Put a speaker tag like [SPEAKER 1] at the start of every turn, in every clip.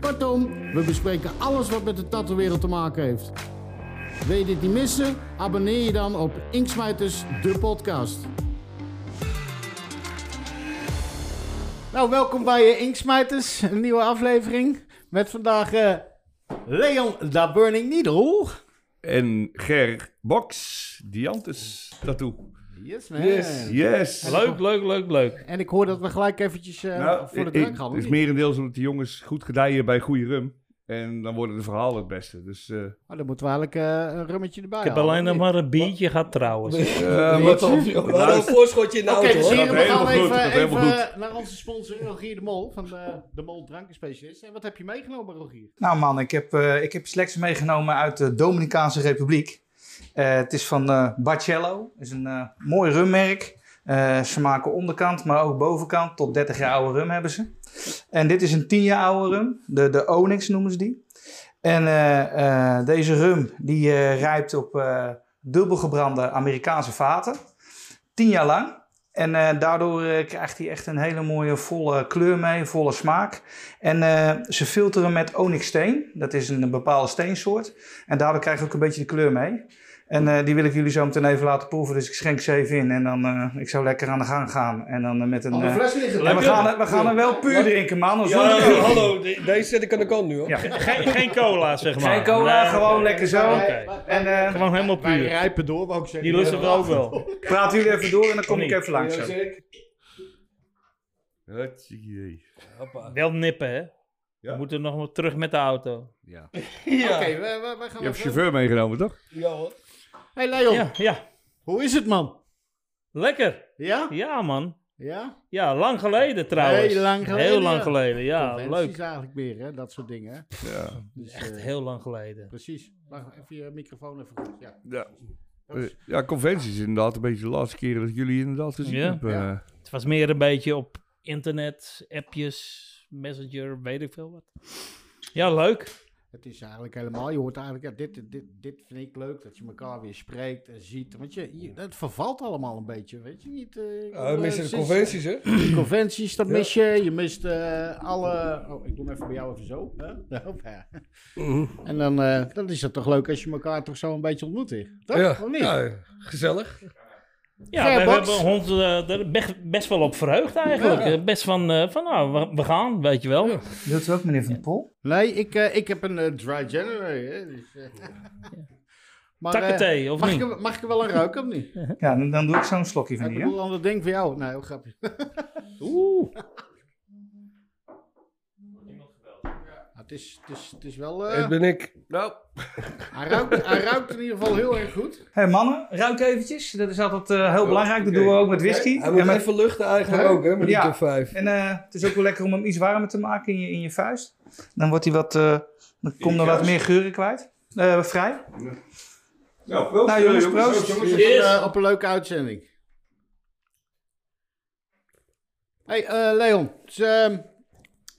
[SPEAKER 1] Kortom, we bespreken alles wat met de tattoo-wereld te maken heeft. Wil je dit niet missen? Abonneer je dan op Inksmijters, de podcast. Nou, welkom bij Inksmijters, een nieuwe aflevering. Met vandaag eh, Leon da Burning Needle.
[SPEAKER 2] En Ger Box, Diantes tattoo.
[SPEAKER 1] Yes, man.
[SPEAKER 2] Yes.
[SPEAKER 3] Leuk, leuk, leuk, leuk.
[SPEAKER 1] En ik hoor dat we gelijk eventjes eh,
[SPEAKER 2] Nou,
[SPEAKER 1] voor de
[SPEAKER 2] ik-
[SPEAKER 1] drank gaan.
[SPEAKER 2] Het
[SPEAKER 1] hoor.
[SPEAKER 2] is merendeels omdat die jongens goed gedijen bij goede rum. En dan worden de verhalen het beste. Dus, eh,
[SPEAKER 1] Oh, dan moeten we eigenlijk eh, een rummetje erbij
[SPEAKER 3] Ik heb
[SPEAKER 1] halen.
[SPEAKER 3] alleen nog maar een biertje gehad trouwens.
[SPEAKER 2] eh, Nou,
[SPEAKER 4] Wat op, joh. Wat een voorschotje in de
[SPEAKER 1] Oké,
[SPEAKER 4] auto,
[SPEAKER 1] dus
[SPEAKER 4] hoor.
[SPEAKER 1] heren, we gaan
[SPEAKER 2] Helemaal goed,
[SPEAKER 1] even,
[SPEAKER 2] dat helemaal
[SPEAKER 1] even eh, naar onze sponsor Rogier de Mol van de, de Mol Drankenspecialist. En wat heb je meegenomen, Rogier?
[SPEAKER 5] Nou man, ik heb, eh ik heb slechts meegenomen uit de Dominicaanse Republiek. Eh, het is van eh Barcello. Het is een eh, mooi rummerk. Eh, ze maken onderkant, maar ook bovenkant. Tot 30 jaar oude rum hebben ze. En dit is een 10 jaar oude rum. De, de Onyx noemen ze die. En eh, eh, deze rum die eh, rijpt op eh dubbelgebrande Amerikaanse vaten. 10 jaar lang. En eh, daardoor eh, krijgt hij echt een hele mooie volle kleur mee, volle smaak. En eh, ze filteren met onyxsteen. Dat is een bepaalde steensoort. En daardoor krijg je ook een beetje de kleur mee. En eh, die wil ik jullie zo meteen even laten proeven. Dus ik schenk ze even in. En dan eh, ik zou lekker aan de gang gaan. En dan eh, met een.
[SPEAKER 1] Al de
[SPEAKER 5] eh,
[SPEAKER 1] fles liggen.
[SPEAKER 5] en we gaan, er- we gaan er wel puur drinken, man. anders wordt
[SPEAKER 4] Ja,
[SPEAKER 5] het-
[SPEAKER 4] hallo. de- Deze zet ik aan de kant nu, hoor.
[SPEAKER 5] Ja.
[SPEAKER 3] Geen, geen cola, zeg maar.
[SPEAKER 5] Geen cola,
[SPEAKER 3] Nee,
[SPEAKER 5] gewoon lekker zo.
[SPEAKER 3] Oké.
[SPEAKER 5] En eh,
[SPEAKER 3] Gewoon helemaal
[SPEAKER 1] Wij
[SPEAKER 3] puur.
[SPEAKER 1] rijpen door, wou ik zeggen.
[SPEAKER 3] Die lusten we ook wel.
[SPEAKER 5] praat jullie even door en dan kom
[SPEAKER 3] Niet.
[SPEAKER 5] ik even langs. zo.
[SPEAKER 2] het idee.
[SPEAKER 4] Hoppa.
[SPEAKER 3] Wel nippen, hè?
[SPEAKER 2] Ja.
[SPEAKER 3] We moeten nog maar terug met de auto.
[SPEAKER 2] Ja.
[SPEAKER 4] Ja.
[SPEAKER 1] Oké, wij we, gaan
[SPEAKER 2] Je hebt
[SPEAKER 1] even-
[SPEAKER 2] chauffeur meegenomen, toch?
[SPEAKER 4] Ja, hoor.
[SPEAKER 1] Hey Leon,
[SPEAKER 3] Ja, ja.
[SPEAKER 1] hoe is het man?
[SPEAKER 3] Lekker.
[SPEAKER 1] Ja?
[SPEAKER 3] Ja, man.
[SPEAKER 1] Ja?
[SPEAKER 3] Ja, lang geleden trouwens.
[SPEAKER 1] Heel lang geleden,
[SPEAKER 3] Heel lang
[SPEAKER 1] ja.
[SPEAKER 3] geleden, ja.
[SPEAKER 1] Conventies
[SPEAKER 3] Leuk.
[SPEAKER 1] eigenlijk meer, hè? Dat soort dingen. hè?
[SPEAKER 2] Ja.
[SPEAKER 1] Dus,
[SPEAKER 3] Echt
[SPEAKER 1] eh,
[SPEAKER 3] heel lang geleden.
[SPEAKER 1] Precies. Wacht, even je microfoon even goed. Ja.
[SPEAKER 2] Ja. Eh, ja, conventies inderdaad. Een beetje de laatste keren dat ik jullie inderdaad gezien
[SPEAKER 3] Ja.
[SPEAKER 2] hebben.
[SPEAKER 1] Ja.
[SPEAKER 2] Eh,
[SPEAKER 3] Het was meer een beetje op internet, appjes, messenger, weet ik veel wat. Ja, leuk.
[SPEAKER 1] Het is eigenlijk helemaal, je hoort eigenlijk, ja, dit, dit, dit vind ik leuk, dat je elkaar weer spreekt en ziet. Want je, je- het vervalt allemaal een beetje, weet je niet? eh, ik
[SPEAKER 4] Ja,
[SPEAKER 1] bedoel,
[SPEAKER 4] we missen
[SPEAKER 1] eh, sinds-
[SPEAKER 4] de conventies, hè?
[SPEAKER 1] De conventies, dat
[SPEAKER 4] Ja.
[SPEAKER 1] mis je. Je mist eh, alle... Oh, ik doe hem even bij jou even zo. Hè? Ja.
[SPEAKER 4] Mhm.
[SPEAKER 1] En dan, eh, dan is het toch leuk als je elkaar toch zo een beetje ontmoet. hè? Toch?
[SPEAKER 4] Ja.
[SPEAKER 1] Of niet?
[SPEAKER 4] Ja, gezellig.
[SPEAKER 3] Ja,
[SPEAKER 1] Fair
[SPEAKER 3] we
[SPEAKER 1] box.
[SPEAKER 3] hebben ons eh, er bech- best wel op verheugd eigenlijk.
[SPEAKER 1] Ja.
[SPEAKER 3] Eh, Best van, eh, van nou, we, we gaan, weet je wel.
[SPEAKER 5] Wilt u ook, meneer Van der Pol?
[SPEAKER 1] Nee, ik, eh, ik heb een eh, dry January. Hè? Dus, eh. Maar, eh,
[SPEAKER 3] Takkenthee, of
[SPEAKER 1] mag,
[SPEAKER 3] niet?
[SPEAKER 1] ik, mag ik er wel een ruiken of niet?
[SPEAKER 5] Ja, dan, dan doe ik zo'n slokje van
[SPEAKER 1] Ik
[SPEAKER 5] hier. hè.
[SPEAKER 1] bedoel, ander ding voor jou. Nee, heel grappig.
[SPEAKER 3] Oeh.
[SPEAKER 1] Ja, Het is, het, is, het is wel... eh,
[SPEAKER 4] Het ben ik.
[SPEAKER 2] Nou,
[SPEAKER 1] Hij ruikt, hij ruikt in ieder geval heel erg goed.
[SPEAKER 5] Hé mannen, ruik eventjes. Dat is altijd eh, heel belangrijk. Dat doen we ook met whisky.
[SPEAKER 4] Hij moet
[SPEAKER 5] En, met-
[SPEAKER 4] even luchten eigenlijk ook, hè? Met die
[SPEAKER 5] Ja.
[SPEAKER 4] top 5.
[SPEAKER 5] en, eh, het is ook wel lekker om hem iets warmer te maken in je, in je vuist. Dan wordt hij wat, eh, dan komt er wat
[SPEAKER 2] vuist?
[SPEAKER 5] meer geuren kwijt. Eh, vrij.
[SPEAKER 2] nou, proost.
[SPEAKER 5] Nou, jongens, proost.
[SPEAKER 1] Jongens, op,
[SPEAKER 3] Cheers.
[SPEAKER 1] een, eh, op een leuke uitzending. hey, eh, Leon. dus, ehm,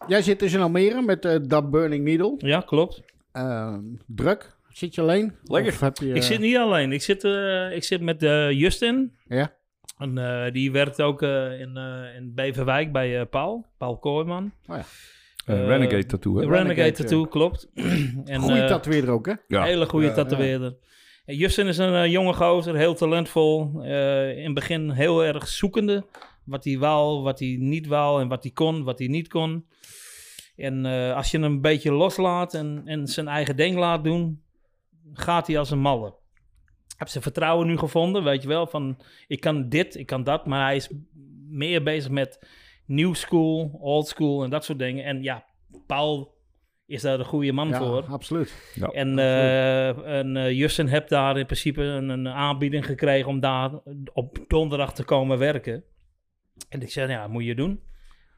[SPEAKER 1] jij zit dus in Almere met eh Dat Burning Needle.
[SPEAKER 3] Ja, klopt.
[SPEAKER 1] Ehm, druk. Zit je alleen?
[SPEAKER 2] Lekker.
[SPEAKER 1] Of heb je, eh,
[SPEAKER 3] Ik zit niet alleen. Ik zit, eh, ik zit met eh, Justin.
[SPEAKER 1] Ja.
[SPEAKER 3] En eh, die werkt ook eh, in, eh, in Beverwijk bij eh, Paul. Paul Kooijman. Eh,
[SPEAKER 2] Renegade tattoo, hè?
[SPEAKER 3] Renegade,
[SPEAKER 1] Oh Renegade,
[SPEAKER 3] Tattoo, klopt. en,
[SPEAKER 1] Goeie
[SPEAKER 3] eh,
[SPEAKER 1] tatoeëerder ook, hè?
[SPEAKER 2] Ja.
[SPEAKER 3] Hele goede
[SPEAKER 4] Ja.
[SPEAKER 3] tatoeëerder. En Justin is een eh, jonge gozer, heel talentvol. eh, in het begin heel erg zoekende. Wat hij wou, wat hij niet wou en wat hij kon, wat hij niet kon. En eh, als je hem een beetje loslaat en, en zijn eigen ding laat doen, gaat hij als een malle. Ik Heb zijn vertrouwen nu gevonden, weet je wel, van ik kan dit, ik kan dat. Maar hij is meer bezig met new school, old school en dat soort dingen. En ja, Paul is daar de goede man
[SPEAKER 1] Ja,
[SPEAKER 3] voor.
[SPEAKER 1] absoluut.
[SPEAKER 3] En, eh, en eh, Justin heb daar in principe een, een aanbieding gekregen om daar op donderdag te komen werken. En ik zei, ja, "Nou moet je doen.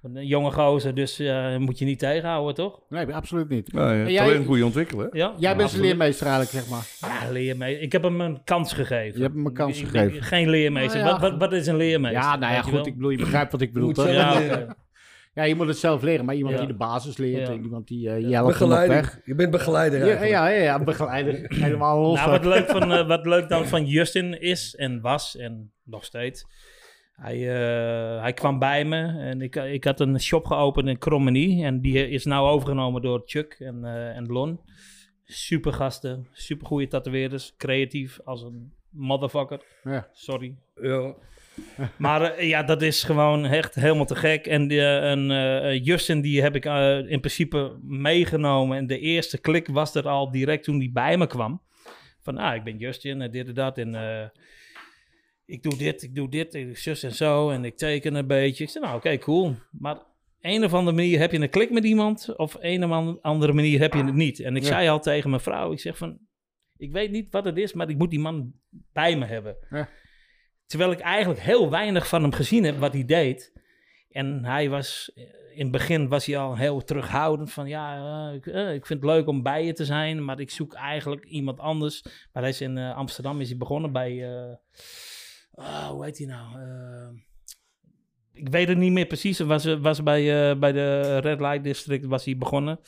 [SPEAKER 3] Een jonge gozer, dus eh, moet je niet tegenhouden, toch?
[SPEAKER 1] Nee, absoluut niet.
[SPEAKER 2] Nou, ja,
[SPEAKER 1] En jij-
[SPEAKER 2] talent moet je ontwikkelen. hè?
[SPEAKER 3] Ja,
[SPEAKER 1] Jij bent een
[SPEAKER 3] absoluut.
[SPEAKER 1] leermeester eigenlijk, zeg maar.
[SPEAKER 3] Ja, leermeester. Ik heb hem een kans gegeven.
[SPEAKER 1] Je hebt hem een kans
[SPEAKER 3] Ik- ik-
[SPEAKER 1] gegeven.
[SPEAKER 3] ik- geen leermeester.
[SPEAKER 1] Nou ja,
[SPEAKER 3] wat, wat, wat is een leermeester?
[SPEAKER 1] Ja, nou ja,
[SPEAKER 3] Weet je
[SPEAKER 1] goed.
[SPEAKER 3] wel?
[SPEAKER 1] Ik bedoel, je begrijpt wat ik bedoel.
[SPEAKER 4] Moet
[SPEAKER 1] toch?
[SPEAKER 4] zelf
[SPEAKER 1] Ja.
[SPEAKER 3] Ja,
[SPEAKER 4] leren.
[SPEAKER 1] ja, je moet het zelf leren, maar iemand
[SPEAKER 3] Ja.
[SPEAKER 1] die de basis leert,
[SPEAKER 3] Ja.
[SPEAKER 1] en iemand die eh je helpt hem op weg.
[SPEAKER 4] Begeleider. Je bent begeleider
[SPEAKER 1] Ja,
[SPEAKER 4] eigenlijk.
[SPEAKER 1] ja, ja, ja, begeleider. Helemaal los.
[SPEAKER 3] Nou, wat leuk, van, eh, wat leuk dan van Justin is en was en nog steeds. Hij, eh, hij kwam bij me en ik, ik had een shop geopend in Krommenie. En die is nou overgenomen door Chuck en, eh, en Lon. Super gasten, super goede tatoeëerders. Creatief als een motherfucker.
[SPEAKER 1] Ja.
[SPEAKER 3] Sorry.
[SPEAKER 4] Ja.
[SPEAKER 3] Maar eh, ja, dat is gewoon echt helemaal te gek. En die, eh, een, eh, eh, Justin, die heb ik eh, in principe meegenomen. En de eerste klik was er al direct toen die bij me kwam. Van, ah, ik ben Justin en dit en dat. En eh, ik doe dit, ik doe dit, ik zus en zo. En ik teken een beetje. Ik zei, nou, oké, cool. Maar een of andere manier heb je een klik met iemand. Of een of an- andere manier heb je het niet. En ik
[SPEAKER 1] Ja.
[SPEAKER 3] zei al tegen mijn vrouw, ik zeg van... Ik weet niet wat het is, maar ik moet die man bij me hebben.
[SPEAKER 1] Ja.
[SPEAKER 3] Terwijl ik eigenlijk heel weinig van hem gezien heb wat hij deed. En hij was, eh, in het begin was hij al heel terughoudend van ja, eh, ik, eh, ik vind het leuk om bij je te zijn, maar ik zoek eigenlijk iemand anders. Maar hij is in eh, Amsterdam is hij begonnen bij, eh, ah, hoe heet hij nou? Eh, ik weet het niet meer precies. Hij was, was bij, eh, bij de Red Light District was hij begonnen.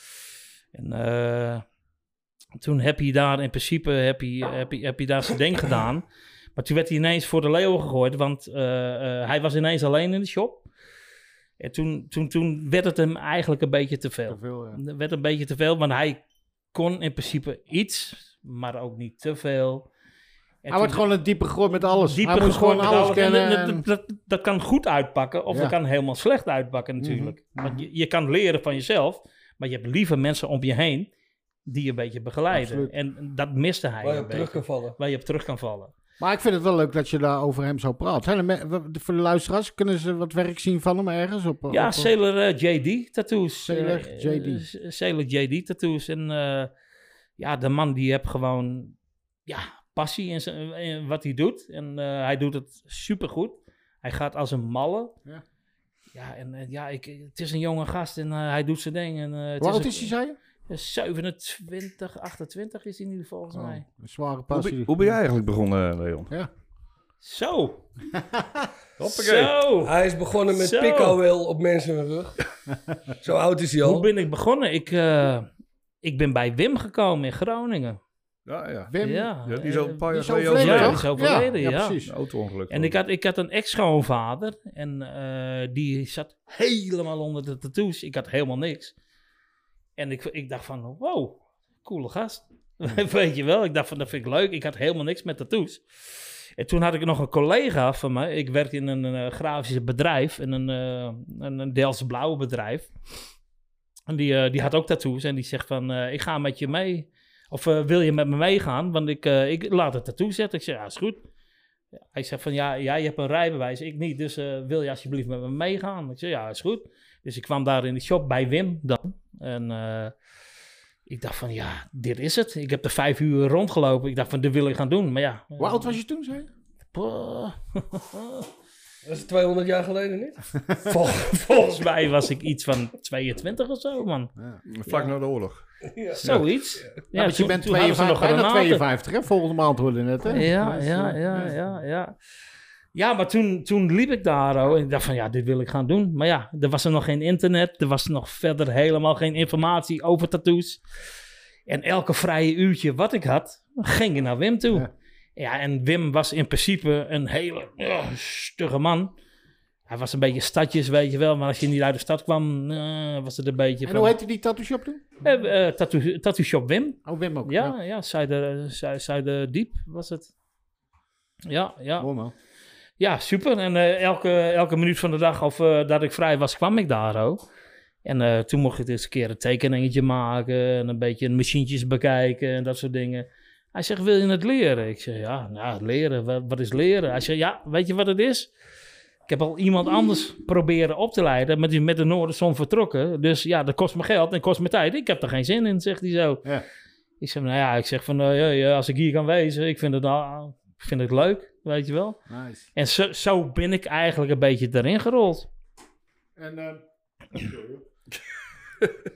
[SPEAKER 3] En eh, toen heb hij daar in principe heb hij, heb hij, heb hij daar zijn ding gedaan. Maar toen werd hij ineens voor de leeuwen gegooid, want eh, eh, hij was ineens alleen in de shop. En toen, toen, toen werd het hem eigenlijk een beetje te veel.
[SPEAKER 1] Zoveel, ja.
[SPEAKER 3] Dat werd een beetje te veel, want hij kon in principe iets, maar ook niet te veel. En
[SPEAKER 1] Hij wordt
[SPEAKER 3] toen-
[SPEAKER 1] gewoon een diepe gegooid met alles.
[SPEAKER 3] dieper
[SPEAKER 1] hij moet
[SPEAKER 3] gegooid
[SPEAKER 1] gewoon
[SPEAKER 3] met
[SPEAKER 1] alles
[SPEAKER 3] En
[SPEAKER 1] kennen.
[SPEAKER 3] dat-
[SPEAKER 1] en-
[SPEAKER 3] dat, dat, dat kan goed uitpakken of
[SPEAKER 1] Ja. Mhm.
[SPEAKER 3] dat kan helemaal slecht uitpakken natuurlijk. Want je, je kan leren van jezelf, maar je hebt liever mensen om je heen die je een beetje begeleiden.
[SPEAKER 1] Absoluut.
[SPEAKER 3] En dat miste hij
[SPEAKER 4] Waar je
[SPEAKER 3] een
[SPEAKER 4] op terug
[SPEAKER 3] beetje,
[SPEAKER 4] kan vallen.
[SPEAKER 3] waar je op terug kan vallen.
[SPEAKER 1] Maar ik vind het wel leuk dat je daar over hem zo praat. Zijn er me- w- voor de luisteraars, kunnen ze wat werk zien van hem ergens? Op, op-
[SPEAKER 3] Ja,
[SPEAKER 1] op-
[SPEAKER 3] Sailor eh, JD tattoos.
[SPEAKER 1] Sailor
[SPEAKER 3] Eh,
[SPEAKER 1] JD.
[SPEAKER 3] S- Sailor JD tattoos. En eh, ja, de man die heeft gewoon ja, passie in, zijn, in wat hij doet. En eh, hij doet het supergoed. Hij gaat als een malle.
[SPEAKER 1] Ja.
[SPEAKER 3] Ja, en eh, ja, ik, het is een jonge gast en eh, hij doet zijn ding. En, eh, het
[SPEAKER 1] Hoe oud
[SPEAKER 3] een-
[SPEAKER 1] is hij, zei je?
[SPEAKER 3] eh, 27, 28 is hij nu volgens
[SPEAKER 1] Oh,
[SPEAKER 3] mij.
[SPEAKER 1] een zware
[SPEAKER 2] Hoe,
[SPEAKER 1] passie.
[SPEAKER 2] ben- hoe ben jij eigenlijk begonnen, Leon?
[SPEAKER 3] Zo!
[SPEAKER 2] Hoppakee. Ah,
[SPEAKER 3] Zo!
[SPEAKER 4] Hij is begonnen met
[SPEAKER 3] Zo.
[SPEAKER 4] pikhouwel op mensen hun rug. Zo oud is hij
[SPEAKER 3] Hoe
[SPEAKER 4] al.
[SPEAKER 3] ben ik begonnen? Ik, eh, ik ben bij Wim gekomen in Groningen.
[SPEAKER 2] Ja, ja.
[SPEAKER 1] Wim,
[SPEAKER 3] ja, Eh,
[SPEAKER 2] Ja, die is al een paar
[SPEAKER 1] Eh, die
[SPEAKER 2] jaar
[SPEAKER 1] is
[SPEAKER 2] geleden
[SPEAKER 1] overleden, toch?
[SPEAKER 3] Ja, die is overleden, ja.
[SPEAKER 1] precies.
[SPEAKER 2] Een auto-ongeluk.
[SPEAKER 3] En ik had, ik had een ex-schoonvader en eh, die zat helemaal onder de tattoos. Ik had helemaal niks. En ik, ik dacht van, wow, coole gast. Weet je wel, ik dacht van, dat vind ik leuk. Ik had helemaal niks met tattoos. En toen had ik nog een collega van mij. Ik werkte in een eh, grafische bedrijf, in een, eh een, een Delftse blauwe bedrijf. En die, eh, die had ook tattoos en die zegt van, eh, ik ga met je mee. Of eh, wil je met me meegaan? Want ik, eh, ik laat het tattoo zetten. Ik zeg, ja, is goed. Hij zegt van, ja, jij hebt een rijbewijs, ik niet. Dus eh, wil je alsjeblieft met me meegaan? Ik zeg, ja, is goed. Dus ik kwam daar in de shop bij Wim dan. En eh, ik dacht van, ja, dit is het. Ik heb er vijf uur rondgelopen. Ik dacht van, dit wil ik gaan doen. Maar ja. eh,
[SPEAKER 1] Hoe oud was je toen, zei je?
[SPEAKER 3] poh.
[SPEAKER 4] Dat is 200 jaar geleden, niet?
[SPEAKER 3] Vol- volgens mij was ik iets van 22 of zo, man.
[SPEAKER 2] Vlak na de oorlog.
[SPEAKER 3] Zoiets. Ja,
[SPEAKER 1] Ja, want je
[SPEAKER 3] toen-
[SPEAKER 1] bent
[SPEAKER 3] toen hadden ze
[SPEAKER 1] 52, bijna
[SPEAKER 3] granaten.
[SPEAKER 1] 52, hè? Volgende maand hoorde net, hè?
[SPEAKER 3] Ja, ja, ja, ja, ja. Ja, maar toen, toen liep ik daar oh, en ik dacht van ja, dit wil ik gaan doen. Maar ja, er was er nog geen internet. Er was nog verder helemaal geen informatie over tattoos. En elke vrije uurtje wat ik had, ging ik naar Wim toe.
[SPEAKER 1] Ja.
[SPEAKER 3] Ja, en Wim was in principe een hele eh, stugge man. Hij was een beetje stadjes, weet je wel. Maar als je niet uit de stad kwam, eh, was het een beetje...
[SPEAKER 1] En hoe heette die tattoo shop toen?
[SPEAKER 3] Eh, eh, tattoo, tattoo Shop Wim.
[SPEAKER 1] Oh, Wim ook.
[SPEAKER 3] Ja, ja, Zuider, Zuid- Zuiderdiep was het. Ja, ja.
[SPEAKER 1] Mooi, man.
[SPEAKER 3] ja super. En eh, elke, elke minuut van de dag of eh, dat ik vrij was, kwam ik daar ook. En eh, toen mocht ik dus een keer een tekeningetje maken en een beetje de machientjes bekijken en dat soort dingen. Hij zegt, wil je het leren? Ik zeg, ja, nou, leren, wat, wat is leren? Hij zegt, ja, weet je wat het is? Ik heb al iemand anders proberen op te leiden, maar die is met de Noorderzon vertrokken. Dus ja, dat kost me geld en kost me tijd. Ik heb er geen zin in, zegt hij zo.
[SPEAKER 1] Ja.
[SPEAKER 3] Ik zeg, nou ja, ik zeg van, eh, ja, ja, als ik hier kan wezen, ik vind het, al- ik vind het leuk, weet je wel.
[SPEAKER 1] Nice.
[SPEAKER 3] En zo, zo ben ik eigenlijk een beetje erin gerold.
[SPEAKER 1] En eh,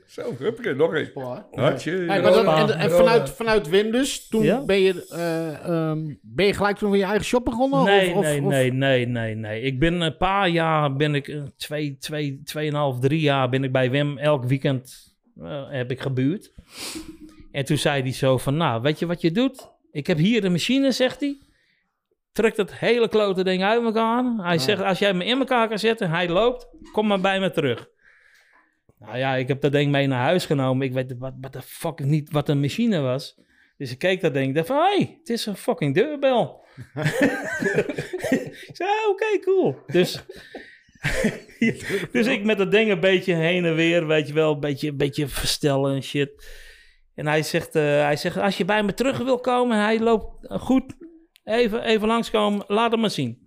[SPEAKER 2] Zo, huppakee, nog één.
[SPEAKER 1] Klaar. Hey,
[SPEAKER 2] Hartje.
[SPEAKER 1] maar dat-
[SPEAKER 3] Europa.
[SPEAKER 1] en en vanuit, vanuit Wim dus, toen
[SPEAKER 3] Ja?
[SPEAKER 1] ben, je, eh, ehm, ben je gelijk toen van je eigen shop begonnen?
[SPEAKER 3] Nee,
[SPEAKER 1] of, of,
[SPEAKER 3] nee,
[SPEAKER 1] of-
[SPEAKER 3] nee, nee, nee, nee. Ik ben een paar jaar, ben ik eh, twee, twee, tweeënhalf, drie jaar ben ik bij Wim elk weekend eh, heb ik gebuurd. En toen zei hij zo van, nou, weet je wat je doet? Ik heb hier de machine, zegt hij. Trek dat hele klote ding uit elkaar. Hij zegt, als jij me in elkaar kan zetten, hij loopt, kom maar bij me terug. Nou ja, ik heb dat ding mee naar huis genomen. Ik weet wat, wat de fuck niet wat een machine was. Dus ik keek dat ding, ik dacht van, hé, hey, het is een fucking deurbel. Ik zei, ah, oké, cool. Dus, dus ik met dat ding een beetje heen en weer, weet je wel, een beetje, een beetje verstellen en shit. En hij zegt, eh, hij zegt, als je bij me terug wil komen, hij loopt eh, goed, even, even langskomen, laat hem maar zien.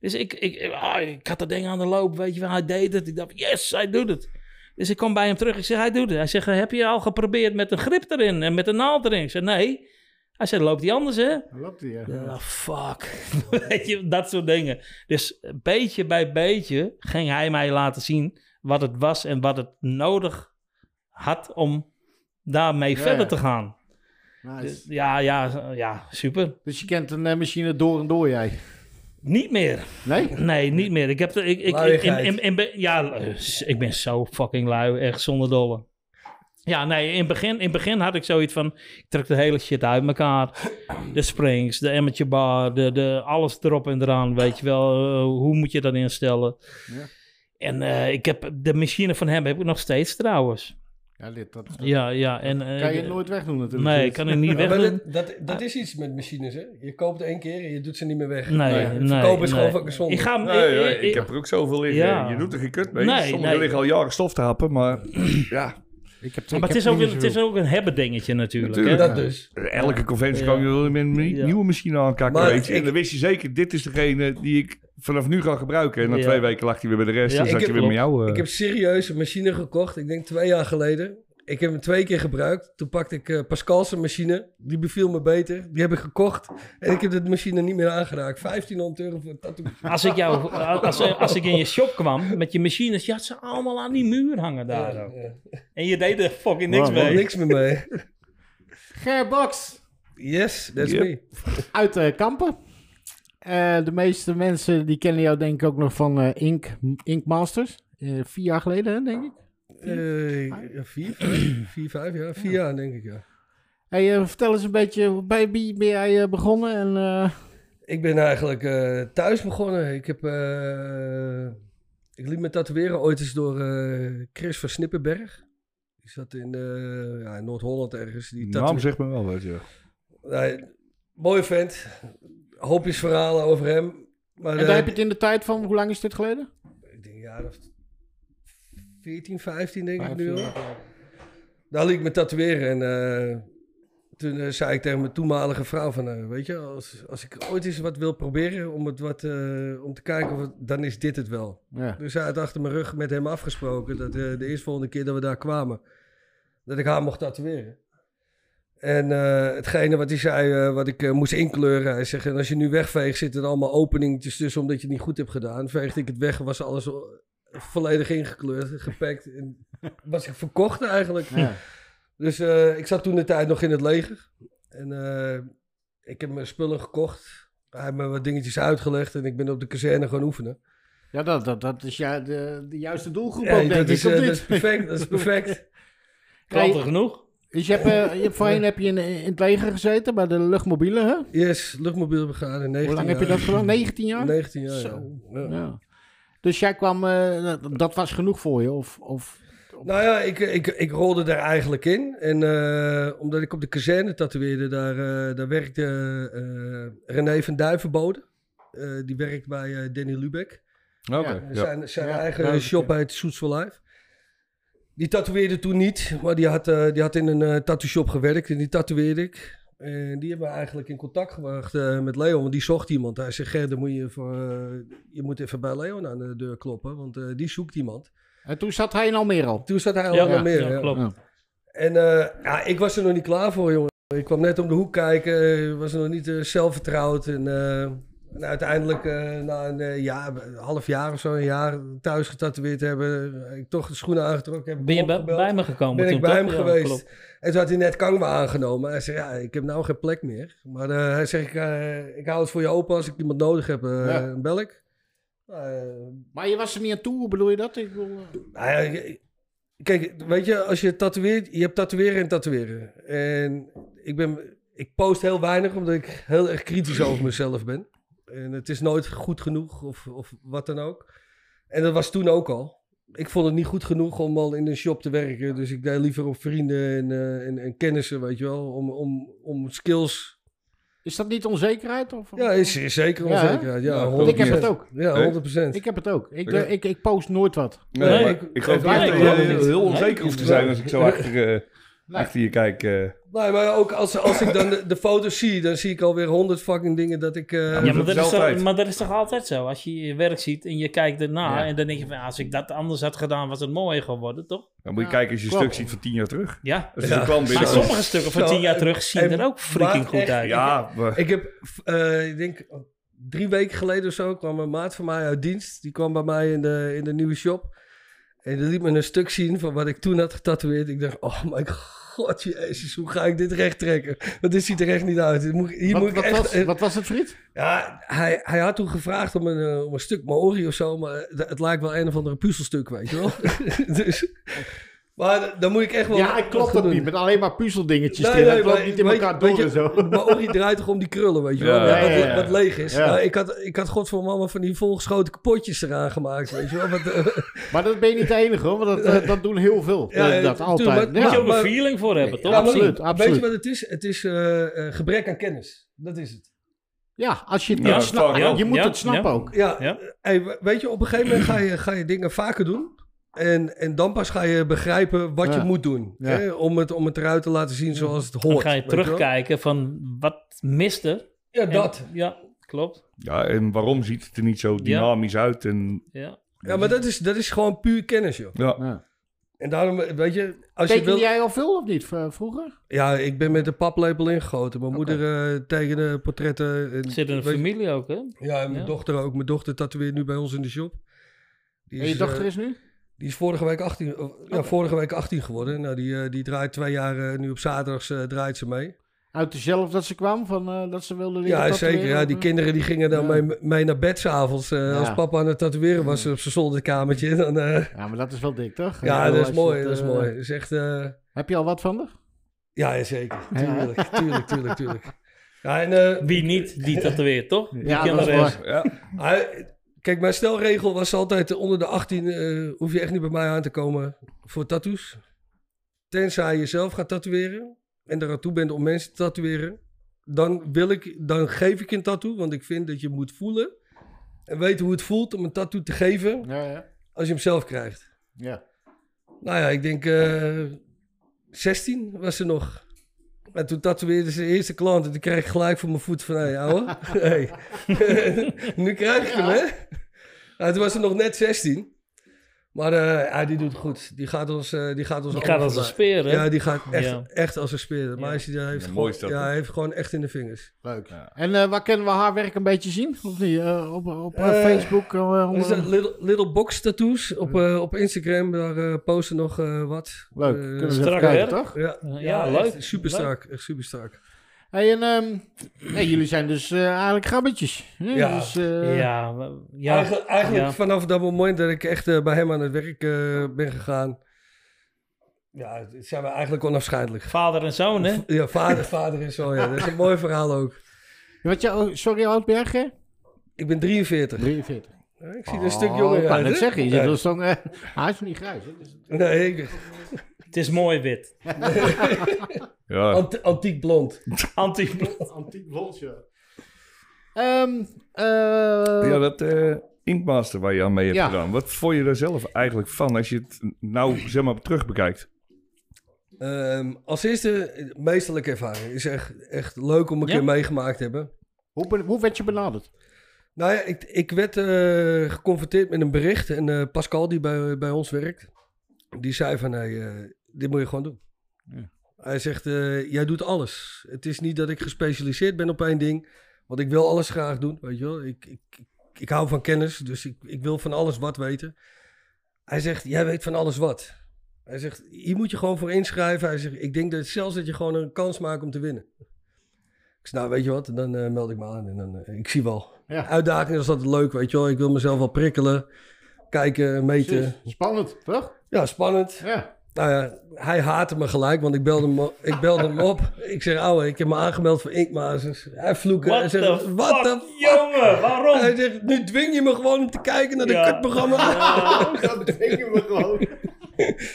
[SPEAKER 3] Dus ik, ik, ik- ah, ik had dat ding aan de loop, weet je wel, hij deed het. Ik dacht, yes, hij doet het. Dus ik kom bij hem terug, ik zeg, hij doet het. Hij zegt, heb je al geprobeerd met een grip erin en met een naald erin? Ik zeg, nee. Hij zegt, loopt die anders, hè?
[SPEAKER 1] Loopt die, ja.
[SPEAKER 3] Ah, fuck. Weet je, dat soort dingen. Dus beetje bij beetje ging hij mij laten zien wat het was en wat het nodig had om daarmee
[SPEAKER 1] Ja,
[SPEAKER 3] verder
[SPEAKER 1] ja.
[SPEAKER 3] te gaan. Dus
[SPEAKER 1] Nice.
[SPEAKER 3] ja, ja, ja, super.
[SPEAKER 1] Dus je kent een eh, machine door en door jij?
[SPEAKER 3] Niet meer.
[SPEAKER 1] Nee?
[SPEAKER 3] Nee, niet meer. Ik heb de, ik, ik, ik, in,
[SPEAKER 4] Luiigheid.
[SPEAKER 3] in, in, be- ja, eh, ik ben zo fucking lui, echt zonder dolle. Ja, nee, in het begin, in begin had ik zoiets van, ik trek de hele shit uit elkaar. De springs, de amateur bar, de, de, alles erop en eraan, weet je wel. eh, hoe moet je dat instellen?
[SPEAKER 1] Ja.
[SPEAKER 3] En eh, ik heb de machine van hem heb ik nog steeds trouwens.
[SPEAKER 1] Ja, dit, dat, dat
[SPEAKER 3] Ja, ja. En, eh,
[SPEAKER 1] kan je
[SPEAKER 3] de-
[SPEAKER 1] nooit wegdoen natuurlijk.
[SPEAKER 3] Nee,
[SPEAKER 1] Dit.
[SPEAKER 3] ik kan het niet
[SPEAKER 4] Ja, maar
[SPEAKER 3] wegdoen.
[SPEAKER 4] dat, dat, dat is iets met machines, hè? Je koopt één keer en je doet ze niet meer weg.
[SPEAKER 3] Nee,
[SPEAKER 4] Ja,
[SPEAKER 3] nee,
[SPEAKER 4] Verkopen is gewoon
[SPEAKER 3] nee.
[SPEAKER 4] fucking zonde.
[SPEAKER 3] Ik ga hem...
[SPEAKER 2] Nee,
[SPEAKER 3] ik-
[SPEAKER 2] ja,
[SPEAKER 3] ik-
[SPEAKER 2] ik heb er ook zoveel liggen.
[SPEAKER 3] Ja.
[SPEAKER 2] Je doet er geen kut mee.
[SPEAKER 3] Nee,
[SPEAKER 2] Sommigen
[SPEAKER 3] nee.
[SPEAKER 2] liggen al jaren stof te happen, maar ja,
[SPEAKER 1] Ik heb,
[SPEAKER 3] maar het is, ook een, het is ook een hebben dingetje natuurlijk. hè.
[SPEAKER 2] Natuurlijk.
[SPEAKER 4] Dat dus.
[SPEAKER 2] elke conventie
[SPEAKER 3] Ja.
[SPEAKER 2] kwam je wel met een nie-
[SPEAKER 3] Ja.
[SPEAKER 2] nieuwe machine aankakken.
[SPEAKER 4] Maar
[SPEAKER 2] weet je. En
[SPEAKER 4] ik-
[SPEAKER 2] dan wist je zeker, dit is degene die ik vanaf nu ga gebruiken. En na
[SPEAKER 3] Ja.
[SPEAKER 2] twee weken lag hij weer bij de rest
[SPEAKER 3] Ja,
[SPEAKER 2] en
[SPEAKER 3] ik
[SPEAKER 2] zat je
[SPEAKER 4] heb-
[SPEAKER 2] weer met jou. eh,
[SPEAKER 4] Ik heb serieus een machine gekocht, ik denk twee jaar geleden. Ik heb hem twee keer gebruikt. Toen pakte ik eh, Pascal's machine. Die beviel me beter. Die heb ik gekocht. En ik heb de machine niet meer aangeraakt. 1500 euro voor een tattoo.
[SPEAKER 3] Als ik, jou, als, eh, als ik in je shop kwam met je machines, je had ze allemaal aan die muur hangen daar. ook.
[SPEAKER 4] Ja,
[SPEAKER 3] En je deed er fucking niks
[SPEAKER 1] Wow,
[SPEAKER 3] mee.
[SPEAKER 4] Niks meer mee.
[SPEAKER 1] Gerbox
[SPEAKER 4] Yes, that's
[SPEAKER 2] Yep.
[SPEAKER 4] me.
[SPEAKER 1] uit eh, Kampen. Eh, de meeste mensen die kennen jou denk ik ook nog van eh, Ink, Ink Masters. Eh, vier jaar geleden, hè, denk ik.
[SPEAKER 4] Eh, vier, vijf, vier, vijf jaar. Vier jaar, denk ik, ja.
[SPEAKER 1] Hey, eh, vertel eens een beetje, bij wie ben jij eh, begonnen? En, eh,
[SPEAKER 4] Ik ben eigenlijk eh, thuis begonnen. Ik heb... eh, ik liet me tatoeëren ooit eens door eh, Chris van Snippenberg. Die zat in, eh, ja, in Noord-Holland ergens. Die
[SPEAKER 2] die naam zegt me wel, weet je. wel.
[SPEAKER 4] Nee, mooie vent. Hoopjes verhalen over hem. Maar
[SPEAKER 1] en daar
[SPEAKER 4] eh,
[SPEAKER 1] heb je het in de tijd van, hoe lang is dit geleden?
[SPEAKER 4] ik denk een jaar of 14, 15 denk ik nu
[SPEAKER 1] Vijftien,
[SPEAKER 4] al. Daar liet ik me tatoeëren en eh, toen eh, zei ik tegen mijn toenmalige vrouw van, eh, weet je, als, als ik ooit eens wat wil proberen om, het wat, eh, om te kijken, of het- dan is dit het wel.
[SPEAKER 1] Ja.
[SPEAKER 4] Dus hij had achter mijn rug met hem afgesproken dat eh, de eerstvolgende keer dat we daar kwamen, dat ik haar mocht tatoeëren. En eh, hetgene wat hij zei, eh, wat ik eh, moest inkleuren, hij zegt, en als je nu wegveegt, zitten er allemaal openingetjes tussen omdat je het niet goed hebt gedaan. Veegde ik het weg, was alles o- volledig ingekleurd, gepakt en was ik verkocht eigenlijk.
[SPEAKER 1] Ja.
[SPEAKER 4] Dus eh, ik zat toen de tijd nog in het leger. En eh, ik heb mijn spullen gekocht. Hij heeft me wat dingetjes uitgelegd en ik ben op de kazerne gaan oefenen.
[SPEAKER 1] Ja, dat, dat, dat is ja, de, de juiste doelgroep
[SPEAKER 4] Ja,
[SPEAKER 1] ook, denk
[SPEAKER 4] dat, is,
[SPEAKER 1] ik.
[SPEAKER 4] eh,
[SPEAKER 1] of
[SPEAKER 4] dat
[SPEAKER 1] niet?
[SPEAKER 4] is perfect, dat is perfect.
[SPEAKER 3] Klanten genoeg.
[SPEAKER 1] Dus je hebt, eh, je hebt, voorheen heb je in, in het leger gezeten, bij de luchtmobiele, hè?
[SPEAKER 4] Yes, luchtmobiel begaan in 19
[SPEAKER 1] Hoe lang
[SPEAKER 4] jaar.
[SPEAKER 1] heb je dat gedaan? 19 jaar?
[SPEAKER 4] 19 jaar, ja.
[SPEAKER 1] Zo.
[SPEAKER 4] ja.
[SPEAKER 1] Ja. Dus jij kwam, eh, dat- dat was genoeg voor je? Of, of...
[SPEAKER 4] Nou ja, ik, ik, ik rolde daar eigenlijk in. En eh, omdat ik op de kazerne tatoeëerde, daar, eh, daar werkte eh, René van Duivenbode. Eh, die werkt bij eh, Danny Lubeck.
[SPEAKER 2] Oké,
[SPEAKER 1] Ja,
[SPEAKER 2] ja.
[SPEAKER 4] Zijn, zijn
[SPEAKER 1] Ja,
[SPEAKER 4] eigen
[SPEAKER 1] duidelijk,
[SPEAKER 4] shop
[SPEAKER 1] ja.
[SPEAKER 4] heet Suits for Life. Die tatoeëerde toen niet, maar die had, eh, die had in een eh tattoo shop gewerkt en die tatoeëerde ik. En die hebben we eigenlijk in contact gebracht eh, met Leon, want die zocht iemand. Hij zei, Ger, dan moet je, voor, eh, je moet even bij Leon aan de deur kloppen, want eh, die zoekt iemand.
[SPEAKER 1] En toen zat hij in Almere al.
[SPEAKER 4] Toen zat hij al
[SPEAKER 3] Ja,
[SPEAKER 4] wel meer.
[SPEAKER 3] ja,
[SPEAKER 4] ja.
[SPEAKER 3] klopt.
[SPEAKER 4] En eh, ja, ik was er nog niet klaar voor, jongen. Ik kwam net om de hoek kijken, eh, was nog niet eh, zelfvertrouwd. En eh, En uiteindelijk, eh, na een eh, jaar, een half jaar of zo, een jaar thuis getatoeëerd te hebben, eh, ik toch de schoenen aangetrokken heb. ik
[SPEAKER 3] Ben je
[SPEAKER 4] hem
[SPEAKER 3] bij,
[SPEAKER 4] opgebeld.
[SPEAKER 3] bij me gekomen?
[SPEAKER 4] ben
[SPEAKER 3] toen,
[SPEAKER 4] ik bij hem
[SPEAKER 3] toch? Ja,
[SPEAKER 4] geweest.
[SPEAKER 3] klopt.
[SPEAKER 4] En toen had hij net Kangwa aangenomen. Hij zei, ja, ik heb nou geen plek meer. Maar eh, hij zegt, ik, eh, ik hou het voor je open als ik iemand nodig heb, eh
[SPEAKER 1] Ja.
[SPEAKER 4] dan bel ik. Eh,
[SPEAKER 1] Maar je was er niet aan toe, hoe bedoel je dat? Ik bedoel, eh,
[SPEAKER 4] nou ja, je- kijk, weet je, als je tatoeëert, je hebt tatoeëren en tatoeëren. En ik ben, ik post heel weinig omdat ik heel erg kritisch over mezelf ben. En het is nooit goed genoeg of, of wat dan ook. En dat was toen ook al. Ik vond het niet goed genoeg om al in een shop te werken. Dus ik deed liever op vrienden en, eh, en, en kennissen, weet je wel. Om, om, om skills.
[SPEAKER 1] is dat niet onzekerheid? Of,
[SPEAKER 4] Ja, is, is zeker
[SPEAKER 1] Ja, hè?
[SPEAKER 4] onzekerheid. Ja,
[SPEAKER 2] Ja,
[SPEAKER 4] 100%.
[SPEAKER 1] ik heb het ook.
[SPEAKER 4] Ja, 100%.
[SPEAKER 1] Ik heb het ook. Ik,
[SPEAKER 2] Ja.
[SPEAKER 1] eh, ik, ik post nooit wat.
[SPEAKER 2] Nee,
[SPEAKER 3] Nee,
[SPEAKER 2] maar
[SPEAKER 4] ik-
[SPEAKER 2] ik,
[SPEAKER 4] ik
[SPEAKER 2] geloof
[SPEAKER 4] weet
[SPEAKER 2] niet
[SPEAKER 1] het
[SPEAKER 2] dat
[SPEAKER 1] niet.
[SPEAKER 2] je
[SPEAKER 1] Ik
[SPEAKER 3] geloof het
[SPEAKER 2] heel
[SPEAKER 3] niet.
[SPEAKER 2] onzeker hoeft te zijn als ik zo achter, eh, achter je kijk. eh.
[SPEAKER 4] Nee, maar ook als, als ik dan de, de foto's zie, dan zie ik alweer honderd fucking dingen dat ik... eh,
[SPEAKER 2] maar
[SPEAKER 3] Ja,
[SPEAKER 2] dat
[SPEAKER 3] maar dat,
[SPEAKER 2] is
[SPEAKER 3] is toch,
[SPEAKER 2] altijd.
[SPEAKER 3] maar dat is toch altijd zo? Als je je werk ziet en je kijkt erna
[SPEAKER 2] Ja.
[SPEAKER 3] en dan denk je van... Als ik dat anders had gedaan, was het mooier geworden, toch?
[SPEAKER 2] Dan moet je
[SPEAKER 1] Ja,
[SPEAKER 2] kijken als je een
[SPEAKER 1] klopt.
[SPEAKER 2] stuk ziet van tien jaar terug.
[SPEAKER 3] Ja.
[SPEAKER 2] Als je de klant bent.
[SPEAKER 3] Maar
[SPEAKER 2] dan-
[SPEAKER 3] sommige stukken van
[SPEAKER 4] Zo,
[SPEAKER 3] tien jaar
[SPEAKER 4] eh,
[SPEAKER 3] terug zien
[SPEAKER 4] eh,
[SPEAKER 3] er ook freaking
[SPEAKER 4] maar
[SPEAKER 3] goed
[SPEAKER 4] echt,
[SPEAKER 3] uit.
[SPEAKER 2] Ja, maar-
[SPEAKER 4] Ik heb, eh, ik denk drie weken geleden of zo, kwam een maat van mij uit dienst. Die kwam bij mij in de, in de nieuwe shop. En die liet me een stuk zien van wat ik toen had getatoeëerd. Ik dacht, oh my god, jezus, hoe ga ik dit recht trekken? Want dit ziet er echt niet uit. Dit moet, ik- hier
[SPEAKER 1] Wat,
[SPEAKER 4] moet ik
[SPEAKER 1] wat,
[SPEAKER 4] echt... eh,
[SPEAKER 1] was, wat was het, Friet?
[SPEAKER 4] Ja, hij, hij had toen gevraagd om een, eh, om een stuk Maori of zo, maar eh, het, het lijkt wel een of andere puzzelstuk, weet je wel. dus, maar dan moet ik echt wel...
[SPEAKER 1] Ja, ik
[SPEAKER 4] wat
[SPEAKER 1] klopt
[SPEAKER 4] gaan
[SPEAKER 1] dat
[SPEAKER 4] doen.
[SPEAKER 1] niet. Met alleen maar puzzeldingetjes.
[SPEAKER 4] Nee,
[SPEAKER 1] erin.
[SPEAKER 4] nee,
[SPEAKER 1] dat loopt
[SPEAKER 4] maar
[SPEAKER 1] niet in
[SPEAKER 4] weet-
[SPEAKER 1] elkaar
[SPEAKER 4] weet
[SPEAKER 1] door en
[SPEAKER 4] je,
[SPEAKER 1] zo.
[SPEAKER 4] Maar Ori draait toch om die krullen, weet je
[SPEAKER 2] Ja,
[SPEAKER 4] wel?
[SPEAKER 2] ja,
[SPEAKER 4] wat,
[SPEAKER 1] ja, ja.
[SPEAKER 4] wat leeg is.
[SPEAKER 1] Ja.
[SPEAKER 4] Nou, ik, had, ik had godverdomme allemaal van die volgeschoten kapotjes eraan gemaakt, weet je wel? Wat, eh,
[SPEAKER 1] Maar dat ben je niet de enige hoor, want dat, eh, dat doen heel veel.
[SPEAKER 4] Ja,
[SPEAKER 1] Eh, dat
[SPEAKER 4] tuurlijk,
[SPEAKER 1] altijd.
[SPEAKER 4] maar-
[SPEAKER 3] Daar moet je
[SPEAKER 1] ja.
[SPEAKER 3] ook een
[SPEAKER 4] maar-
[SPEAKER 3] feeling voor hebben,
[SPEAKER 1] Nee,
[SPEAKER 3] toch?
[SPEAKER 1] ja, maar- Absoluut,
[SPEAKER 4] Weet
[SPEAKER 1] absoluut.
[SPEAKER 4] je wat het is? Het is eh, eh, gebrek aan kennis. Dat is het.
[SPEAKER 1] ja, als je het
[SPEAKER 2] Ja,
[SPEAKER 1] niet
[SPEAKER 2] dat
[SPEAKER 1] snapt.
[SPEAKER 2] vaak wel.
[SPEAKER 1] je moet
[SPEAKER 3] Ja,
[SPEAKER 1] het snappen
[SPEAKER 3] ja.
[SPEAKER 1] ook.
[SPEAKER 4] Ja,
[SPEAKER 3] Ja.
[SPEAKER 4] hey, we- weet je, op een gegeven moment ga je, ga je dingen vaker doen. En, en dan pas ga je begrijpen wat
[SPEAKER 1] Ja.
[SPEAKER 4] je moet doen.
[SPEAKER 1] Ja.
[SPEAKER 4] Hè? Om, het, om het eruit te laten zien zoals het hoort.
[SPEAKER 3] Dan ga je
[SPEAKER 4] weet wel?
[SPEAKER 3] terugkijken van wat mist er.
[SPEAKER 4] Ja,
[SPEAKER 3] En-
[SPEAKER 4] dat.
[SPEAKER 3] Ja, klopt.
[SPEAKER 2] ja, en waarom ziet het er niet zo dynamisch uit? En,
[SPEAKER 3] Ja.
[SPEAKER 4] Ja, maar dat is, dat is gewoon puur kennis, joh.
[SPEAKER 2] ja.
[SPEAKER 1] Ja.
[SPEAKER 4] En daarom, weet je... Als je
[SPEAKER 1] Tekende
[SPEAKER 4] wil...
[SPEAKER 1] jij al veel of niet v- vroeger?
[SPEAKER 4] Ja, ik ben met een paplepel ingegoten. Mijn moeder eh tekende portretten. En,
[SPEAKER 3] Zit in de
[SPEAKER 4] weet-
[SPEAKER 3] familie ook, hè?
[SPEAKER 4] Ja, en mijn
[SPEAKER 3] Ja.
[SPEAKER 4] dochter ook. Mijn dochter tatoeëert nu bij ons in de shop. Die
[SPEAKER 1] En je dochter
[SPEAKER 4] eh,
[SPEAKER 1] is Oh. nu?
[SPEAKER 4] die is vorige week 18, of, ja, vorige week 18 geworden. Nou, die, eh, die draait twee jaar, eh, nu op zaterdags eh, draait ze mee.
[SPEAKER 1] Uit dezelfde dat ze kwam, van, eh, dat ze wilde leren
[SPEAKER 4] Ja,
[SPEAKER 1] tatoeëren,
[SPEAKER 4] zeker. Ja,
[SPEAKER 1] of,
[SPEAKER 4] die
[SPEAKER 1] eh?
[SPEAKER 4] kinderen die gingen dan
[SPEAKER 1] Ja.
[SPEAKER 4] mee, mee naar bed s'avonds. eh
[SPEAKER 1] Ja.
[SPEAKER 4] Als papa aan het tatoeëren was op zijn zolderkamertje. Dan, eh,
[SPEAKER 1] Ja, maar dat is wel dik, toch?
[SPEAKER 4] ja,
[SPEAKER 1] Ik bedoel,
[SPEAKER 4] dat is
[SPEAKER 1] als je
[SPEAKER 4] mooi.
[SPEAKER 1] het,
[SPEAKER 4] Dat is
[SPEAKER 1] eh,
[SPEAKER 4] mooi. Dat is echt... eh,
[SPEAKER 1] Heb je al wat van haar?
[SPEAKER 4] ja, zeker.
[SPEAKER 1] Ja.
[SPEAKER 4] Tuurlijk, tuurlijk, tuurlijk, tuurlijk. Ja, en, eh,
[SPEAKER 3] Wie niet, die tatoeëert, toch? Die
[SPEAKER 1] Ja,
[SPEAKER 3] kennen
[SPEAKER 1] dat
[SPEAKER 3] de
[SPEAKER 1] is
[SPEAKER 3] rest.
[SPEAKER 1] mooi.
[SPEAKER 2] Ja.
[SPEAKER 4] Hij- Kijk, mijn stelregel was altijd eh, onder de 18 eh, hoef je echt niet bij mij aan te komen voor tattoos. Tenzij je zelf gaat tatoeëren en er aan toe bent om mensen te tatoeëren. Dan, wil ik, dan geef ik een tattoo, want ik vind dat je moet voelen en weten hoe het voelt om een tattoo te geven
[SPEAKER 1] Ja, ja.
[SPEAKER 4] als je hem zelf krijgt.
[SPEAKER 1] ja.
[SPEAKER 4] Nou ja, ik denk eh 16 was ze nog. En toen tatoeëerde ze de eerste klant en toen kreeg ik gelijk voor mijn voet van, hé hey, ouwe, hey. nu krijg ik hem hè. Nou, toen was ze nog net 16. Maar eh, ja, die doet het goed. Die gaat ons, eh, die gaat ons
[SPEAKER 3] Die
[SPEAKER 4] allemaal
[SPEAKER 3] gaat als een
[SPEAKER 4] voorbij.
[SPEAKER 3] speer, hè?
[SPEAKER 4] Ja, die gaat echt,
[SPEAKER 3] Ja.
[SPEAKER 4] echt als een speer. Maar hij heeft,
[SPEAKER 2] Ja, mooi
[SPEAKER 4] gewoon,
[SPEAKER 2] is dat,
[SPEAKER 4] ja,
[SPEAKER 2] hè?
[SPEAKER 4] hij heeft gewoon echt in de vingers.
[SPEAKER 1] Leuk.
[SPEAKER 2] Ja.
[SPEAKER 1] En eh, waar kunnen we haar werk een beetje zien? Of niet? Eh, op op eh,
[SPEAKER 4] Eh,
[SPEAKER 1] Facebook? eh, onder-
[SPEAKER 4] Dus dat little, little Box Tattoos op, eh, op Instagram, daar eh, posten nog eh, wat.
[SPEAKER 1] Leuk.
[SPEAKER 4] Eh,
[SPEAKER 1] kunnen we
[SPEAKER 3] strak
[SPEAKER 1] even kijken,
[SPEAKER 3] werk.
[SPEAKER 1] toch?
[SPEAKER 4] ja,
[SPEAKER 3] Ja,
[SPEAKER 4] echt
[SPEAKER 3] leuk.
[SPEAKER 4] Super strak, echt super strak.
[SPEAKER 1] Hey, en, ehm, nee, jullie zijn dus eh, eigenlijk grabbetjes. hè?
[SPEAKER 4] Ja.
[SPEAKER 1] Dus, eh,
[SPEAKER 3] Ja, we- ja.
[SPEAKER 4] Eigen- eigenlijk
[SPEAKER 3] ja.
[SPEAKER 4] vanaf dat moment dat ik echt eh, bij hem aan het werk eh, ben gegaan, ja, zijn we eigenlijk onafscheidelijk.
[SPEAKER 3] Vader en zoon, hè?
[SPEAKER 4] Ja, vader, vader en zo, ja. Dat is een mooi verhaal ook.
[SPEAKER 1] Wat jou, sorry, hoe oud ben jij, Ger?
[SPEAKER 4] Ik ben 43.
[SPEAKER 1] 43.
[SPEAKER 4] Ja, Ik zie er een stuk jonger
[SPEAKER 1] Oh, Ik
[SPEAKER 4] uit,
[SPEAKER 1] kan net
[SPEAKER 4] hè?
[SPEAKER 1] zeggen. Je zit
[SPEAKER 4] Nee.
[SPEAKER 1] wel zo'n, eh, hij is niet grijs. Hè? Dus-
[SPEAKER 4] Nee, ik,
[SPEAKER 3] Het is mooi wit.
[SPEAKER 2] Ja.
[SPEAKER 4] ant- antiek blond.
[SPEAKER 3] anti
[SPEAKER 1] Antiek blondje. Ehm, eh,
[SPEAKER 2] Ja, dat eh, Inkmaster waar je aan mee hebt
[SPEAKER 1] Ja.
[SPEAKER 2] gedaan. Wat vond je daar zelf eigenlijk van als je het nou zeg maar terug bekijkt?
[SPEAKER 4] Ehm, als eerste, eh, meesterlijke ervaring. Is echt, echt leuk om een
[SPEAKER 3] Ja.
[SPEAKER 4] keer meegemaakt te hebben.
[SPEAKER 1] hoe, ben- hoe werd je benaderd?
[SPEAKER 4] Nou ja, ik, ik werd eh, geconfronteerd met een bericht. En eh, Pascal, die bij, bij ons werkt, die zei van, hey, eh, dit moet je gewoon doen. Hij zegt, eh, jij doet alles. Het is niet dat ik gespecialiseerd ben op één ding. Want ik wil alles graag doen, weet je wel. Ik, ik, ik, ik hou van kennis, dus ik, ik wil van alles wat weten. Hij zegt, jij weet van alles wat. Hij zegt, hier moet je gewoon voor inschrijven. Hij zegt, ik denk dat zelfs dat je gewoon een kans maakt om te winnen. Ik zeg, nou weet je wat, dan eh, meld ik me aan en dan, eh, ik zie wel.
[SPEAKER 1] Ja.
[SPEAKER 4] Uitdaging is altijd leuk, weet je wel. Ik wil mezelf wel prikkelen, kijken, meten.
[SPEAKER 1] Precies. Spannend, toch?
[SPEAKER 4] Ja, spannend.
[SPEAKER 1] Ja.
[SPEAKER 4] Nou ja, hij haatte me gelijk, want ik belde hem, o- ik belde hem op. Ik zeg, ouwe, ik heb me aangemeld voor Inkmazers. Hij vloekt. Hij
[SPEAKER 3] What the
[SPEAKER 4] zegt,
[SPEAKER 3] fuck,
[SPEAKER 4] wat de fuck?
[SPEAKER 3] jongen, waarom?
[SPEAKER 4] Hij zegt, nu dwing je me gewoon om te kijken naar de
[SPEAKER 3] Ja.
[SPEAKER 4] kutprogramma.
[SPEAKER 3] Ja.
[SPEAKER 1] Oh, Dat denken we gewoon.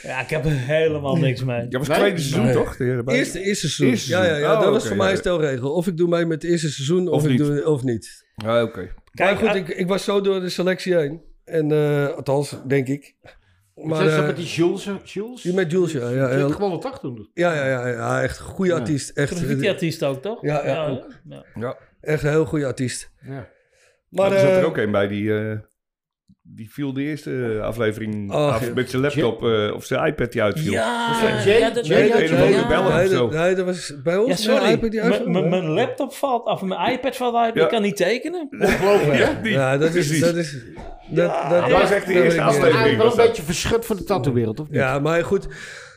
[SPEAKER 3] ja, ik heb er helemaal niks mee.
[SPEAKER 2] Ja, was
[SPEAKER 1] Nee.
[SPEAKER 2] het tweede seizoen
[SPEAKER 4] Nee.
[SPEAKER 2] toch? De- erbij?
[SPEAKER 4] Eerste, eerste seizoen.
[SPEAKER 2] Eerste
[SPEAKER 4] ja, ja,
[SPEAKER 2] seizoen.
[SPEAKER 4] ja,
[SPEAKER 2] Oh,
[SPEAKER 4] dat was
[SPEAKER 2] oké,
[SPEAKER 4] voor mij
[SPEAKER 2] ja.
[SPEAKER 4] een stelregel. Of ik doe mee met het eerste seizoen, of,
[SPEAKER 2] Of
[SPEAKER 4] ik
[SPEAKER 2] niet.
[SPEAKER 4] doe of niet.
[SPEAKER 2] Ah, oké.
[SPEAKER 3] Kijk,
[SPEAKER 4] maar
[SPEAKER 3] ah,
[SPEAKER 4] goed, ik, ik was zo door de selectie heen. En, eh, althans, denk ik. Maar,
[SPEAKER 1] Zijn ze
[SPEAKER 4] eh,
[SPEAKER 1] met die Jules? eh, Jules?
[SPEAKER 4] die met eh, Jules, ja. Ja,
[SPEAKER 1] Die
[SPEAKER 4] ja,
[SPEAKER 1] had gewonnen toch toen?
[SPEAKER 4] ja, ja, ja, ja, echt een goede
[SPEAKER 1] Ja.
[SPEAKER 4] artiest. Echt,
[SPEAKER 3] graffiti-artiest ook, toch?
[SPEAKER 4] Ja, ja,
[SPEAKER 3] hè?
[SPEAKER 4] ook.
[SPEAKER 3] Ja.
[SPEAKER 2] Ja.
[SPEAKER 4] echt een heel goede artiest.
[SPEAKER 1] Ja.
[SPEAKER 4] Maar,
[SPEAKER 2] er zat er
[SPEAKER 4] eh,
[SPEAKER 2] ook een bij die, eh, die viel de eerste eh, aflevering
[SPEAKER 4] Oh,
[SPEAKER 2] af
[SPEAKER 4] ja.
[SPEAKER 2] met zijn laptop eh, of zijn iPad die uitviel.
[SPEAKER 4] eh,
[SPEAKER 3] Ja,
[SPEAKER 1] Jay-
[SPEAKER 3] ja, dat-
[SPEAKER 1] Jay-
[SPEAKER 3] ja,
[SPEAKER 2] Jay-
[SPEAKER 3] ja,
[SPEAKER 2] Jay-
[SPEAKER 3] ja.
[SPEAKER 2] bellen.
[SPEAKER 4] nee,
[SPEAKER 2] of zo.
[SPEAKER 4] dat- nee, dat was bij ons.
[SPEAKER 3] Ja,
[SPEAKER 4] Nee,
[SPEAKER 3] sorry.
[SPEAKER 4] iPad die
[SPEAKER 3] M-
[SPEAKER 4] uitvalt,
[SPEAKER 3] m-
[SPEAKER 4] hè?
[SPEAKER 3] Mijn laptop valt af, mijn iPad valt uit,
[SPEAKER 2] Ja.
[SPEAKER 3] ik kan niet tekenen.
[SPEAKER 1] Ongelooflijk, hè?
[SPEAKER 2] Die-
[SPEAKER 4] Ja, dat is...
[SPEAKER 2] precies.
[SPEAKER 4] Dat is dat, dat,
[SPEAKER 2] dat was echt de eerste
[SPEAKER 4] dat weet ik niet.
[SPEAKER 2] aflevering.
[SPEAKER 1] Eigenlijk wel
[SPEAKER 2] was
[SPEAKER 1] een
[SPEAKER 2] dat.
[SPEAKER 1] beetje verschut van de tattoo-wereld, of niet?
[SPEAKER 4] Ja, maar goed.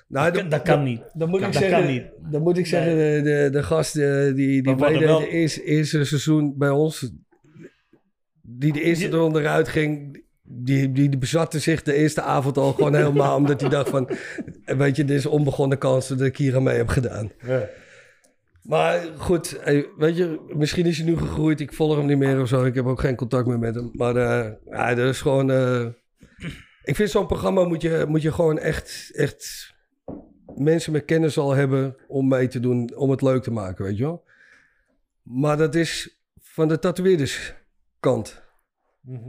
[SPEAKER 4] Nou,
[SPEAKER 3] Dat, dat kan niet.
[SPEAKER 4] Dan moet
[SPEAKER 3] Dat
[SPEAKER 4] ik
[SPEAKER 3] kan
[SPEAKER 4] zeggen,
[SPEAKER 3] niet.
[SPEAKER 4] Dan moet ik zeggen de, de, de gast eh, die, die
[SPEAKER 3] Maar we hadden
[SPEAKER 4] meedeed
[SPEAKER 3] wel-
[SPEAKER 4] de eerste, eerste seizoen bij ons, die de eerste
[SPEAKER 3] Die-
[SPEAKER 4] ronde eruit ging, die, die, die bezatte zich de eerste avond al gewoon helemaal, omdat hij dacht van, weet je, dit is onbegonnen kans dat ik hier aan mee heb gedaan. Maar goed, eh, weet je, misschien is hij nu gegroeid. Ik volg hem niet meer of zo. Ik heb ook geen contact meer met hem. Maar eh, ja, dat is gewoon... eh, ik vind zo'n programma moet je, moet je gewoon echt, echt mensen met kennis al hebben om mee te doen, om het leuk te maken, weet je wel. Maar dat is van de tatoeëerderskant.
[SPEAKER 3] Mhm.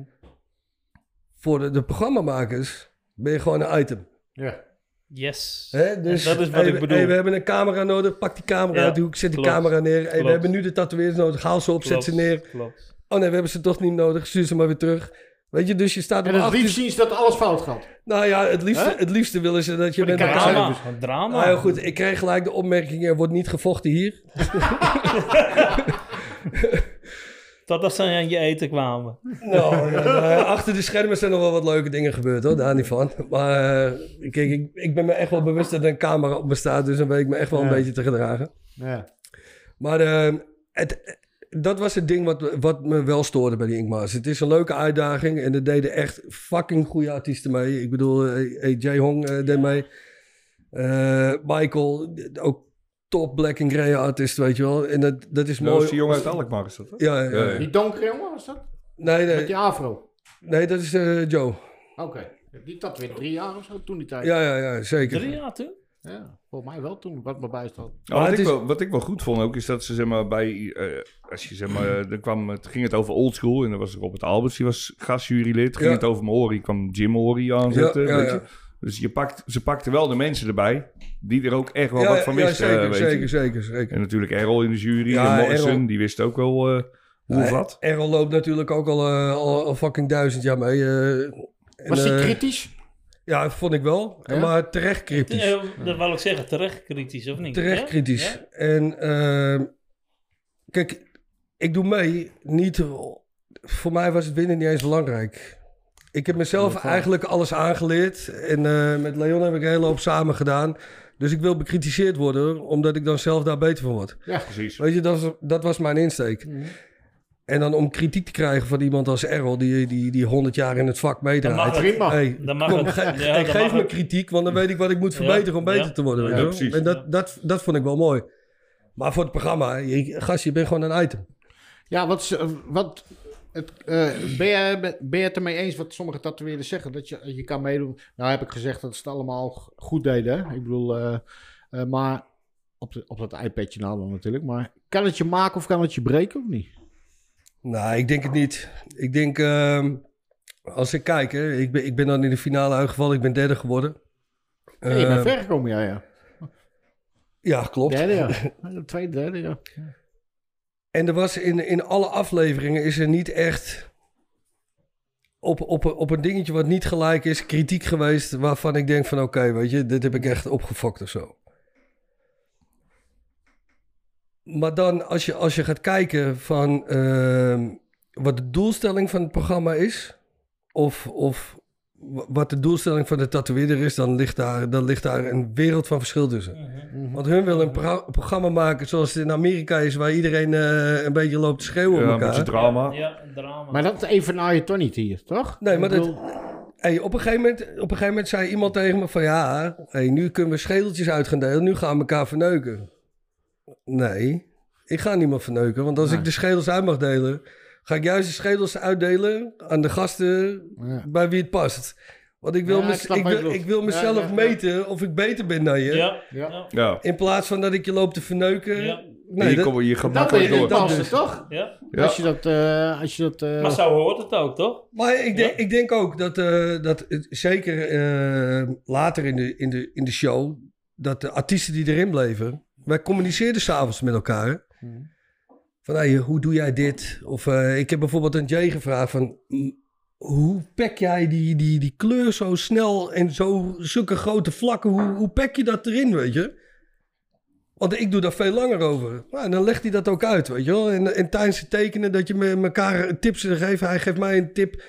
[SPEAKER 4] Voor de, de programmamakers ben je gewoon een item.
[SPEAKER 1] Ja.
[SPEAKER 3] Yes.
[SPEAKER 4] Hè? Dus,
[SPEAKER 3] dat is wat
[SPEAKER 4] hey,
[SPEAKER 3] ik
[SPEAKER 4] we-
[SPEAKER 3] bedoel.
[SPEAKER 4] hey, we hebben een camera nodig, pak die camera
[SPEAKER 3] Ja,
[SPEAKER 4] uit de hoek, zet
[SPEAKER 3] klopt,
[SPEAKER 4] die camera neer. Hey, we
[SPEAKER 3] klopt.
[SPEAKER 4] hebben nu de tatoeëerders nodig, haal ze op,
[SPEAKER 3] Klopt,
[SPEAKER 4] zet ze neer.
[SPEAKER 3] Klopt.
[SPEAKER 4] Oh nee, we hebben ze toch niet nodig, stuur ze maar weer terug. Weet je, dus je staat
[SPEAKER 1] En
[SPEAKER 4] om
[SPEAKER 1] het
[SPEAKER 4] acht uur-
[SPEAKER 1] liefst zien ze dat alles fout gaat.
[SPEAKER 4] Nou ja, het liefste,
[SPEAKER 1] Hè?
[SPEAKER 4] het liefste willen ze dat je met
[SPEAKER 1] kijkers zijn
[SPEAKER 3] Drama.
[SPEAKER 4] elkaar...
[SPEAKER 3] Ah, Een dus drama.
[SPEAKER 4] Nou ja, goed, ik kreeg gelijk de opmerking, er wordt niet gevochten hier.
[SPEAKER 3] Totdat ze aan je eten kwamen.
[SPEAKER 4] Nou, ja, nou, achter de schermen zijn nog wel wat leuke dingen gebeurd hoor, daar niet van. Maar eh, kijk, ik, ik ben me echt wel bewust dat er een camera op me staat, dus dan weet ik me echt wel een
[SPEAKER 1] Ja.
[SPEAKER 4] beetje te gedragen.
[SPEAKER 1] Ja.
[SPEAKER 4] Maar eh, het, dat was het ding wat, wat me wel stoorde bij die Inkma's. Het is een leuke uitdaging en er deden echt fucking goede artiesten mee. Ik bedoel, eh, eh, Jay Hong eh, deed mee. Eh, Michael, ook top Black and Grey artist, weet je wel. En dat, dat
[SPEAKER 2] Nou, Dat
[SPEAKER 4] is mooi.
[SPEAKER 2] was die jongen uit Alkmaar, is dat? hè?
[SPEAKER 4] Ja, ja, ja.
[SPEAKER 2] Ja, ja.
[SPEAKER 1] Die donkere jongen was dat?
[SPEAKER 4] Eh, Nee,
[SPEAKER 1] Met
[SPEAKER 4] nee,
[SPEAKER 1] die afro.
[SPEAKER 4] nee, dat is eh, Joe.
[SPEAKER 1] Oké. Die dat weer drie jaar of zo, toen die tijd. Ja.
[SPEAKER 4] Ja, ja, ja, zeker.
[SPEAKER 3] Drie jaar toen?
[SPEAKER 1] Volgens mij wel toen, wat me bijstaat.
[SPEAKER 2] Nou,
[SPEAKER 4] Maar
[SPEAKER 2] wat,
[SPEAKER 4] het
[SPEAKER 2] ik
[SPEAKER 4] is-
[SPEAKER 2] wel, wat ik wel goed vond ook, is dat ze zeg maar bij, eh, als je zeg maar, eh, er kwam, het ging het over oldschool en er was Robert Alberts, die was gastjurylid. Ging
[SPEAKER 4] Ja.
[SPEAKER 2] het over Mori, kwam Jim Mori aanzetten,
[SPEAKER 4] Ja, ja,
[SPEAKER 2] weet
[SPEAKER 4] ja.
[SPEAKER 2] je. Dus je pakt, ze pakten wel de mensen erbij, die er ook echt wel
[SPEAKER 4] ja,
[SPEAKER 2] wat van
[SPEAKER 4] ja,
[SPEAKER 2] wisten,
[SPEAKER 4] zeker,
[SPEAKER 2] eh, weet je.
[SPEAKER 4] zeker, zeker, zeker.
[SPEAKER 2] En natuurlijk Errol in de jury
[SPEAKER 4] Ja,
[SPEAKER 2] en Morrison,
[SPEAKER 4] Errol.
[SPEAKER 2] die wist ook wel eh, hoe of
[SPEAKER 4] Ja,
[SPEAKER 2] wat.
[SPEAKER 4] Errol loopt natuurlijk ook al, eh, al, al fucking duizend jaar mee. eh. En,
[SPEAKER 1] Was die
[SPEAKER 4] eh,
[SPEAKER 1] kritisch?
[SPEAKER 4] Ja, vond ik wel.
[SPEAKER 1] Ja?
[SPEAKER 4] Maar terecht kritisch.
[SPEAKER 3] Eh, dat wil ik zeggen, terecht kritisch, of niet?
[SPEAKER 4] terecht
[SPEAKER 3] Ja?
[SPEAKER 4] kritisch.
[SPEAKER 3] Ja?
[SPEAKER 4] En ehm, kijk, ik doe mee. Niet, voor mij was het winnen niet eens belangrijk. Ik heb mezelf eigenlijk alles aangeleerd. En eh, met Leon heb ik een hele hoop samen gedaan. Dus ik wil bekritiseerd worden, omdat ik dan zelf daar beter van word.
[SPEAKER 2] Precies.
[SPEAKER 4] Weet je, dat was, dat was mijn insteek.
[SPEAKER 3] Mhm.
[SPEAKER 4] En dan om kritiek te krijgen van iemand als Errol, die, die, die 100 jaar in het vak meedraait.
[SPEAKER 3] mag het.
[SPEAKER 1] Prima.
[SPEAKER 4] Hey,
[SPEAKER 3] Dan mag
[SPEAKER 4] Kom,
[SPEAKER 3] het.
[SPEAKER 4] ge-
[SPEAKER 3] Ja,
[SPEAKER 4] ge-
[SPEAKER 3] dan
[SPEAKER 4] geef
[SPEAKER 3] mag
[SPEAKER 4] me
[SPEAKER 3] het.
[SPEAKER 4] kritiek, want dan weet ik wat ik moet verbeteren om
[SPEAKER 3] Ja,
[SPEAKER 4] beter
[SPEAKER 3] ja.
[SPEAKER 4] te worden. weet
[SPEAKER 3] Ja,
[SPEAKER 4] je wel.
[SPEAKER 2] precies.
[SPEAKER 4] En
[SPEAKER 3] Ja.
[SPEAKER 4] dat, dat, dat vond ik wel mooi. Maar voor het programma, je, gast, je bent gewoon een item.
[SPEAKER 1] Ja, wat, ze- eh, wat het, eh, ben, jij, ben je het ermee eens wat sommige tatoeëerders zeggen? Dat je, je kan meedoen. Nou heb ik gezegd dat ze het allemaal g- goed deden. hè? Ik bedoel, eh, eh, maar op, de, op dat iPadje nou dan natuurlijk. Maar kan het je maken of kan het je breken of niet?
[SPEAKER 4] Nou, ik denk het niet. Ik denk, ehm, als ik kijk, hè, ik, ben, ik ben dan in de finale uitgevallen, ik ben derde geworden.
[SPEAKER 1] Nee, je bent
[SPEAKER 4] Ehm,
[SPEAKER 1] ver gekomen, ja, ja.
[SPEAKER 4] ja, klopt.
[SPEAKER 1] Derde, ja. Tweede, derde, ja.
[SPEAKER 4] En er was in, in alle afleveringen is er niet echt op, op, op een dingetje wat niet gelijk is, kritiek geweest waarvan ik denk van oké, weet je, dit heb ik echt opgefokt of zo. Maar dan, als je, als je gaat kijken van ehm, wat de doelstelling van het programma is, of, of wa- wat de doelstelling van de tatoeëerder is, dan ligt, daar, dan ligt daar een wereld van verschil tussen.
[SPEAKER 2] Mhm.
[SPEAKER 4] Want hun willen een pro- programma maken zoals het in Amerika is, waar iedereen eh, een beetje loopt te schreeuwen op
[SPEAKER 2] Ja, een
[SPEAKER 4] elkaar.
[SPEAKER 2] beetje drama.
[SPEAKER 3] Ja, een drama.
[SPEAKER 1] Maar dat evenaar je toch niet hier, toch?
[SPEAKER 4] Nee, maar
[SPEAKER 1] Ik
[SPEAKER 4] dat- Hey, op, een gegeven moment, op een gegeven moment zei iemand tegen me van ja, hey, nu kunnen we schedeltjes uit gaan delen, nu gaan we elkaar verneuken. Nee, ik ga niemand verneuken, want als
[SPEAKER 1] Nee.
[SPEAKER 4] ik de schedels uit mag delen, ga ik juist de schedels uitdelen aan de gasten
[SPEAKER 1] Ja.
[SPEAKER 4] bij wie het past. Want ik wil,
[SPEAKER 1] Ja,
[SPEAKER 4] mez-
[SPEAKER 1] ik snap
[SPEAKER 4] ik
[SPEAKER 1] wat je
[SPEAKER 4] wil,
[SPEAKER 1] bedoelt.
[SPEAKER 4] ik wil
[SPEAKER 1] Ja,
[SPEAKER 4] mezelf
[SPEAKER 1] ja, ja.
[SPEAKER 4] meten of ik beter ben dan je.
[SPEAKER 3] ja,
[SPEAKER 1] Ja.
[SPEAKER 3] ja.
[SPEAKER 2] Ja.
[SPEAKER 4] In plaats van dat ik je loop te verneuken.
[SPEAKER 3] Ja.
[SPEAKER 2] En
[SPEAKER 4] Nee,
[SPEAKER 2] hier
[SPEAKER 4] dat-
[SPEAKER 2] komen we hier
[SPEAKER 1] Dat ben je
[SPEAKER 2] gemakkelijk
[SPEAKER 1] in
[SPEAKER 2] door.
[SPEAKER 4] dat
[SPEAKER 1] dansen,
[SPEAKER 4] dus.
[SPEAKER 1] toch?
[SPEAKER 3] ja.
[SPEAKER 2] Ja.
[SPEAKER 1] Als je dat... eh, als je dat eh,
[SPEAKER 3] Maar zo hoort het ook, toch?
[SPEAKER 4] Maar ik denk, ik denk ook dat, eh, dat het, zeker eh, later in de, in, de, in de show, dat de artiesten die erin bleven, wij communiceerden s'avonds met elkaar. Van hey, hoe doe jij dit? Of eh, ik heb bijvoorbeeld aan Jay gevraagd van "M, hoe pek jij die, die, die kleur zo snel en zo zulke grote vlakken? Hoe, hoe pek je dat erin, weet je? Want ik doe daar veel langer over. Nou, en dan legt hij dat ook uit, weet je wel. En, en tijdens het tekenen dat je me, elkaar tips geeft. Hij geeft mij een tip.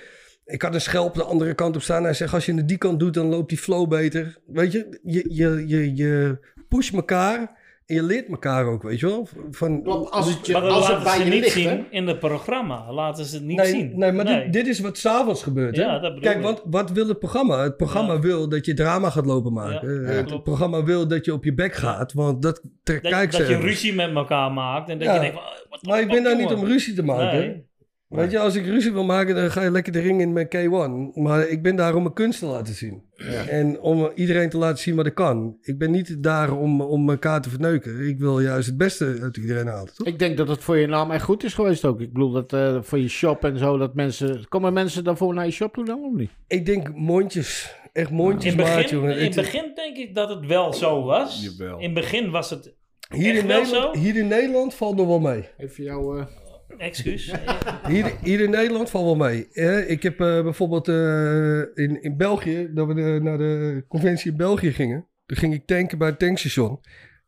[SPEAKER 4] Ik had een schelp de andere kant op staan. Hij zegt, als je het die kant doet, dan loopt die flow beter. Weet je, je, je, je, je pusht elkaar en je leert elkaar ook, weet je wel. Van,
[SPEAKER 1] want als het, je,
[SPEAKER 3] Maar dat
[SPEAKER 1] als het
[SPEAKER 3] laten
[SPEAKER 1] bij
[SPEAKER 3] ze
[SPEAKER 1] je
[SPEAKER 3] niet
[SPEAKER 1] ligt,
[SPEAKER 3] zien
[SPEAKER 1] hè?
[SPEAKER 3] in het programma. Laten ze het niet
[SPEAKER 4] nee,
[SPEAKER 3] zien.
[SPEAKER 4] nee, maar Dit, dit is wat s'avonds gebeurt. hè?
[SPEAKER 3] Ja, dat bedoel
[SPEAKER 4] Kijk,
[SPEAKER 3] ik.
[SPEAKER 4] want wat wil het programma? Het programma
[SPEAKER 3] Ja.
[SPEAKER 4] wil dat je drama gaat lopen maken.
[SPEAKER 3] Ja,
[SPEAKER 4] Eh,
[SPEAKER 3] ja,
[SPEAKER 4] het
[SPEAKER 3] klopt.
[SPEAKER 4] programma wil dat je op je bek gaat, want dat trekt
[SPEAKER 3] dat,
[SPEAKER 4] kijkers
[SPEAKER 3] dat je
[SPEAKER 4] ergens.
[SPEAKER 3] ruzie met elkaar maakt. En dat
[SPEAKER 4] Ja.
[SPEAKER 3] je denkt, van, ah, wat de
[SPEAKER 4] Maar ik ben
[SPEAKER 3] fuck,
[SPEAKER 4] daar niet om
[SPEAKER 3] jongen?
[SPEAKER 4] ruzie te maken.
[SPEAKER 3] Nee.
[SPEAKER 4] Weet je, als ik ruzie wil maken, dan ga je lekker de ring in met K1. Maar ik ben daar om mijn kunst te laten zien. En om iedereen te laten zien wat ik kan. Ik ben niet daar om, om elkaar te verneuken. Ik wil juist het beste uit iedereen halen, toch?
[SPEAKER 1] Ik denk dat het voor je naam echt goed is geweest ook. Ik bedoel, dat eh, voor je shop en zo, dat mensen... Komen mensen daarvoor naar je shop toe dan, of niet?
[SPEAKER 4] Ik denk mondjes. Echt
[SPEAKER 3] In
[SPEAKER 4] mondjes
[SPEAKER 3] het
[SPEAKER 4] maat,
[SPEAKER 3] begin,
[SPEAKER 4] jongen.
[SPEAKER 3] in
[SPEAKER 4] Het-
[SPEAKER 3] begin denk ik dat het wel zo was.
[SPEAKER 2] Jawel.
[SPEAKER 3] In het begin was het...
[SPEAKER 4] hier, in
[SPEAKER 3] echt wel
[SPEAKER 4] Nederland,
[SPEAKER 3] zo?
[SPEAKER 4] hier in Nederland valt nog wel mee.
[SPEAKER 1] Even jouw... eh,
[SPEAKER 3] Excuus.
[SPEAKER 4] Hier, hier in Nederland valt wel mee. Eh, ik heb eh, bijvoorbeeld eh, in, in België, dat we de- naar de conventie in België gingen. Toen ging ik tanken bij het tankstation.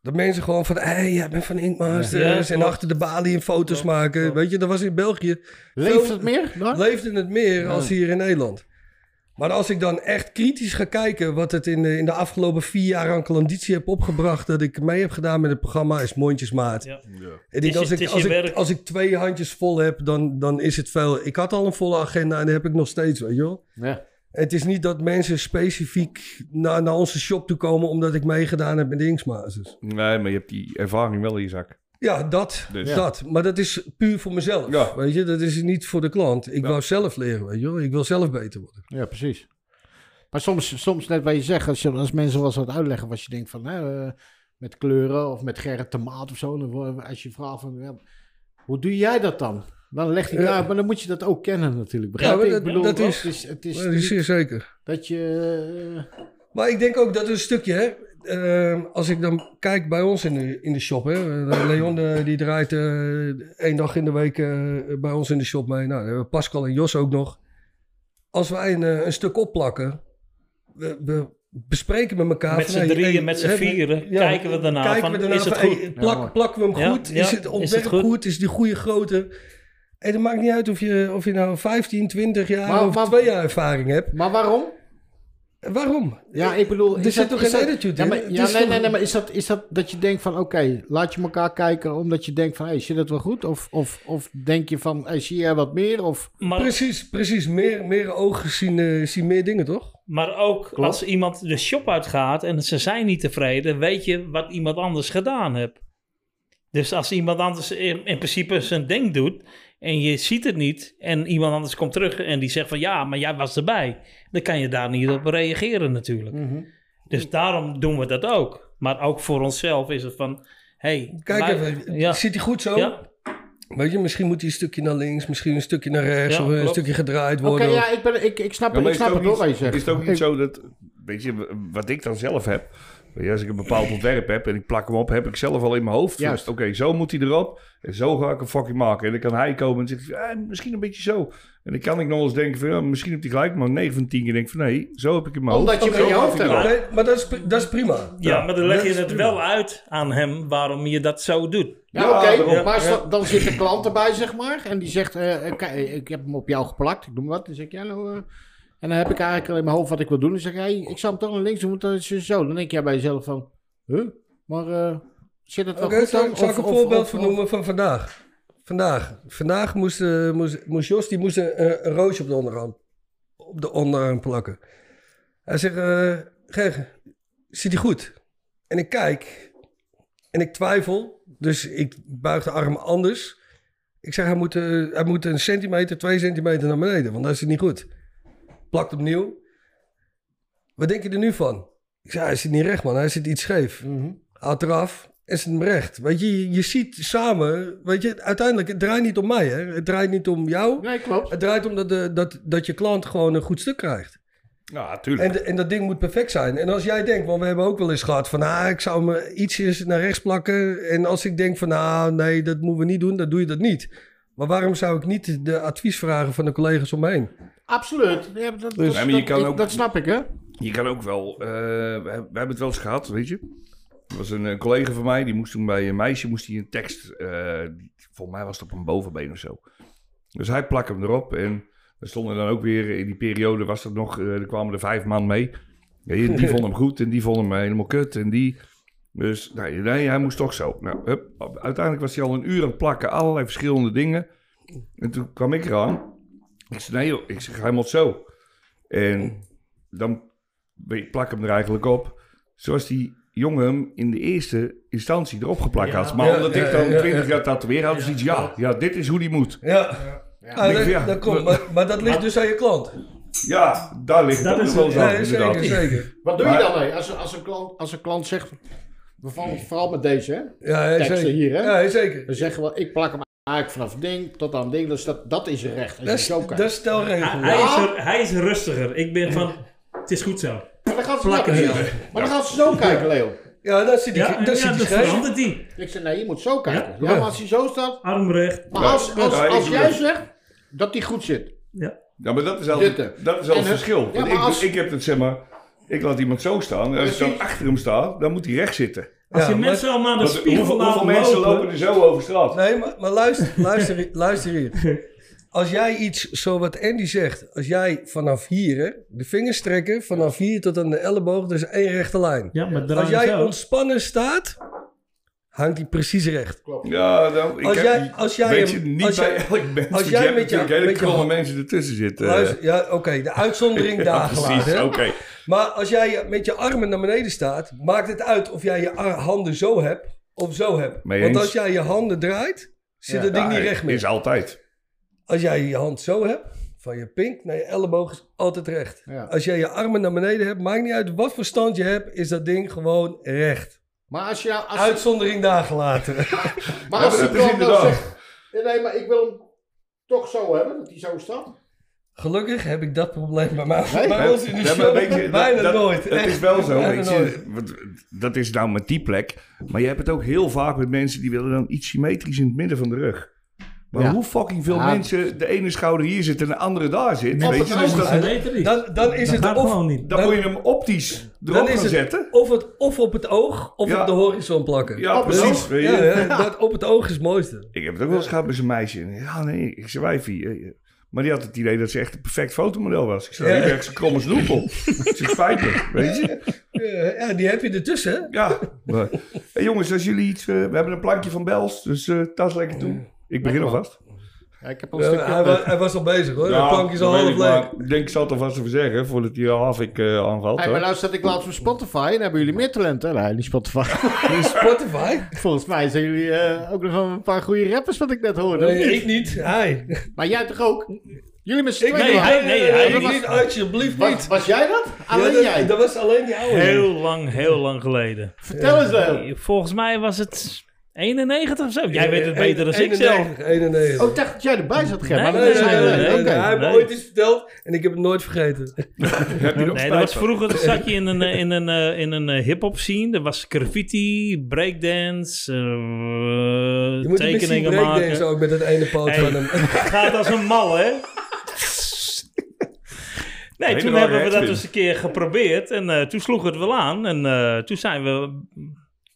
[SPEAKER 4] Dat mensen gewoon van, hé, hey, jij bent van
[SPEAKER 3] Ja,
[SPEAKER 4] Inkmasters. en
[SPEAKER 3] klopt.
[SPEAKER 4] achter de balie en foto's
[SPEAKER 3] Klopt,
[SPEAKER 4] maken.
[SPEAKER 3] klopt.
[SPEAKER 4] Weet je, dat was in België.
[SPEAKER 1] leeft
[SPEAKER 4] Veel-
[SPEAKER 1] het meer? dan?
[SPEAKER 4] Leefde het meer als hier in Nederland. Maar als ik dan echt kritisch ga kijken wat het in de, in de afgelopen vier jaar aan klanditie heb opgebracht. Dat ik mee heb gedaan met het programma is mondjesmaat.
[SPEAKER 3] Ja.
[SPEAKER 2] Ja.
[SPEAKER 4] Ik denk,
[SPEAKER 3] Het
[SPEAKER 4] als,
[SPEAKER 3] is-
[SPEAKER 4] ik,
[SPEAKER 3] het is
[SPEAKER 4] als,
[SPEAKER 3] je
[SPEAKER 4] ik,
[SPEAKER 3] werk.
[SPEAKER 4] als ik twee handjes vol heb, dan, dan is het veel. Ik had al een volle agenda en die heb ik nog steeds, weet je wel.
[SPEAKER 1] Ja.
[SPEAKER 4] Het is niet dat mensen specifiek naar, naar onze shop toe komen omdat ik meegedaan heb met de Inksmazers.
[SPEAKER 2] Nee, maar je hebt die ervaring wel in je zak.
[SPEAKER 4] Ja, dat,
[SPEAKER 2] Dus.
[SPEAKER 4] dat. Maar dat is puur voor mezelf,
[SPEAKER 2] Ja.
[SPEAKER 4] weet je. Dat is niet voor de klant. Ik wou zelf leren, weet je wel. Ik wil zelf beter worden.
[SPEAKER 1] Ja, precies. Maar soms, soms net wat je zegt, als, je, als mensen wel eens wat uitleggen, wat je denkt van hè, eh, met kleuren of met Gerrit Tomaat of zo, dan, wo- als je vraagt van ja, hoe doe jij dat dan? Dan leg ik
[SPEAKER 4] Ja.
[SPEAKER 1] uit, maar dan moet je dat ook kennen natuurlijk. Begrijp
[SPEAKER 4] maar
[SPEAKER 1] je?
[SPEAKER 4] dat-
[SPEAKER 1] ik bedoel,
[SPEAKER 4] dat
[SPEAKER 1] ook,
[SPEAKER 4] is-
[SPEAKER 1] het is, het is
[SPEAKER 4] Maar dat is
[SPEAKER 1] niet
[SPEAKER 4] zeer zeker.
[SPEAKER 1] dat je. eh,
[SPEAKER 4] Maar ik denk ook dat een stukje, hè. ehm, als ik dan kijk bij ons in de, in de shop, hè. eh, Leon eh, die draait eh, één dag in de week eh, bij ons in de shop mee. Nou, dan hebben we Pascal en Jos ook nog. Als wij een, eh, een stuk opplakken, we, we bespreken met elkaar.
[SPEAKER 3] Met
[SPEAKER 4] van,
[SPEAKER 3] z'n
[SPEAKER 4] hey,
[SPEAKER 3] drieën,
[SPEAKER 4] hey,
[SPEAKER 3] met z'n
[SPEAKER 4] hè,
[SPEAKER 3] vieren, kijken we daarna
[SPEAKER 4] kijken
[SPEAKER 3] van,
[SPEAKER 4] we daarna
[SPEAKER 3] is het
[SPEAKER 4] van, hey,
[SPEAKER 3] goed?
[SPEAKER 4] plak-
[SPEAKER 1] Ja, hoor.
[SPEAKER 4] plakken we hem
[SPEAKER 3] Ja,
[SPEAKER 4] goed?
[SPEAKER 3] ja,
[SPEAKER 4] is
[SPEAKER 3] is
[SPEAKER 4] het
[SPEAKER 3] het
[SPEAKER 4] ontwerp goed?
[SPEAKER 3] goed?
[SPEAKER 4] Is die goede grootte? En het maakt niet uit of je, of je nou 15, 20 jaar
[SPEAKER 1] Maar-
[SPEAKER 4] of
[SPEAKER 1] maar-
[SPEAKER 4] twee jaar ervaring hebt.
[SPEAKER 1] Maar waarom?
[SPEAKER 4] Waarom?
[SPEAKER 1] Ja, ik bedoel.
[SPEAKER 4] Er
[SPEAKER 1] is
[SPEAKER 4] zit
[SPEAKER 1] dat-
[SPEAKER 4] toch
[SPEAKER 1] is
[SPEAKER 4] geen
[SPEAKER 1] dat-
[SPEAKER 4] attitude
[SPEAKER 1] ja,
[SPEAKER 4] in?
[SPEAKER 1] maar-
[SPEAKER 4] Het
[SPEAKER 1] Ja,
[SPEAKER 4] is
[SPEAKER 1] nee,
[SPEAKER 4] toch-
[SPEAKER 1] nee, nee, maar is dat, is dat dat je denkt van oké, laat je elkaar kijken omdat je denkt van hé, hey, zit het wel goed? Of, of, of denk je van hey, zie jij wat meer? Of
[SPEAKER 3] maar,
[SPEAKER 4] Precies, precies. Meer, meer ogen zien, eh, zien meer dingen, toch?
[SPEAKER 3] maar ook als iemand de shop uitgaat en ze zijn niet tevreden, weet je wat iemand anders gedaan hebt. Dus als iemand anders in, in principe zijn ding doet en je ziet het niet en iemand anders komt terug en die zegt van ja, maar jij was erbij. Dan kan je daar niet op reageren natuurlijk. Dus daarom doen we dat ook. Maar ook voor onszelf is het van, hey,
[SPEAKER 4] Kijk
[SPEAKER 3] wij-
[SPEAKER 4] even,
[SPEAKER 3] ja,
[SPEAKER 4] zit hij goed zo?
[SPEAKER 3] ja,
[SPEAKER 4] Weet je, misschien moet hij een stukje naar links, misschien een stukje naar rechts,
[SPEAKER 3] Ja,
[SPEAKER 4] of een
[SPEAKER 3] klopt.
[SPEAKER 4] stukje gedraaid
[SPEAKER 1] Oké,
[SPEAKER 4] worden.
[SPEAKER 1] ja, ik, ben, ik, ik snap,
[SPEAKER 2] Ja, maar
[SPEAKER 1] ik snap
[SPEAKER 2] is
[SPEAKER 1] het hoor
[SPEAKER 2] het ook
[SPEAKER 1] wat je
[SPEAKER 2] niet-
[SPEAKER 1] zegt.
[SPEAKER 2] Is het ook
[SPEAKER 1] Ik-
[SPEAKER 2] niet zo dat, weet je, wat ik dan zelf heb. Weet je, als ik een bepaald ontwerp heb en ik plak hem op, heb ik zelf al in mijn hoofd.
[SPEAKER 1] Juist.
[SPEAKER 2] Oké, zo moet hij erop. En zo ga ik hem fucking maken. En dan kan hij komen en zegt, eh, misschien een beetje zo. En dan kan ik nog eens denken van, ja, misschien heb hij gelijk. Maar 9 van 10 keer denk ik van, nee, zo heb ik in mijn hoofd.
[SPEAKER 1] Omdat je hem in je
[SPEAKER 2] Zo
[SPEAKER 1] hoofd
[SPEAKER 2] maak ik
[SPEAKER 1] hebt.
[SPEAKER 2] hem.
[SPEAKER 4] Nee, maar dat is, pri- dat is prima.
[SPEAKER 2] Ja,
[SPEAKER 3] Ja, maar dan leg je
[SPEAKER 4] dat is
[SPEAKER 3] het wel uit aan hem waarom je dat zo doet.
[SPEAKER 1] Ja,
[SPEAKER 2] Ja,
[SPEAKER 1] oké,
[SPEAKER 2] daarom.
[SPEAKER 1] maar sta- dan zit de klant erbij, zeg maar. En die zegt, eh, eh, kijk, eh, ik heb hem op jou geplakt, ik doe maar wat. Dan zeg ik, ja, nou... eh, en dan heb ik eigenlijk al in mijn hoofd wat ik wil doen. Dan zeg ik, hey, ik zou hem toch naar links doen, want dat is zo. Dan denk jij bij jezelf van, huh? Maar eh, zit het wel
[SPEAKER 4] Oké,
[SPEAKER 1] goed
[SPEAKER 4] zal,
[SPEAKER 1] dan?
[SPEAKER 4] zal
[SPEAKER 1] Of-
[SPEAKER 4] ik een
[SPEAKER 1] of-
[SPEAKER 4] voorbeeld
[SPEAKER 1] of-
[SPEAKER 4] vernoemen van vandaag? Vandaag. Vandaag moest, eh, moest, moest Jos die moest een, een- een roosje op de onderarm, op de onderarm plakken. Hij zegt, eh Gergen, ziet die goed? En ik kijk en ik twijfel, dus ik buig de arm anders. Ik zeg, hij moet, eh, hij moet een centimeter, twee centimeter naar beneden, want dat is het niet goed. Plakt opnieuw. Wat denk je er nu van? Ik zeg, hij zit niet recht man, hij zit iets scheef
[SPEAKER 1] Mhm.
[SPEAKER 4] haalt eraf en zet hem recht. Weet je, je- je ziet samen, weet je, uiteindelijk, het draait niet om mij, hè? Het draait niet om jou.
[SPEAKER 1] Nee, klopt.
[SPEAKER 4] Het draait om dat, de, dat, dat je klant gewoon een goed stuk krijgt.
[SPEAKER 2] Ja, tuurlijk.
[SPEAKER 4] En, de- en dat ding moet perfect zijn. En als jij denkt, want we hebben ook wel eens gehad van, ah, ik zou me ietsjes naar rechts plakken. En als ik denk van, ah, nee, dat moeten we niet doen, dan doe je dat niet. Maar waarom zou ik niet de advies vragen van de collega's om me heen?
[SPEAKER 1] Absoluut. Ja, dat,
[SPEAKER 2] Dus-
[SPEAKER 1] dat,
[SPEAKER 2] Ja, maar je
[SPEAKER 1] dat-
[SPEAKER 2] kan
[SPEAKER 1] dat-
[SPEAKER 2] ook-
[SPEAKER 1] dat snap ik, hè?
[SPEAKER 2] Je kan ook wel, eh, we, we hebben het wel eens gehad, weet je. Er was een eh, collega van mij, die moest toen bij een meisje moest hij een tekst, eh, die- volgens mij was het op een bovenbeen of zo. Dus hij plakte hem erop en er stonden dan ook weer, in die periode was dat nog, eh, er kwamen er vijf man mee. Ja, die die vond hem goed en die vond hem helemaal kut en die... Dus nee, nee hij moest toch zo. Nou, hup. Uiteindelijk was hij al een uur aan het plakken, allerlei verschillende dingen. En toen kwam ik eraan. Ik zei, nee joh, ik zeg, hij moet zo. En dan ik plak hem er eigenlijk op. Zoals die jongen hem in de eerste instantie erop geplakt had. Maar
[SPEAKER 4] Ja,
[SPEAKER 2] omdat
[SPEAKER 4] ja,
[SPEAKER 2] ik dan
[SPEAKER 4] ja, ja.
[SPEAKER 2] 20 jaar tatoeëer had, dus iets, ja, ja, dit is hoe die moet.
[SPEAKER 4] Ja, Ah, dat,
[SPEAKER 2] Ja.
[SPEAKER 4] dat komt. Maar, maar dat ligt dus aan je klant.
[SPEAKER 2] Ja, daar ligt
[SPEAKER 3] Dat
[SPEAKER 2] het ook
[SPEAKER 3] is-
[SPEAKER 2] wel zo
[SPEAKER 4] Ja,
[SPEAKER 2] inderdaad.
[SPEAKER 4] zeker, zeker.
[SPEAKER 1] Wat doe
[SPEAKER 2] Maar-
[SPEAKER 1] je dan mee? Als, als, een klant, als een klant zegt, we vallen vooral met deze, hè?
[SPEAKER 4] Ja,
[SPEAKER 1] Teksten
[SPEAKER 4] zeker.
[SPEAKER 1] hier, hè?
[SPEAKER 4] Ja, zeker.
[SPEAKER 1] We zeggen wel, ik plak hem eigenlijk vanaf ding tot aan ding. Dus dat, dat is recht. Als
[SPEAKER 4] Dat
[SPEAKER 1] je
[SPEAKER 4] is,
[SPEAKER 1] zo
[SPEAKER 4] dat
[SPEAKER 1] kan.
[SPEAKER 4] is stelregel.
[SPEAKER 6] Hij, is er, hij is rustiger. Ik ben van, het is goed zo.
[SPEAKER 1] Maar dan gaan ze,
[SPEAKER 6] Vlakke
[SPEAKER 1] Ja,
[SPEAKER 6] heel.
[SPEAKER 1] precies. maar dan gaan ze zo kijken, Leo.
[SPEAKER 4] Ja, dat zit die,
[SPEAKER 6] Ja, en
[SPEAKER 4] dat
[SPEAKER 6] ja,
[SPEAKER 4] zit dus die
[SPEAKER 6] dat
[SPEAKER 4] schijf.
[SPEAKER 6] verandert die.
[SPEAKER 1] Ik zeg, nee, je moet zo kijken. Ja,
[SPEAKER 4] Ja.
[SPEAKER 1] maar als hij zo staat...
[SPEAKER 6] Armrecht.
[SPEAKER 1] Maar als, als,
[SPEAKER 2] Ja, ik
[SPEAKER 1] als,
[SPEAKER 2] doe
[SPEAKER 1] jij
[SPEAKER 2] dat.
[SPEAKER 1] zegt dat hij goed zit.
[SPEAKER 6] Ja.
[SPEAKER 2] Ja, maar dat is al,
[SPEAKER 1] Dit,
[SPEAKER 2] dat is al
[SPEAKER 1] en
[SPEAKER 2] het
[SPEAKER 1] het-
[SPEAKER 2] verschil.
[SPEAKER 1] ja,
[SPEAKER 2] Want
[SPEAKER 1] maar
[SPEAKER 2] ik,
[SPEAKER 1] als-
[SPEAKER 2] ik heb het, zeg maar, ik laat iemand zo staan. En als ik dan
[SPEAKER 1] Precies.
[SPEAKER 2] achter hem sta, dan moet hij recht zitten.
[SPEAKER 6] Als
[SPEAKER 4] Ja,
[SPEAKER 6] je
[SPEAKER 4] maar-
[SPEAKER 6] mensen allemaal naar de
[SPEAKER 2] Want
[SPEAKER 6] spiegel
[SPEAKER 2] hoeveel,
[SPEAKER 6] laat
[SPEAKER 2] hoeveel mensen
[SPEAKER 6] lopen,
[SPEAKER 2] lopen er zo over straat?
[SPEAKER 4] Nee, maar, maar luister, luister, hier- luister hier. Als jij iets, zo wat Andy zegt, als jij vanaf hier, hè, de vingers strekken, vanaf hier tot aan de elleboog, dus één rechte lijn.
[SPEAKER 6] Ja, maar draai
[SPEAKER 4] Als jij
[SPEAKER 6] zo.
[SPEAKER 4] ontspannen staat, hangt die precies recht.
[SPEAKER 1] Nou.
[SPEAKER 2] Ja, dan, ik
[SPEAKER 4] Als
[SPEAKER 2] heb-
[SPEAKER 4] jij- als jij
[SPEAKER 2] weet
[SPEAKER 4] hem-
[SPEAKER 2] je, niet
[SPEAKER 4] als
[SPEAKER 2] bij
[SPEAKER 4] jij-
[SPEAKER 2] elk mens.
[SPEAKER 4] als
[SPEAKER 2] want
[SPEAKER 4] jij
[SPEAKER 2] je hebt
[SPEAKER 4] met je-
[SPEAKER 2] natuurlijk hele
[SPEAKER 4] met je
[SPEAKER 2] kromme
[SPEAKER 4] hand-
[SPEAKER 2] mensen ertussen zitten.
[SPEAKER 4] Luister, ja, oké, de uitzondering
[SPEAKER 2] Ja,
[SPEAKER 4] daar gelaten.
[SPEAKER 2] precies,
[SPEAKER 4] hè.
[SPEAKER 2] oké.
[SPEAKER 4] Maar als jij met je armen naar beneden staat, maakt het uit of jij je ar- handen zo hebt of zo hebt.
[SPEAKER 2] Mee
[SPEAKER 4] Want
[SPEAKER 2] eens.
[SPEAKER 4] als jij je handen draait, zit
[SPEAKER 1] Ja.
[SPEAKER 4] dat ding
[SPEAKER 2] Ja,
[SPEAKER 4] niet recht meer.
[SPEAKER 2] Is altijd.
[SPEAKER 4] Als jij je hand zo hebt, van je pink naar je elleboog, is altijd recht.
[SPEAKER 1] Ja.
[SPEAKER 4] Als jij je armen naar beneden hebt, maakt niet uit wat voor stand je hebt, is dat ding gewoon recht.
[SPEAKER 1] Maar als je nou... Als,
[SPEAKER 4] Uitzondering daar gelaten.
[SPEAKER 1] maar als de
[SPEAKER 2] Ja, dat is
[SPEAKER 1] klant nou
[SPEAKER 2] inderdaad.
[SPEAKER 1] zegt... "Ja, Nee, maar ik wil hem toch zo hebben, dat hij zo staat.
[SPEAKER 4] Gelukkig heb ik dat probleem bij mij.
[SPEAKER 1] Nee?
[SPEAKER 4] bij ons in de
[SPEAKER 2] Ja, maar
[SPEAKER 4] show
[SPEAKER 2] weet je, dat-
[SPEAKER 4] bijna
[SPEAKER 2] dat-
[SPEAKER 4] nooit.
[SPEAKER 2] Het is
[SPEAKER 4] Echt,
[SPEAKER 2] wel zo.
[SPEAKER 4] bijna
[SPEAKER 2] Weet
[SPEAKER 4] nooit.
[SPEAKER 2] je, want dat is nou met die plek. Maar je hebt het ook heel vaak met mensen die willen dan iets symmetrisch in het midden van de rug. Maar
[SPEAKER 1] Ja.
[SPEAKER 2] hoe fucking veel
[SPEAKER 1] Ja.
[SPEAKER 2] mensen de ene schouder hier zit en de andere daar zit.
[SPEAKER 1] Op
[SPEAKER 2] weet
[SPEAKER 1] het
[SPEAKER 2] je, dus
[SPEAKER 1] oog.
[SPEAKER 2] dat,
[SPEAKER 4] Ja,
[SPEAKER 6] Beter niet.
[SPEAKER 4] Dan, dan is
[SPEAKER 6] Dat
[SPEAKER 4] het
[SPEAKER 6] gaat
[SPEAKER 4] of,
[SPEAKER 6] gewoon niet.
[SPEAKER 2] dan
[SPEAKER 4] Dan-
[SPEAKER 2] moet je hem optisch erop
[SPEAKER 4] dan is
[SPEAKER 2] gaan
[SPEAKER 4] het
[SPEAKER 2] zetten.
[SPEAKER 4] of, het, of op het oog of
[SPEAKER 2] Ja.
[SPEAKER 4] op de horizon plakken. Dus-
[SPEAKER 2] Ja,
[SPEAKER 1] op het
[SPEAKER 2] precies.
[SPEAKER 1] oog.
[SPEAKER 2] weet je.
[SPEAKER 4] Ja, ja, dat op het oog is het mooiste.
[SPEAKER 2] Ik heb het ook wel eens gehad met zijn meisje. En, Ja, nee, ik zei wijfie. eh, eh." Maar die had het idee dat ze echt een perfect fotomodel was. Ik zei,
[SPEAKER 4] Ja.
[SPEAKER 2] die werkt ze krom als een hoepel. Ze spijt me, weet je.
[SPEAKER 4] Ja, Eh, ja, die heb je ertussen. hè?
[SPEAKER 2] Ja. Maar, hey, jongens, als jullie iets... eh, we hebben een plankje van Bels, dus eh tas lekker toe. Ik begin alvast.
[SPEAKER 1] Ja, ik heb al een
[SPEAKER 4] Ja,
[SPEAKER 1] stukje...
[SPEAKER 4] hij, wa- hij was al bezig hoor. de plank Oh, is al half leeg.
[SPEAKER 2] leuk. Ik denk, ik zal het alvast even zeggen, voordat die half ik eh aanvalt.
[SPEAKER 1] Hey, maar
[SPEAKER 2] hoor.
[SPEAKER 1] nou zat ik laatst op Spotify en hebben jullie meer talent, hè? Nee, niet Spotify.
[SPEAKER 4] Spotify?
[SPEAKER 1] Volgens mij zijn jullie eh, ook nog wel een paar goede rappers, wat ik net hoorde. of
[SPEAKER 4] Nee,
[SPEAKER 1] niet?
[SPEAKER 4] ik niet. Hij.
[SPEAKER 1] Maar jij toch ook? Jullie met z'n tweeën?
[SPEAKER 3] Nee, hij- hij
[SPEAKER 4] ik
[SPEAKER 3] was-
[SPEAKER 4] niet. Alsjeblieft
[SPEAKER 1] was,
[SPEAKER 4] niet.
[SPEAKER 1] was jij dat? Alleen
[SPEAKER 4] Ja, dat,
[SPEAKER 1] jij?
[SPEAKER 4] Dat was alleen die oude.
[SPEAKER 3] Heel lang, heel lang geleden.
[SPEAKER 1] Vertel eens, Leo.
[SPEAKER 3] Volgens mij was het 91 of zo? Jij weet
[SPEAKER 2] Eh,
[SPEAKER 3] het beter dan ik
[SPEAKER 4] 91,
[SPEAKER 3] zelf.
[SPEAKER 4] 91.
[SPEAKER 1] Oh, ik dacht dat jij erbij zat, Gerrit. maar
[SPEAKER 3] Nee,
[SPEAKER 4] Nee,
[SPEAKER 1] dat
[SPEAKER 4] nee,
[SPEAKER 1] is-
[SPEAKER 4] nee, nee, nee,
[SPEAKER 1] oké.
[SPEAKER 4] nee, Hij heeft me
[SPEAKER 3] Nee.
[SPEAKER 4] ooit iets verteld en ik heb het nooit vergeten.
[SPEAKER 2] Heb je nog
[SPEAKER 3] Nee,
[SPEAKER 2] spijt
[SPEAKER 3] dat was
[SPEAKER 2] van?
[SPEAKER 3] vroeger zat je in een, eh, in een, eh, in een eh, hip-hop scene. Er was graffiti, breakdance, eh,
[SPEAKER 4] Je moet hem eens zien
[SPEAKER 3] tekeningen
[SPEAKER 4] breakdance
[SPEAKER 3] maken.
[SPEAKER 4] ook met dat ene poot
[SPEAKER 3] Hey.
[SPEAKER 4] van hem.
[SPEAKER 3] Gaat als een mal, hè? Nee,
[SPEAKER 2] Hele
[SPEAKER 3] toen
[SPEAKER 2] rare
[SPEAKER 3] hebben we dat
[SPEAKER 2] headspin.
[SPEAKER 3] eens een keer geprobeerd. En eh, toen sloeg het wel aan. En eh, toen zijn we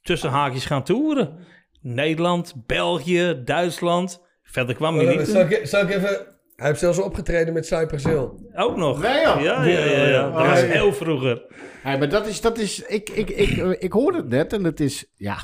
[SPEAKER 3] tussen haakjes gaan toeren. Nederland, België, Duitsland. Verder kwam
[SPEAKER 1] Oh,
[SPEAKER 3] je niet.
[SPEAKER 4] Zal ik, zal ik even... Hij heeft zelfs opgetreden met Cypress Hill.
[SPEAKER 3] Ook nog.
[SPEAKER 1] Nee, joh.
[SPEAKER 3] Ja, ja, ja, ja.
[SPEAKER 1] ja.
[SPEAKER 3] Dat was
[SPEAKER 1] Oh, ja.
[SPEAKER 3] heel vroeger.
[SPEAKER 1] Ja, maar dat is, dat is ik, ik, ik, eh, ik hoorde het net en het is, ja,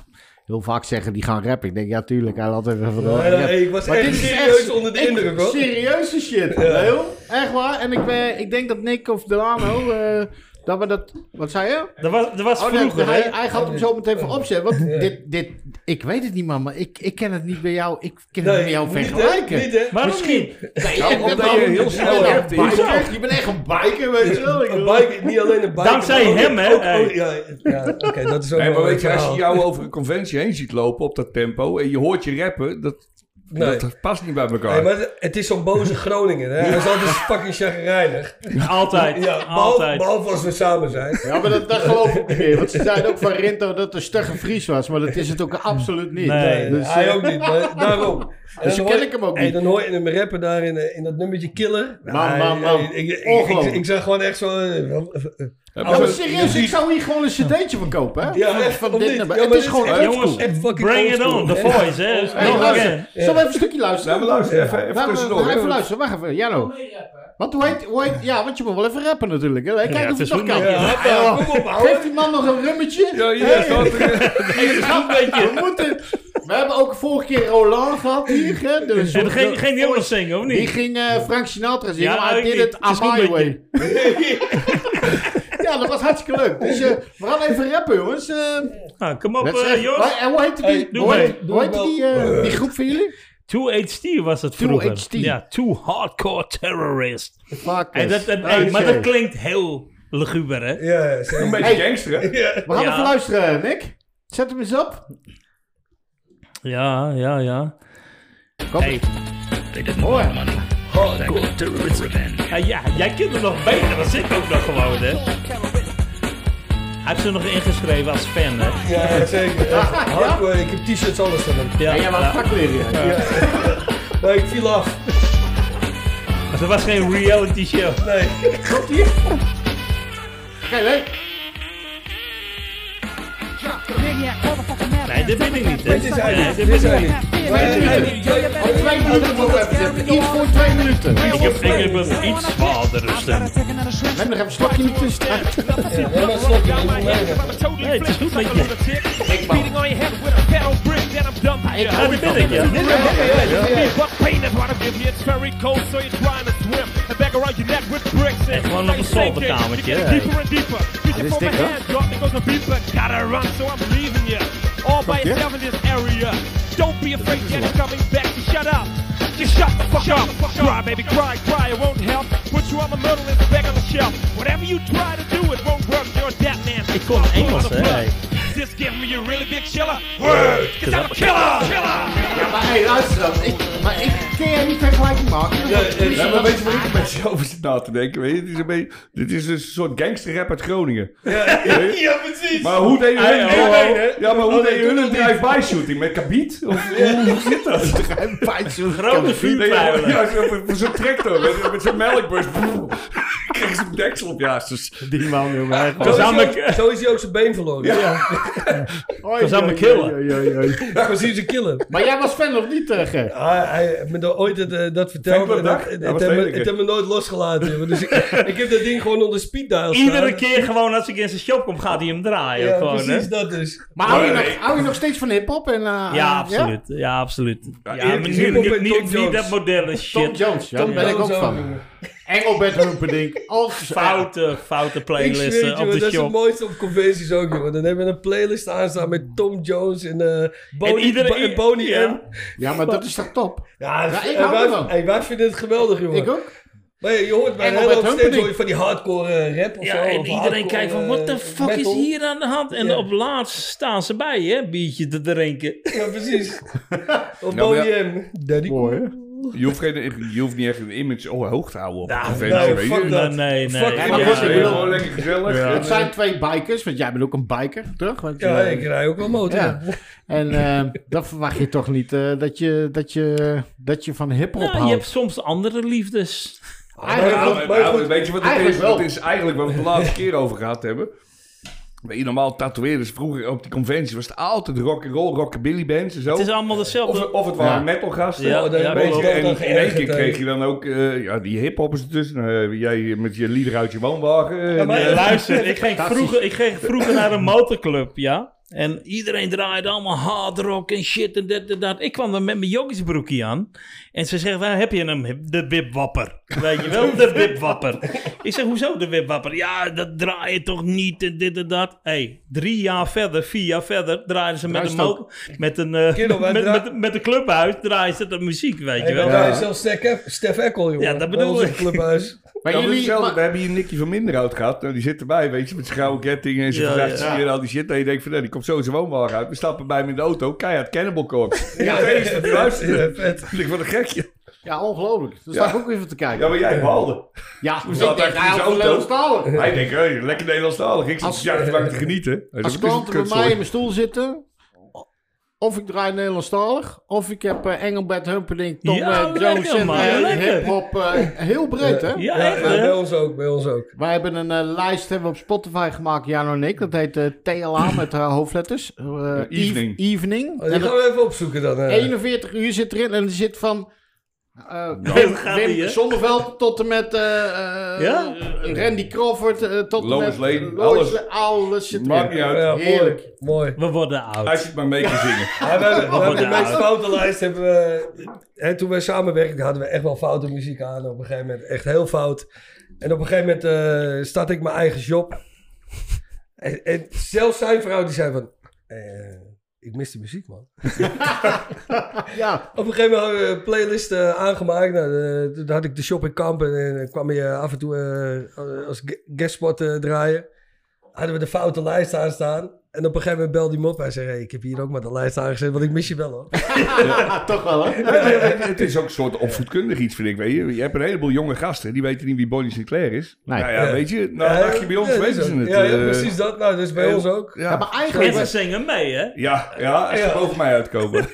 [SPEAKER 1] heel vaak zeggen die gaan rappen. Ik denk, ja, tuurlijk, hij had even van
[SPEAKER 4] Nee, nee, nee, ik was echt serieus onder de
[SPEAKER 1] ik-
[SPEAKER 4] indruk, hoor.
[SPEAKER 1] Serieuze shit, heel, echt waar. En ik, ben, ik denk dat Nick of Delano, eh dat we dat, wat zei je?
[SPEAKER 3] Dat was, dat was
[SPEAKER 1] Oh, nee,
[SPEAKER 3] vroeger,
[SPEAKER 1] hij,
[SPEAKER 3] hè?
[SPEAKER 1] hij gaat hem zo meteen voor opzetten. Want
[SPEAKER 4] Ja.
[SPEAKER 1] dit, dit, ik weet het niet, man, maar ik, ik ken het niet bij jou. Ik ken het
[SPEAKER 4] Nee,
[SPEAKER 1] niet bij jou
[SPEAKER 4] niet, hè?
[SPEAKER 1] vergelijken.
[SPEAKER 4] Niet, hè?
[SPEAKER 3] Waarom
[SPEAKER 1] Misschien.
[SPEAKER 3] niet?
[SPEAKER 1] Nee, ik ben
[SPEAKER 4] omdat
[SPEAKER 1] wel-
[SPEAKER 4] je heel
[SPEAKER 1] Nou, je bent
[SPEAKER 4] snel
[SPEAKER 1] wel een
[SPEAKER 4] hebt,
[SPEAKER 1] biker.
[SPEAKER 3] Hoezo?
[SPEAKER 1] Je bent echt een biker, weet je wel. Ik
[SPEAKER 4] Een
[SPEAKER 1] bedoel-
[SPEAKER 4] biker, niet alleen een biker.
[SPEAKER 3] Dankzij
[SPEAKER 4] maar ook-
[SPEAKER 3] hem, hè?
[SPEAKER 4] ook- ook-
[SPEAKER 3] Hey.
[SPEAKER 4] Ja, ja, oké, dat is ook
[SPEAKER 2] Nee,
[SPEAKER 4] wel
[SPEAKER 2] maar
[SPEAKER 4] een
[SPEAKER 2] weet je, als je
[SPEAKER 4] verhaal.
[SPEAKER 2] jou over een conventie heen ziet lopen op dat tempo en je hoort je rappen, dat,
[SPEAKER 4] Nee.
[SPEAKER 2] dat past niet bij elkaar.
[SPEAKER 4] Nee, maar het- het is zo'n boze Groningen, hè? Hij is altijd fucking chagrijnig.
[SPEAKER 3] Altijd,
[SPEAKER 4] Ja, behalve,
[SPEAKER 3] altijd.
[SPEAKER 4] behalve als we samen zijn.
[SPEAKER 1] Ja, maar dat, dat geloof ik niet meer. Want ze zeiden ook van Rinto dat het een stugge Fries was. Maar dat is het ook absoluut niet.
[SPEAKER 3] Nee.
[SPEAKER 1] Dus,
[SPEAKER 4] hij
[SPEAKER 1] eh,
[SPEAKER 4] ook niet, maar daarom. En
[SPEAKER 1] Dus
[SPEAKER 4] dan
[SPEAKER 1] ken
[SPEAKER 4] hoor-
[SPEAKER 1] ik hem ook
[SPEAKER 4] hey,
[SPEAKER 1] niet.
[SPEAKER 4] dan hoor je hem rappen daar in, eh, in dat nummertje Killer. Nou,
[SPEAKER 1] Man, man,
[SPEAKER 4] eh,
[SPEAKER 1] man.
[SPEAKER 4] Ik, ik, ik- ik,
[SPEAKER 1] Ongelooflijk.
[SPEAKER 4] ik zag gewoon echt zo... eh, wel- eh,
[SPEAKER 2] Hebben
[SPEAKER 1] Ja, maar
[SPEAKER 2] ze-
[SPEAKER 1] serieus, ik zou hier gewoon een cd'tje van kopen, hè?
[SPEAKER 4] Ja,
[SPEAKER 1] Van-
[SPEAKER 4] echt,
[SPEAKER 1] van
[SPEAKER 4] om
[SPEAKER 1] dit
[SPEAKER 4] dit-
[SPEAKER 1] nummer.
[SPEAKER 4] ja,
[SPEAKER 1] het
[SPEAKER 4] maar
[SPEAKER 1] is
[SPEAKER 4] dit-
[SPEAKER 1] gewoon
[SPEAKER 4] eh,
[SPEAKER 1] old
[SPEAKER 3] jongens,
[SPEAKER 1] school.
[SPEAKER 4] echt fucking
[SPEAKER 3] Bring it
[SPEAKER 4] oldschool,
[SPEAKER 3] on, the
[SPEAKER 4] hè?
[SPEAKER 3] voice, hè?
[SPEAKER 1] Hey,
[SPEAKER 3] Nog een
[SPEAKER 1] luister.
[SPEAKER 3] keer.
[SPEAKER 1] Zullen we even een stukje luisteren?
[SPEAKER 2] Nou, maar luister, even, even
[SPEAKER 1] Laten we-
[SPEAKER 2] tussendoor.
[SPEAKER 1] even
[SPEAKER 2] hè.
[SPEAKER 1] luisteren, wacht even. Janno. Want hoe heet, hoe heet... Ja, want je moet wel even rappen natuurlijk. Hè? Kijk
[SPEAKER 3] Ja,
[SPEAKER 1] of
[SPEAKER 3] het
[SPEAKER 1] het
[SPEAKER 3] is
[SPEAKER 1] toch
[SPEAKER 3] goed,
[SPEAKER 1] kan.
[SPEAKER 3] man.
[SPEAKER 1] Ja,
[SPEAKER 4] ja,
[SPEAKER 1] joh.
[SPEAKER 4] kom op,
[SPEAKER 1] Geef
[SPEAKER 4] ouwe.
[SPEAKER 1] die man nog een rummetje.
[SPEAKER 2] Ja, hier
[SPEAKER 1] Hey.
[SPEAKER 2] staat er.
[SPEAKER 1] We moeten... We hebben ook vorige keer Roland gehad hier. Hè? Dus
[SPEAKER 3] En geen, geen die ook nog zingen, of
[SPEAKER 1] Die
[SPEAKER 3] niet?
[SPEAKER 1] ging eh, Frank Sinatra zingen,
[SPEAKER 3] Ja,
[SPEAKER 1] maar I
[SPEAKER 3] ik
[SPEAKER 1] did
[SPEAKER 3] niet.
[SPEAKER 1] it
[SPEAKER 3] Het is
[SPEAKER 1] on
[SPEAKER 3] goed
[SPEAKER 1] my
[SPEAKER 3] met
[SPEAKER 1] way. ja, dat was hartstikke leuk. Dus eh, we gaan even rappen, jongens. Eh,
[SPEAKER 3] Nou, kom op,
[SPEAKER 1] let's
[SPEAKER 3] eh,
[SPEAKER 1] rap.
[SPEAKER 3] Jos.
[SPEAKER 1] Maar, en hoe heette die,
[SPEAKER 3] Hey, doe
[SPEAKER 1] hoe
[SPEAKER 3] mee.
[SPEAKER 1] heette-
[SPEAKER 4] Doe
[SPEAKER 1] hoe heette
[SPEAKER 4] wel.
[SPEAKER 1] die, eh, die groep van jullie?
[SPEAKER 3] 2HT was het vroeger.
[SPEAKER 1] 2HT.
[SPEAKER 3] Ja, Too Hardcore Terrorist.
[SPEAKER 1] Fuck
[SPEAKER 3] Hey, dat, dat- hey, maar dat klinkt heel luguber, hè?
[SPEAKER 4] Ja, ja,
[SPEAKER 2] Een
[SPEAKER 4] zeker.
[SPEAKER 2] beetje gangster, hè?
[SPEAKER 1] We gaan
[SPEAKER 3] Ja.
[SPEAKER 1] even luisteren, Nick. Zet hem eens op.
[SPEAKER 3] Ja, ja, ja.
[SPEAKER 1] Kom.
[SPEAKER 3] Hey.
[SPEAKER 1] Hoor.
[SPEAKER 3] Hardcore Terrorist. Hey, ja, jij kent hem nog beter dan ik ook nog gewoon, hè? Hij heeft ze nog ingeschreven als fan, hè?
[SPEAKER 4] Ja, ja, zeker. Hardcore, ik heb t-shirts, alles van hem.
[SPEAKER 3] Ja,
[SPEAKER 1] Ja, maar
[SPEAKER 3] ja.
[SPEAKER 1] fuck weer je.
[SPEAKER 4] Maar ik viel af.
[SPEAKER 3] Maar er was geen reality show.
[SPEAKER 4] Nee.
[SPEAKER 1] Kijk, hè.
[SPEAKER 3] Nee, dit ben ik niet, hè?
[SPEAKER 4] Dit is hij
[SPEAKER 3] Nee,
[SPEAKER 4] niet,
[SPEAKER 3] dit
[SPEAKER 4] dit is
[SPEAKER 3] ben ik
[SPEAKER 4] hij
[SPEAKER 3] niet.
[SPEAKER 4] niet.
[SPEAKER 1] Twee minuten. Oh, twee minuten moet ik even zetten. Iets voor twee minuten.
[SPEAKER 3] Ik heb, ik heb een iets zwaardere stem.
[SPEAKER 1] Neem nog even een slokje in de tussentijd.
[SPEAKER 4] Ja, maar snap je, ik voel mij niet.
[SPEAKER 3] Nee, het is goed met je.
[SPEAKER 1] Ik
[SPEAKER 3] Ja,
[SPEAKER 1] hou
[SPEAKER 3] dit
[SPEAKER 1] ervan.
[SPEAKER 3] ben ik, ja.
[SPEAKER 7] En gewoon nog een zolderkamertje.
[SPEAKER 3] hè?
[SPEAKER 7] Dit is dik, hoor. Gotta run, so I'm leaving you. All by yourself in this area. Don't be afraid, get it coming back. You Shut up. Just shut the fuck up. Cry, baby, cry, cry. It won't help. Put you on the middle and back on the shelf. Whatever you try to do, it won't work. You're a dead man.
[SPEAKER 3] Ik kon Engels, hè? Hey.
[SPEAKER 7] Just give me a really big chiller. Word. Cause I'm a killer. Killer.
[SPEAKER 1] Ja, maar hé, luister dan. Ik, maar ik kan jij niet vergelijking maken.
[SPEAKER 2] Ja, maar weet je waar ik een beetje over zit na te denken? Weet je, het is een beetje, dit is een soort gangsterrap uit Groningen.
[SPEAKER 4] Ja, precies.
[SPEAKER 2] Maar hoe deden
[SPEAKER 3] Hey,
[SPEAKER 2] hun,
[SPEAKER 3] ho, ho.
[SPEAKER 2] Nee, nee, ja, maar hoe
[SPEAKER 4] Oh, nee,
[SPEAKER 2] deden hun
[SPEAKER 4] doe
[SPEAKER 2] een drive-by shooting? Met kabiet? Of hoe zit dat?
[SPEAKER 1] Een pijtje.
[SPEAKER 3] Grote
[SPEAKER 2] Nee,
[SPEAKER 3] vuurpijlen.
[SPEAKER 2] ja, zo- met zo'n tractor, met, met zo'n melkbus. Kreeg ze een deksel op je hasses.
[SPEAKER 1] Die man, jongen.
[SPEAKER 4] Zo is,
[SPEAKER 3] Samen-
[SPEAKER 4] hij ook, zo is hij ook zijn been verloren. Ja.
[SPEAKER 1] Oei,
[SPEAKER 3] zijn we
[SPEAKER 1] oei,
[SPEAKER 3] killen.
[SPEAKER 1] oei, oei, oei.
[SPEAKER 4] Precies een killer.
[SPEAKER 1] Maar jij was fan of niet, eh, Ger?
[SPEAKER 4] Ah, hij heeft me daar ooit dat, eh, dat verteld.
[SPEAKER 2] Fanclub
[SPEAKER 4] en dat-
[SPEAKER 2] dag?
[SPEAKER 4] Het
[SPEAKER 2] Dat was
[SPEAKER 4] heeft
[SPEAKER 2] de
[SPEAKER 4] me-
[SPEAKER 2] enige.
[SPEAKER 4] het heeft me nooit losgelaten. jongen. Dus ik, ik heb dat ding gewoon onder speed dial staan.
[SPEAKER 3] Iedere keer gewoon als ik in zijn shop kom, gaat hij hem draaien.
[SPEAKER 4] Ja,
[SPEAKER 3] gewoon,
[SPEAKER 4] precies
[SPEAKER 3] hè?
[SPEAKER 4] dat dus.
[SPEAKER 1] Maar hou je,
[SPEAKER 2] Nee.
[SPEAKER 1] nog, hou je nog steeds van hip-hop? En, eh,
[SPEAKER 3] Ja,
[SPEAKER 1] eh,
[SPEAKER 3] absoluut. Ja, absoluut. Ja,
[SPEAKER 2] eerlijk
[SPEAKER 3] maar
[SPEAKER 2] is
[SPEAKER 3] nu,
[SPEAKER 4] hiphop
[SPEAKER 3] nu-
[SPEAKER 4] en
[SPEAKER 3] niet,
[SPEAKER 4] Tom
[SPEAKER 3] niet
[SPEAKER 4] Jones.
[SPEAKER 3] dat moderne
[SPEAKER 1] Tom
[SPEAKER 3] shit.
[SPEAKER 1] Jones, ja, daar ben ik ook
[SPEAKER 4] Zo,
[SPEAKER 1] van.
[SPEAKER 4] jongen.
[SPEAKER 1] Engelbert Humperdinck, als
[SPEAKER 3] Foute, foute
[SPEAKER 4] Ik zweer het,
[SPEAKER 3] playlisten eh, op
[SPEAKER 4] jongen,
[SPEAKER 3] de
[SPEAKER 4] dat is het
[SPEAKER 3] shop.
[SPEAKER 4] mooiste op conventies ook, jongen. Dan hebben we een playlist aanstaan met Tom Jones en eh Boney,
[SPEAKER 3] En iedereen-
[SPEAKER 4] Bo- Boney
[SPEAKER 3] ja.
[SPEAKER 4] M.
[SPEAKER 1] Ja, maar dat is toch top?
[SPEAKER 4] Ja,
[SPEAKER 1] Ja, ik
[SPEAKER 4] en
[SPEAKER 1] hou
[SPEAKER 4] wij,
[SPEAKER 1] ervan.
[SPEAKER 4] hey, wij vinden het geweldig, jongen.
[SPEAKER 1] Ik ook.
[SPEAKER 4] Maar je hoort bij een
[SPEAKER 3] Engelbert
[SPEAKER 4] hele hoop steeds
[SPEAKER 3] Humperdinck.
[SPEAKER 4] hoor je van die hardcore eh, rap of zo.
[SPEAKER 3] Ja, en
[SPEAKER 4] of
[SPEAKER 3] iedereen
[SPEAKER 4] hardcore,
[SPEAKER 3] kijkt van,
[SPEAKER 4] eh,
[SPEAKER 3] what the fuck
[SPEAKER 4] metal."
[SPEAKER 3] is hier aan de hand? En
[SPEAKER 4] Ja.
[SPEAKER 3] op laatst staan ze bij, hè, biertje te drinken.
[SPEAKER 4] Ja, precies. of
[SPEAKER 2] Nou, maar
[SPEAKER 4] OEM. Daddy.
[SPEAKER 1] Mooi, hè?
[SPEAKER 2] Je hoeft, geen, je hoeft niet echt een image hoog te houden op
[SPEAKER 3] Nou,
[SPEAKER 2] een
[SPEAKER 4] nou,
[SPEAKER 2] vent. weet
[SPEAKER 4] fuck
[SPEAKER 2] je.
[SPEAKER 4] dat.
[SPEAKER 3] Nee, nee, nee.
[SPEAKER 4] Fuck
[SPEAKER 3] Ja,
[SPEAKER 1] dat. Maar goed, ik
[SPEAKER 2] Ja,
[SPEAKER 1] bedoel-
[SPEAKER 2] gewoon lekker gezellig.
[SPEAKER 3] Ja.
[SPEAKER 1] Het zijn twee bikers, want jij bent ook een biker, toch? Want,
[SPEAKER 4] Ja,
[SPEAKER 1] eh,
[SPEAKER 4] ik rij ook wel motor.
[SPEAKER 1] Ja. En eh, dan verwacht je toch niet eh, dat, je, dat, je, dat je van hip-hop
[SPEAKER 3] Nou, je
[SPEAKER 1] houdt.
[SPEAKER 3] hebt soms andere liefdes.
[SPEAKER 1] Eigenlijk
[SPEAKER 2] Nou,
[SPEAKER 1] wel.
[SPEAKER 4] maar
[SPEAKER 2] nou,
[SPEAKER 4] goed,
[SPEAKER 2] weet je wat het
[SPEAKER 1] eigenlijk
[SPEAKER 2] is?
[SPEAKER 1] wel.
[SPEAKER 2] Dat is eigenlijk waar we het de laatste keer over gehad hebben. Weet je, normaal tatoeëerders vroeger op die conventie was het altijd rock and roll, rockabilly bands en zo.
[SPEAKER 3] Het is allemaal
[SPEAKER 2] Of,
[SPEAKER 3] dezelfde.
[SPEAKER 2] of het waren
[SPEAKER 1] Ja.
[SPEAKER 2] metal gasten.
[SPEAKER 3] Ja, ja,
[SPEAKER 2] weet
[SPEAKER 4] klopt.
[SPEAKER 2] je, en
[SPEAKER 4] Dat
[SPEAKER 2] in één keer
[SPEAKER 4] geërgerd,
[SPEAKER 2] kreeg
[SPEAKER 4] eh.
[SPEAKER 2] je dan ook eh, ja, die hiphoppers ertussen. Eh, jij met je lieder uit je woonwagen. en,
[SPEAKER 4] maar-
[SPEAKER 2] eh,
[SPEAKER 3] Luister, ik ging, vroeger, ik ging vroeger naar een motorclub, ja. En iedereen draaide allemaal hard rock en shit en dat en dat. Ik kwam dan met mijn joggingsbroekje aan. En ze zegt, "Waar heb je hem? De wipwapper. Weet je wel, de wipwapper. Ik zeg, hoezo de wipwapper? Ja, dat draai je toch niet en dit en dat. hey, drie jaar verder, vier jaar verder, draaiden ze met
[SPEAKER 1] Draai
[SPEAKER 3] een,
[SPEAKER 1] ze het
[SPEAKER 3] mo- met, een, eh,
[SPEAKER 4] Kerel, wij
[SPEAKER 3] met,
[SPEAKER 4] draa-
[SPEAKER 3] met, met een clubhuis, draaien ze de muziek, weet je
[SPEAKER 4] Hey,
[SPEAKER 3] wel.
[SPEAKER 4] wij draaien zelfs Stef- Stef Eckel, jongen.
[SPEAKER 3] Ja, dat bedoel
[SPEAKER 4] Bij
[SPEAKER 3] ik.
[SPEAKER 4] ons in het clubhuis.
[SPEAKER 1] Maar
[SPEAKER 2] Ja, maar
[SPEAKER 1] jullie...
[SPEAKER 2] hetzelfde,
[SPEAKER 1] maar-
[SPEAKER 2] we hebben hier Nicky van Minderhout gehad. Nou, die zit erbij, weet je, met zijn gouden ketting en zijn
[SPEAKER 3] Ja,
[SPEAKER 2] ja,
[SPEAKER 3] ja.
[SPEAKER 2] en al die shit. En je denkt van, nee, die komt zo in zijn woonwagen uit. We stappen bij hem in de auto, keihard Cannibal Corpse. Ja, dat is het
[SPEAKER 4] Ja,
[SPEAKER 2] luisteren.
[SPEAKER 4] vet.
[SPEAKER 2] Ik vind het een gekje.
[SPEAKER 1] Ja, ongelooflijk. Daar
[SPEAKER 2] Ja.
[SPEAKER 1] sta ik ook even te kijken.
[SPEAKER 2] Ja, maar jij behaalde.
[SPEAKER 1] Ja, we
[SPEAKER 2] zaten echt in zijn auto.
[SPEAKER 1] Nederlandstalig.
[SPEAKER 2] Hij denkt, hey, lekker Nederlandstalig. Ik zit
[SPEAKER 1] Als- eh,
[SPEAKER 2] op jachtbank te genieten. Hij
[SPEAKER 1] Als
[SPEAKER 2] zegt, wat is
[SPEAKER 1] klanten
[SPEAKER 2] het
[SPEAKER 1] bij mij in
[SPEAKER 2] kutzooi?
[SPEAKER 1] mijn stoel zitten... Of ik draai Nederlandstalig, of ik heb eh, Engelbert Humperdinck, Tom
[SPEAKER 3] Ja,
[SPEAKER 1] eh,
[SPEAKER 3] lekker,
[SPEAKER 1] Jones en
[SPEAKER 3] man,
[SPEAKER 1] eh,
[SPEAKER 3] lekker.
[SPEAKER 1] hip-hop. eh, heel breed, hè?
[SPEAKER 3] Ja,
[SPEAKER 4] Ja,
[SPEAKER 3] echt, hè?
[SPEAKER 4] bij ons ook, bij ons ook.
[SPEAKER 1] Wij hebben een eh, lijst hebben we op Spotify gemaakt, Jan en ik. Dat heet eh, TLA met haar hoofdletters. Eh,
[SPEAKER 2] Evening.
[SPEAKER 1] eve- evening.
[SPEAKER 4] Oh, die
[SPEAKER 1] En
[SPEAKER 4] gaan we even opzoeken dan.
[SPEAKER 1] dat-
[SPEAKER 4] eh.
[SPEAKER 1] 41 uur zit erin en er zit van... eh Wim,
[SPEAKER 3] Dat gaat
[SPEAKER 1] Wim
[SPEAKER 3] niet, hè?
[SPEAKER 1] Sonneveld tot en met eh, eh,
[SPEAKER 3] Ja?
[SPEAKER 1] Randy Crawford eh, tot en
[SPEAKER 2] Lois
[SPEAKER 1] met
[SPEAKER 2] Lane,
[SPEAKER 1] Lois
[SPEAKER 2] alles.
[SPEAKER 1] Lane, alles zit
[SPEAKER 2] Maakt
[SPEAKER 1] erin.
[SPEAKER 2] niet uit.
[SPEAKER 4] Ja,
[SPEAKER 1] Heerlijk.
[SPEAKER 4] mooi. mooi.
[SPEAKER 3] We worden oud.
[SPEAKER 2] Als je het maar mee kan zingen.
[SPEAKER 4] Ja, we hebben, we
[SPEAKER 3] Oh,
[SPEAKER 4] hebben de
[SPEAKER 3] nou.
[SPEAKER 4] meest foute lijst. Hebben we, hè, toen we samenwerkten hadden we echt wel foute muziek aan. Op een gegeven moment echt heel fout. En op een gegeven moment eh start ik mijn eigen job. En, en zelfs zijn vrouw die zei van... eh, ik mis de muziek man.
[SPEAKER 1] Ja,
[SPEAKER 4] Op een gegeven moment hadden we een playlist eh, aangemaakt. Nou, eh, toen had ik de shop in kamp en, eh, kwam je af en toe eh, als ge- guestspot eh, draaien. Hadden we de foute lijst aanstaan. En op een gegeven moment belde die me op. Hij zei, hey, ik heb hier ook maar de lijst aangezet, want ik mis je wel hoor.
[SPEAKER 1] toch wel hè?
[SPEAKER 2] Ja, maar het- Het is ook een soort opvoedkundig iets, vind ik. Weet je. je hebt een heleboel jonge gasten, die weten niet wie Bonnie Sinclair is.
[SPEAKER 1] Nee.
[SPEAKER 2] Nou ja,
[SPEAKER 4] Ja.
[SPEAKER 2] weet je, nou
[SPEAKER 4] Ja,
[SPEAKER 2] dacht je bij ons
[SPEAKER 4] ja, dat is
[SPEAKER 2] weten ze
[SPEAKER 4] ook.
[SPEAKER 2] het.
[SPEAKER 4] Ja, ja,
[SPEAKER 2] eh,
[SPEAKER 4] precies dat. Nou, dus bij
[SPEAKER 2] heel-
[SPEAKER 4] ons ook.
[SPEAKER 1] Ja,
[SPEAKER 2] Ja,
[SPEAKER 1] maar
[SPEAKER 3] En
[SPEAKER 1] eigenlijk...
[SPEAKER 3] ze zingen mee, hè?
[SPEAKER 2] ja, ja, als ze
[SPEAKER 4] Ja.
[SPEAKER 2] boven mij uitkomen.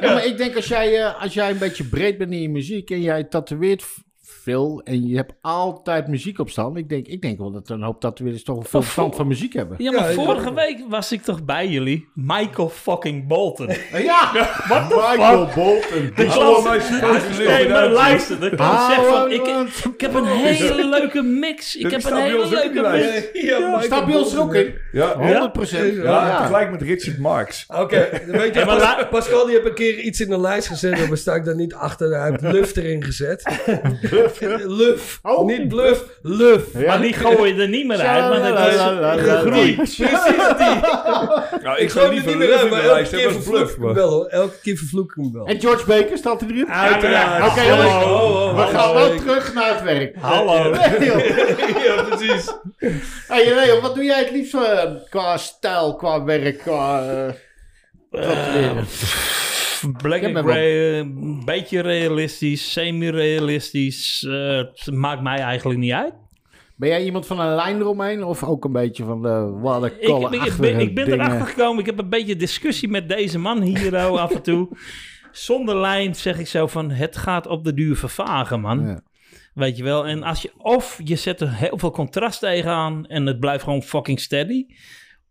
[SPEAKER 1] Ja, maar ik denk als jij, eh, als jij een beetje breed bent in je muziek en jij tatoeëert v- veel en je hebt altijd muziek op stand. Ik denk, ik denk wel dat een hoop tatoeëerders toch wel veel
[SPEAKER 3] Of-
[SPEAKER 1] verstand van muziek hebben.
[SPEAKER 3] Ja, maar
[SPEAKER 4] Ja,
[SPEAKER 3] vorige
[SPEAKER 4] ja.
[SPEAKER 3] week was ik toch bij jullie? Michael fucking Bolton. De
[SPEAKER 1] Ja! What the Michael Bolton.
[SPEAKER 2] Hallo,
[SPEAKER 3] klant-
[SPEAKER 2] mijn supervisor ligt
[SPEAKER 3] Nee, maar
[SPEAKER 2] eruit.
[SPEAKER 3] luister, de klant
[SPEAKER 1] Hallo,
[SPEAKER 3] zegt van... Ik,
[SPEAKER 1] want-
[SPEAKER 3] ik heb een hele leuke mix. Ik
[SPEAKER 2] Dit
[SPEAKER 3] heb
[SPEAKER 2] staat
[SPEAKER 3] een
[SPEAKER 2] bij
[SPEAKER 3] hele
[SPEAKER 2] ons ook in de
[SPEAKER 3] leuke
[SPEAKER 2] lijst.
[SPEAKER 3] mix.
[SPEAKER 4] Ja, Michael
[SPEAKER 1] Staat bij ons
[SPEAKER 4] Bolton.
[SPEAKER 1] ook in.
[SPEAKER 2] Ja,
[SPEAKER 1] 100 procent.
[SPEAKER 4] Ja.
[SPEAKER 2] Ja,
[SPEAKER 1] Ja.
[SPEAKER 2] tegelijk met Richard Marx.
[SPEAKER 4] Oké, weet je,
[SPEAKER 3] maar
[SPEAKER 4] Pas-
[SPEAKER 3] la-
[SPEAKER 4] Pascal die heeft een keer iets in de lijst gezet, maar sta ik daar niet achter. Hij heeft luf erin gezet. luf,
[SPEAKER 1] Oh.
[SPEAKER 4] niet bluff, luf.
[SPEAKER 3] Maar die gooi je er niet meer uit, want het is gegroeid.
[SPEAKER 4] Precies die.
[SPEAKER 2] Nou, ik
[SPEAKER 4] Gewoon
[SPEAKER 2] zou
[SPEAKER 4] er
[SPEAKER 2] liever
[SPEAKER 4] niet meer
[SPEAKER 2] Luf
[SPEAKER 4] uit,
[SPEAKER 2] in
[SPEAKER 4] maar
[SPEAKER 2] mijn
[SPEAKER 4] elke
[SPEAKER 2] lijst
[SPEAKER 4] keer
[SPEAKER 2] hebben als
[SPEAKER 4] vervloek
[SPEAKER 2] Bluff.
[SPEAKER 4] ik hem wel hoor. Elke keer vervloek ik hem wel.
[SPEAKER 1] En George Baker staat hij erin?
[SPEAKER 2] Uiteraard.
[SPEAKER 1] Oké, jongens.
[SPEAKER 4] oh,
[SPEAKER 1] we
[SPEAKER 4] hallo.
[SPEAKER 1] gaan wel terug naar het werk.
[SPEAKER 3] Hallo.
[SPEAKER 1] Nee, joh.
[SPEAKER 4] ja, precies.
[SPEAKER 1] hey, Leon, wat doe jij het liefst eh, qua stijl, qua werk, qua... eh,
[SPEAKER 3] Eh.
[SPEAKER 1] tatoeëren?
[SPEAKER 3] Black
[SPEAKER 1] Ik heb
[SPEAKER 3] and
[SPEAKER 1] hem wel.
[SPEAKER 3] Grey, eh, een beetje realistisch, semi-realistisch. eh, het maakt mij eigenlijk niet uit.
[SPEAKER 1] ben jij iemand van een lijn eromheen of ook een beetje van de
[SPEAKER 3] Ik, ik,
[SPEAKER 1] waterkolen
[SPEAKER 3] ik ben, ik ben erachter gekomen. Ik heb een beetje discussie met deze man hier oh, af en toe. Zonder lijn zeg ik zo van... Het gaat op de duur vervagen, man.
[SPEAKER 1] Ja.
[SPEAKER 3] Weet je wel. En als je... Of je zet er heel veel contrast tegenaan... en het blijft gewoon fucking steady.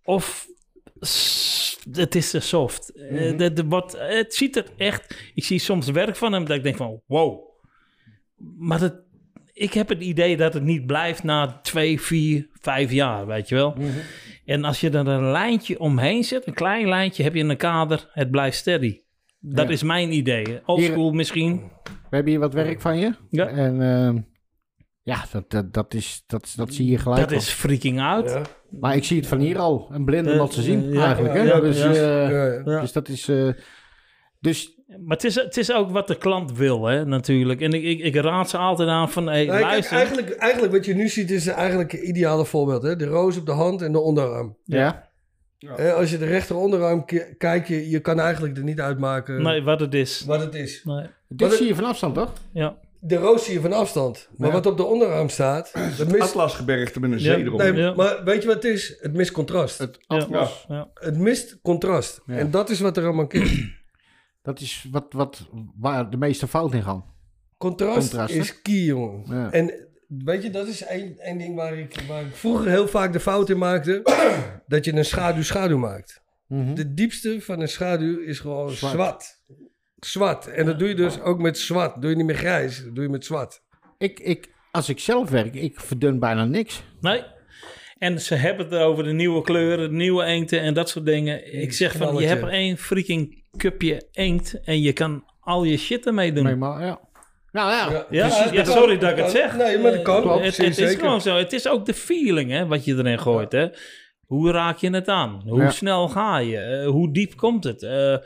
[SPEAKER 3] Of... s- Het is te soft. Eh,
[SPEAKER 4] Mhm.
[SPEAKER 3] dat- dat wordt- het ziet er echt... Ik zie soms werk van hem dat ik denk van... Wow. Maar dat, ik heb het idee dat het niet blijft na twee, vier, vijf jaar, weet je wel.
[SPEAKER 4] Mhm.
[SPEAKER 3] En als je er een lijntje omheen zet, een klein lijntje, heb je een kader, het blijft steady. Dat is mijn idee. Oldschool misschien.
[SPEAKER 1] We hebben hier wat werk van je.
[SPEAKER 3] Ja.
[SPEAKER 1] En ehm, ja, dat, dat, dat, is, dat, dat zie je gelijk
[SPEAKER 3] Dat
[SPEAKER 1] al.
[SPEAKER 3] is freaking out.
[SPEAKER 4] Ja.
[SPEAKER 1] Maar ik zie het van hier al. Een blinde
[SPEAKER 3] Eh,
[SPEAKER 1] wat ze zien
[SPEAKER 3] eh, ja,
[SPEAKER 1] eigenlijk. Hè?
[SPEAKER 4] ja,
[SPEAKER 1] dus,
[SPEAKER 4] ja.
[SPEAKER 1] eh,
[SPEAKER 4] Ja, ja.
[SPEAKER 1] dus dat is... eh, dus
[SPEAKER 3] Maar het is, het is ook wat de klant wil, hè, natuurlijk. En ik, ik, ik raad ze altijd aan van, hey,
[SPEAKER 4] Nou, kijk,
[SPEAKER 3] luister.
[SPEAKER 4] eigenlijk, eigenlijk wat je nu ziet is eigenlijk het ideale voorbeeld. Hè? De roos op de hand en de onderarm.
[SPEAKER 1] Ja.
[SPEAKER 4] Hè, als je de rechter onderarm ki- kijkt, je, je kan eigenlijk er niet uitmaken
[SPEAKER 3] Nee, wat het is.
[SPEAKER 4] wat het is.
[SPEAKER 3] Nee,
[SPEAKER 1] Dit
[SPEAKER 4] Maar de-
[SPEAKER 1] zie je van afstand, toch?
[SPEAKER 3] ja.
[SPEAKER 4] De roos zie je van afstand. Maar
[SPEAKER 1] Ja.
[SPEAKER 4] wat op de onderarm staat, dat mist...
[SPEAKER 2] Atlasgebergte met een
[SPEAKER 3] Ja,
[SPEAKER 2] zee erop.
[SPEAKER 4] Nee,
[SPEAKER 3] Ja.
[SPEAKER 4] maar weet je wat het is? Het mist contrast. Het,
[SPEAKER 1] Het atlas.
[SPEAKER 3] Ja. Ja.
[SPEAKER 4] mist contrast.
[SPEAKER 1] Ja.
[SPEAKER 4] En dat is wat er aan mankeert.
[SPEAKER 1] Dat is wat, wat, waar de meeste fouten in gaan.
[SPEAKER 4] Contrast,
[SPEAKER 1] Contrast, hè?
[SPEAKER 4] is key, jongen.
[SPEAKER 1] Ja.
[SPEAKER 4] En weet je, dat is één één ding waar ik, waar ik vroeger heel vaak de fout in maakte. dat je een schaduw-schaduw maakt.
[SPEAKER 1] Mhm.
[SPEAKER 4] De diepste van een schaduw is gewoon
[SPEAKER 1] Zwart.
[SPEAKER 4] zwart. Zwart. En dat doe je dus ook met zwart. Doe je niet meer grijs, dat doe je met zwart.
[SPEAKER 1] Ik, ik, als ik zelf werk, ik verdun bijna niks.
[SPEAKER 3] Nee. En ze hebben het over de nieuwe kleuren, de nieuwe engten en dat soort dingen. Ik zeg van, je
[SPEAKER 4] knalletje.
[SPEAKER 3] hebt er één freaking cupje inkt en je kan al je shit ermee doen.
[SPEAKER 1] Nee, maar ja. Nou ja,
[SPEAKER 3] Ah, Ja,
[SPEAKER 4] precies,
[SPEAKER 3] ja,
[SPEAKER 4] kan.
[SPEAKER 3] sorry dat ik het zeg.
[SPEAKER 4] Nee, maar dat kan.
[SPEAKER 3] Eh, het,
[SPEAKER 4] precies,
[SPEAKER 3] het is
[SPEAKER 4] zeker.
[SPEAKER 3] gewoon zo. Het is ook de feeling hè, wat je erin gooit. Hè. Hoe raak je het aan? Hoe
[SPEAKER 1] Ja.
[SPEAKER 3] snel ga je? Eh, hoe diep komt het? Eh,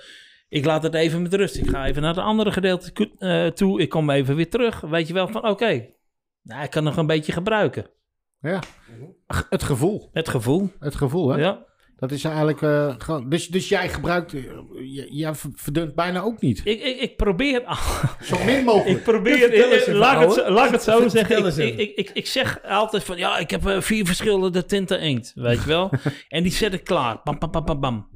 [SPEAKER 3] ik laat het even met rust. Ik ga even naar het andere gedeelte ko- eh, toe. Ik kom even weer terug. Weet je wel van oké. Nou, ik kan nog een beetje gebruiken.
[SPEAKER 1] ja. G- Het gevoel.
[SPEAKER 3] Het gevoel.
[SPEAKER 1] Het gevoel, hè?
[SPEAKER 3] Ja.
[SPEAKER 1] Dat is eigenlijk eh, gewoon... Dus, dus jij gebruikt... eh, j- jij ver- verdunt bijna ook niet.
[SPEAKER 3] Ik, ik, ik probeer
[SPEAKER 1] Zo min mogelijk.
[SPEAKER 3] Ik probeer,
[SPEAKER 4] Vertel eens
[SPEAKER 3] eh,
[SPEAKER 4] even,
[SPEAKER 3] laat, ik het,
[SPEAKER 4] ouwe.
[SPEAKER 3] zo- laat ik het zo
[SPEAKER 4] Vertel
[SPEAKER 3] zeggen. Ik,
[SPEAKER 4] eens
[SPEAKER 3] ik,
[SPEAKER 4] even.
[SPEAKER 3] ik, ik, ik zeg altijd van, ja, ik heb eh, vier verschillende tinten inkt, weet je wel. en die zet ik klaar. Bam, bam, bam, bam, bam.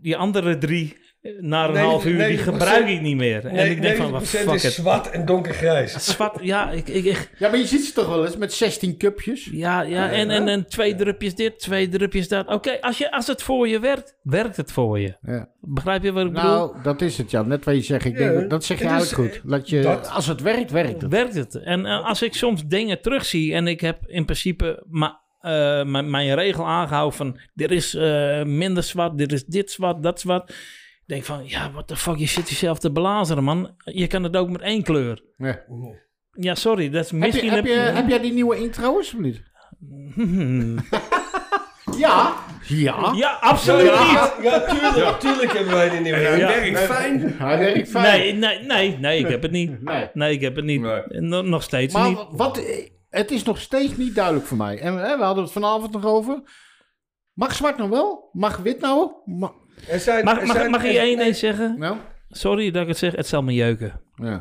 [SPEAKER 3] Die andere drie, eh, na een half uur, die
[SPEAKER 4] 90%
[SPEAKER 3] gebruik ik niet meer. en
[SPEAKER 4] Nee,
[SPEAKER 3] ik denk van, wat
[SPEAKER 4] 90%
[SPEAKER 3] fuck
[SPEAKER 4] is
[SPEAKER 3] het.
[SPEAKER 4] zwart en donkergrijs.
[SPEAKER 3] Zwart, ja, ik, ik, ik-
[SPEAKER 1] Ja, maar je ziet ze toch wel eens met 16 cupjes?
[SPEAKER 3] ja, ja en, en, en twee drupjes dit, twee drupjes dat. Oké, als als, als het voor je werkt, werkt het voor je.
[SPEAKER 1] Ja.
[SPEAKER 3] Begrijp je wat ik bedoel?
[SPEAKER 1] Nou, dat is het, ja. Net wat je zegt. Ik
[SPEAKER 4] Ja,
[SPEAKER 1] denk, dat- dat zeg je
[SPEAKER 4] het is,
[SPEAKER 1] eigenlijk goed. Dat je,
[SPEAKER 4] dat-
[SPEAKER 1] Als het werkt, werkt het.
[SPEAKER 3] werkt het. En eh, als ik soms dingen terugzie en ik heb in principe ma- eh, mijn- mijn regel aangehouden van dit is eh, minder zwart, dit is dit zwart, dat zwart. Ik denk van, ja, what the fuck, je zit jezelf te belazeren, man. Je kan het ook met één kleur.
[SPEAKER 1] Ja.
[SPEAKER 3] Ja, sorry, dat is
[SPEAKER 1] Heb, je,
[SPEAKER 3] misschien...
[SPEAKER 1] heb, je,
[SPEAKER 3] een-
[SPEAKER 1] heb jij die nieuwe intro of niet?
[SPEAKER 3] Hmm.
[SPEAKER 1] Ja. Ja.
[SPEAKER 3] Ja, absoluut niet.
[SPEAKER 4] Ja, ja, tuurlijk, tuurlijk hebben wij die nieuwe.
[SPEAKER 2] Ja,
[SPEAKER 3] Ja.
[SPEAKER 2] werkt fijn.
[SPEAKER 1] Hij werkt fijn.
[SPEAKER 3] Nee, nee, nee, nee, ik heb het niet.
[SPEAKER 1] Nee.
[SPEAKER 3] Nee, ik heb het niet.
[SPEAKER 2] Nee.
[SPEAKER 3] Nog- nog steeds
[SPEAKER 1] Maar
[SPEAKER 3] niet.
[SPEAKER 1] wat, het is nog steeds niet duidelijk voor mij. En hè, we hadden het vanavond nog over. Mag zwart nou wel? Mag wit nou? Ma-
[SPEAKER 4] Er zijn,
[SPEAKER 3] Mag,
[SPEAKER 4] er
[SPEAKER 3] mag,
[SPEAKER 4] zijn-
[SPEAKER 3] mag ik
[SPEAKER 4] er-
[SPEAKER 3] je één ding zeggen?
[SPEAKER 1] nou?
[SPEAKER 3] Sorry dat ik het zeg, het zal me jeuken.
[SPEAKER 1] Ja.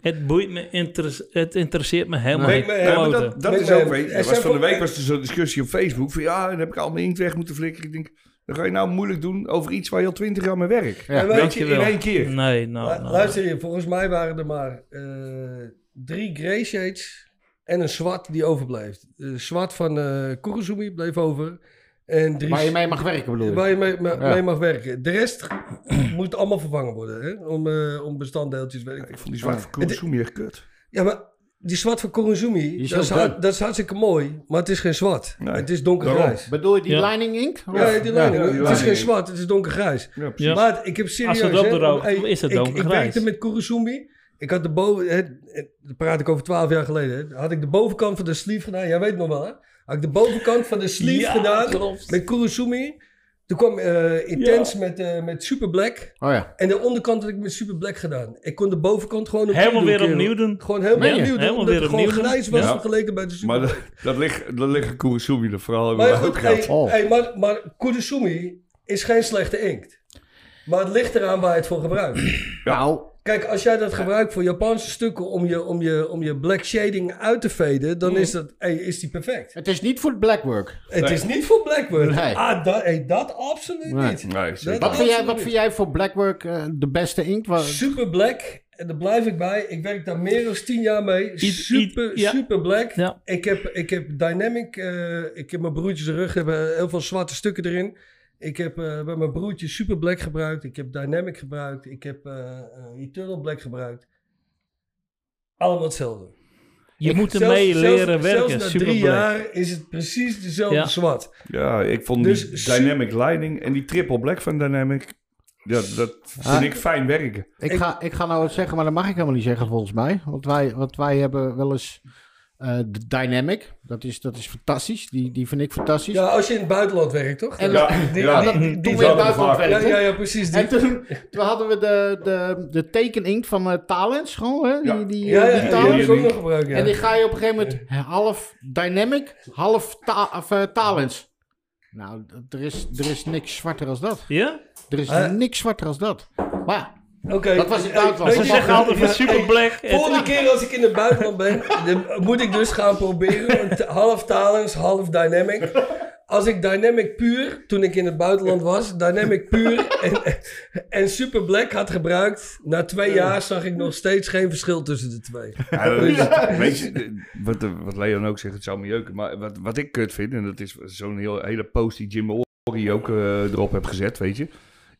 [SPEAKER 3] Het boeit me, interes- het interesseert me helemaal
[SPEAKER 1] Nee,
[SPEAKER 3] niet.
[SPEAKER 4] maar- maar
[SPEAKER 2] Ja, maar
[SPEAKER 3] kloten.
[SPEAKER 2] dat, dat
[SPEAKER 4] Nee,
[SPEAKER 2] is
[SPEAKER 4] nee,
[SPEAKER 2] ook, weet je,
[SPEAKER 4] er
[SPEAKER 2] er was
[SPEAKER 4] zijn
[SPEAKER 2] van de
[SPEAKER 4] voor-
[SPEAKER 2] week was er zo'n discussie op Facebook van ja, dan heb ik al mijn inkt weg moeten flikkeren. Ik denk, dan ga je nou moeilijk doen over iets waar je al twintig jaar mee werkt.
[SPEAKER 1] Ja.
[SPEAKER 4] En
[SPEAKER 2] Weet
[SPEAKER 4] weet
[SPEAKER 2] je,
[SPEAKER 4] je,
[SPEAKER 2] in
[SPEAKER 3] Dankjewel.
[SPEAKER 2] één keer.
[SPEAKER 3] Nee, nou,
[SPEAKER 2] Oh,
[SPEAKER 4] lu-
[SPEAKER 3] nou.
[SPEAKER 4] luister hier, volgens mij waren er maar eh, drie grey shades en een zwart die overbleef. Eh, zwart van eh Kurosumi bleef over. En drie
[SPEAKER 1] Waar je mee mag werken bedoel je?
[SPEAKER 4] Waar je mee, me-
[SPEAKER 1] Ja.
[SPEAKER 4] mee mag werken. De rest moet allemaal vervangen worden. Hè? Om, eh, om bestanddeeltjes. Weet ik.
[SPEAKER 2] Ik vond die zwart van Kurosumi echt kut.
[SPEAKER 4] Ja, maar die zwart van Kurozumi,
[SPEAKER 1] is
[SPEAKER 4] dat, is
[SPEAKER 1] heel
[SPEAKER 4] hart-
[SPEAKER 1] bruin.
[SPEAKER 4] dat is hartstikke mooi. Maar het is geen zwart.
[SPEAKER 2] Nee,
[SPEAKER 4] Het is donkergrijs.
[SPEAKER 1] Bedoel je die
[SPEAKER 3] Ja.
[SPEAKER 1] lining inkt?
[SPEAKER 4] Ja, die leiding,
[SPEAKER 2] ja, die
[SPEAKER 4] het is geen
[SPEAKER 2] leiding.
[SPEAKER 4] zwart, het is donkergrijs.
[SPEAKER 2] Ja, precies.
[SPEAKER 3] Ja.
[SPEAKER 4] Maar ik heb serieus...
[SPEAKER 3] Als het
[SPEAKER 4] hè,
[SPEAKER 3] opdroogt,
[SPEAKER 4] hey,
[SPEAKER 3] is het
[SPEAKER 4] ik- Ik
[SPEAKER 3] donkergrijs.
[SPEAKER 4] werkte met Kurozumi. Ik had de boven... hè, hè, Dat praat ik over twaalf jaar geleden. hè. Had ik de bovenkant van de sleeve gedaan. Jij weet nog wel, hè? Had ik de bovenkant van de sleeve
[SPEAKER 3] Ja,
[SPEAKER 4] gedaan
[SPEAKER 3] klopt.
[SPEAKER 4] met Kurozumi. Toen kwam eh Intense met, eh, met Super Black.
[SPEAKER 1] Oh ja.
[SPEAKER 4] En de onderkant had ik met Super Black gedaan. Ik kon de bovenkant gewoon opnieuw
[SPEAKER 3] Helemaal
[SPEAKER 4] doen,
[SPEAKER 3] weer
[SPEAKER 4] kerel.
[SPEAKER 3] opnieuw doen.
[SPEAKER 4] Gewoon helemaal
[SPEAKER 3] Ja,
[SPEAKER 4] opnieuw doen.
[SPEAKER 3] helemaal
[SPEAKER 4] Omdat
[SPEAKER 3] weer
[SPEAKER 4] het gewoon
[SPEAKER 3] opnieuw doen.
[SPEAKER 4] grijs was
[SPEAKER 2] Ja.
[SPEAKER 4] vergeleken bij de Super
[SPEAKER 2] Maar
[SPEAKER 4] Black.
[SPEAKER 2] dat, dat ligt, dat ligt Kurosumi er vooral over.
[SPEAKER 4] Maar goed, hey,
[SPEAKER 1] Oh.
[SPEAKER 4] hey, maar, maar Kurosumi is geen slechte inkt. Maar het ligt eraan waar je het voor gebruikt.
[SPEAKER 1] Nou,
[SPEAKER 4] Kijk, als jij dat gebruikt voor Japanse stukken om je, om je, om je black shading uit te veden, dan is, dat, hey, is die perfect.
[SPEAKER 1] het is niet voor het blackwork.
[SPEAKER 4] Het is niet voor Blackbird.
[SPEAKER 1] Nee.
[SPEAKER 4] Ah, dat, hey, dat absoluut
[SPEAKER 1] Nee.
[SPEAKER 4] niet.
[SPEAKER 2] Nee, zeker.
[SPEAKER 4] Dat
[SPEAKER 1] Wat vind jij,
[SPEAKER 4] absoluut
[SPEAKER 1] wat vind jij voor blackwork eh, de beste inkt? Wa-
[SPEAKER 4] Super Black, en daar blijf ik bij. Ik werk daar meer dan tien jaar mee. super,
[SPEAKER 3] iet- ja.
[SPEAKER 4] super Black.
[SPEAKER 3] Ja.
[SPEAKER 4] Ik, heb, ik heb Dynamic, eh, ik heb mijn broertjes rug, hebben heel veel zwarte stukken erin. Ik heb eh, bij mijn broertje Super Black gebruikt. Ik heb Dynamic gebruikt. Ik heb eh, eh, Eternal Black gebruikt. Allemaal hetzelfde.
[SPEAKER 3] Je moet
[SPEAKER 4] Zelfs-
[SPEAKER 3] ermee
[SPEAKER 4] zelfs-
[SPEAKER 3] leren werken.
[SPEAKER 4] Zelfs na
[SPEAKER 3] Super
[SPEAKER 4] drie
[SPEAKER 3] black.
[SPEAKER 4] jaar is het precies dezelfde
[SPEAKER 3] Ja.
[SPEAKER 4] zwart.
[SPEAKER 2] Ja, ik vond
[SPEAKER 4] Dus
[SPEAKER 2] die
[SPEAKER 4] super-
[SPEAKER 2] Dynamic Lining en die triple black van Dynamic, ja, dat vind
[SPEAKER 1] Ah.
[SPEAKER 2] ik fijn werken.
[SPEAKER 1] Ik, ga, ik ga nou wat zeggen, maar dat mag ik helemaal niet zeggen volgens mij. Want wij, want wij hebben wel eens eh, de Dynamic. Dat is, dat is fantastisch. Die, die vind ik fantastisch.
[SPEAKER 4] Ja, als je in het buitenland werkt, toch?
[SPEAKER 1] En
[SPEAKER 2] Ja,
[SPEAKER 4] die-
[SPEAKER 2] ja.
[SPEAKER 4] die-
[SPEAKER 1] dat
[SPEAKER 4] die-
[SPEAKER 1] doen
[SPEAKER 4] die-
[SPEAKER 1] we in het
[SPEAKER 2] zouden we
[SPEAKER 1] buitenland
[SPEAKER 2] vaak-
[SPEAKER 1] werken,
[SPEAKER 4] ja,
[SPEAKER 1] toch?
[SPEAKER 4] ja, ja, precies. Die.
[SPEAKER 1] En toen, toen hadden we de, de, de tekening van eh Talens gewoon, hè? Die, die,
[SPEAKER 4] ja, ja,
[SPEAKER 1] die
[SPEAKER 4] die
[SPEAKER 1] taal.
[SPEAKER 4] heb ik ook nog gebruikt, ja.
[SPEAKER 1] En die ga je op een gegeven moment half dynamic, half ta of, eh, Talens. Nou, d- er is, er is niks zwarter als dat.
[SPEAKER 3] Ja?
[SPEAKER 1] Er is
[SPEAKER 4] Eh?
[SPEAKER 1] niks zwarter als dat. Maar ja,
[SPEAKER 4] Oké.
[SPEAKER 1] Dat was in het buitenland.
[SPEAKER 4] Weet
[SPEAKER 3] Ze
[SPEAKER 4] je-
[SPEAKER 3] zeggen altijd van super black.
[SPEAKER 4] Volgende keer als ik in het buitenland ben, dan moet ik dus gaan proberen. een t- Half talens, half dynamic. Als ik dynamic puur, toen ik in het buitenland was, dynamic puur en, en super black had gebruikt. Na twee jaar zag ik nog steeds geen verschil tussen de twee.
[SPEAKER 2] Ja, dat is het. Weet je, eh, wat, eh, wat Leon ook zegt, het zou me jeuken. Maar wat, wat ik kut vind, en dat is zo'n heel, hele post die Jim Ori ook eh, erop heb gezet, weet je.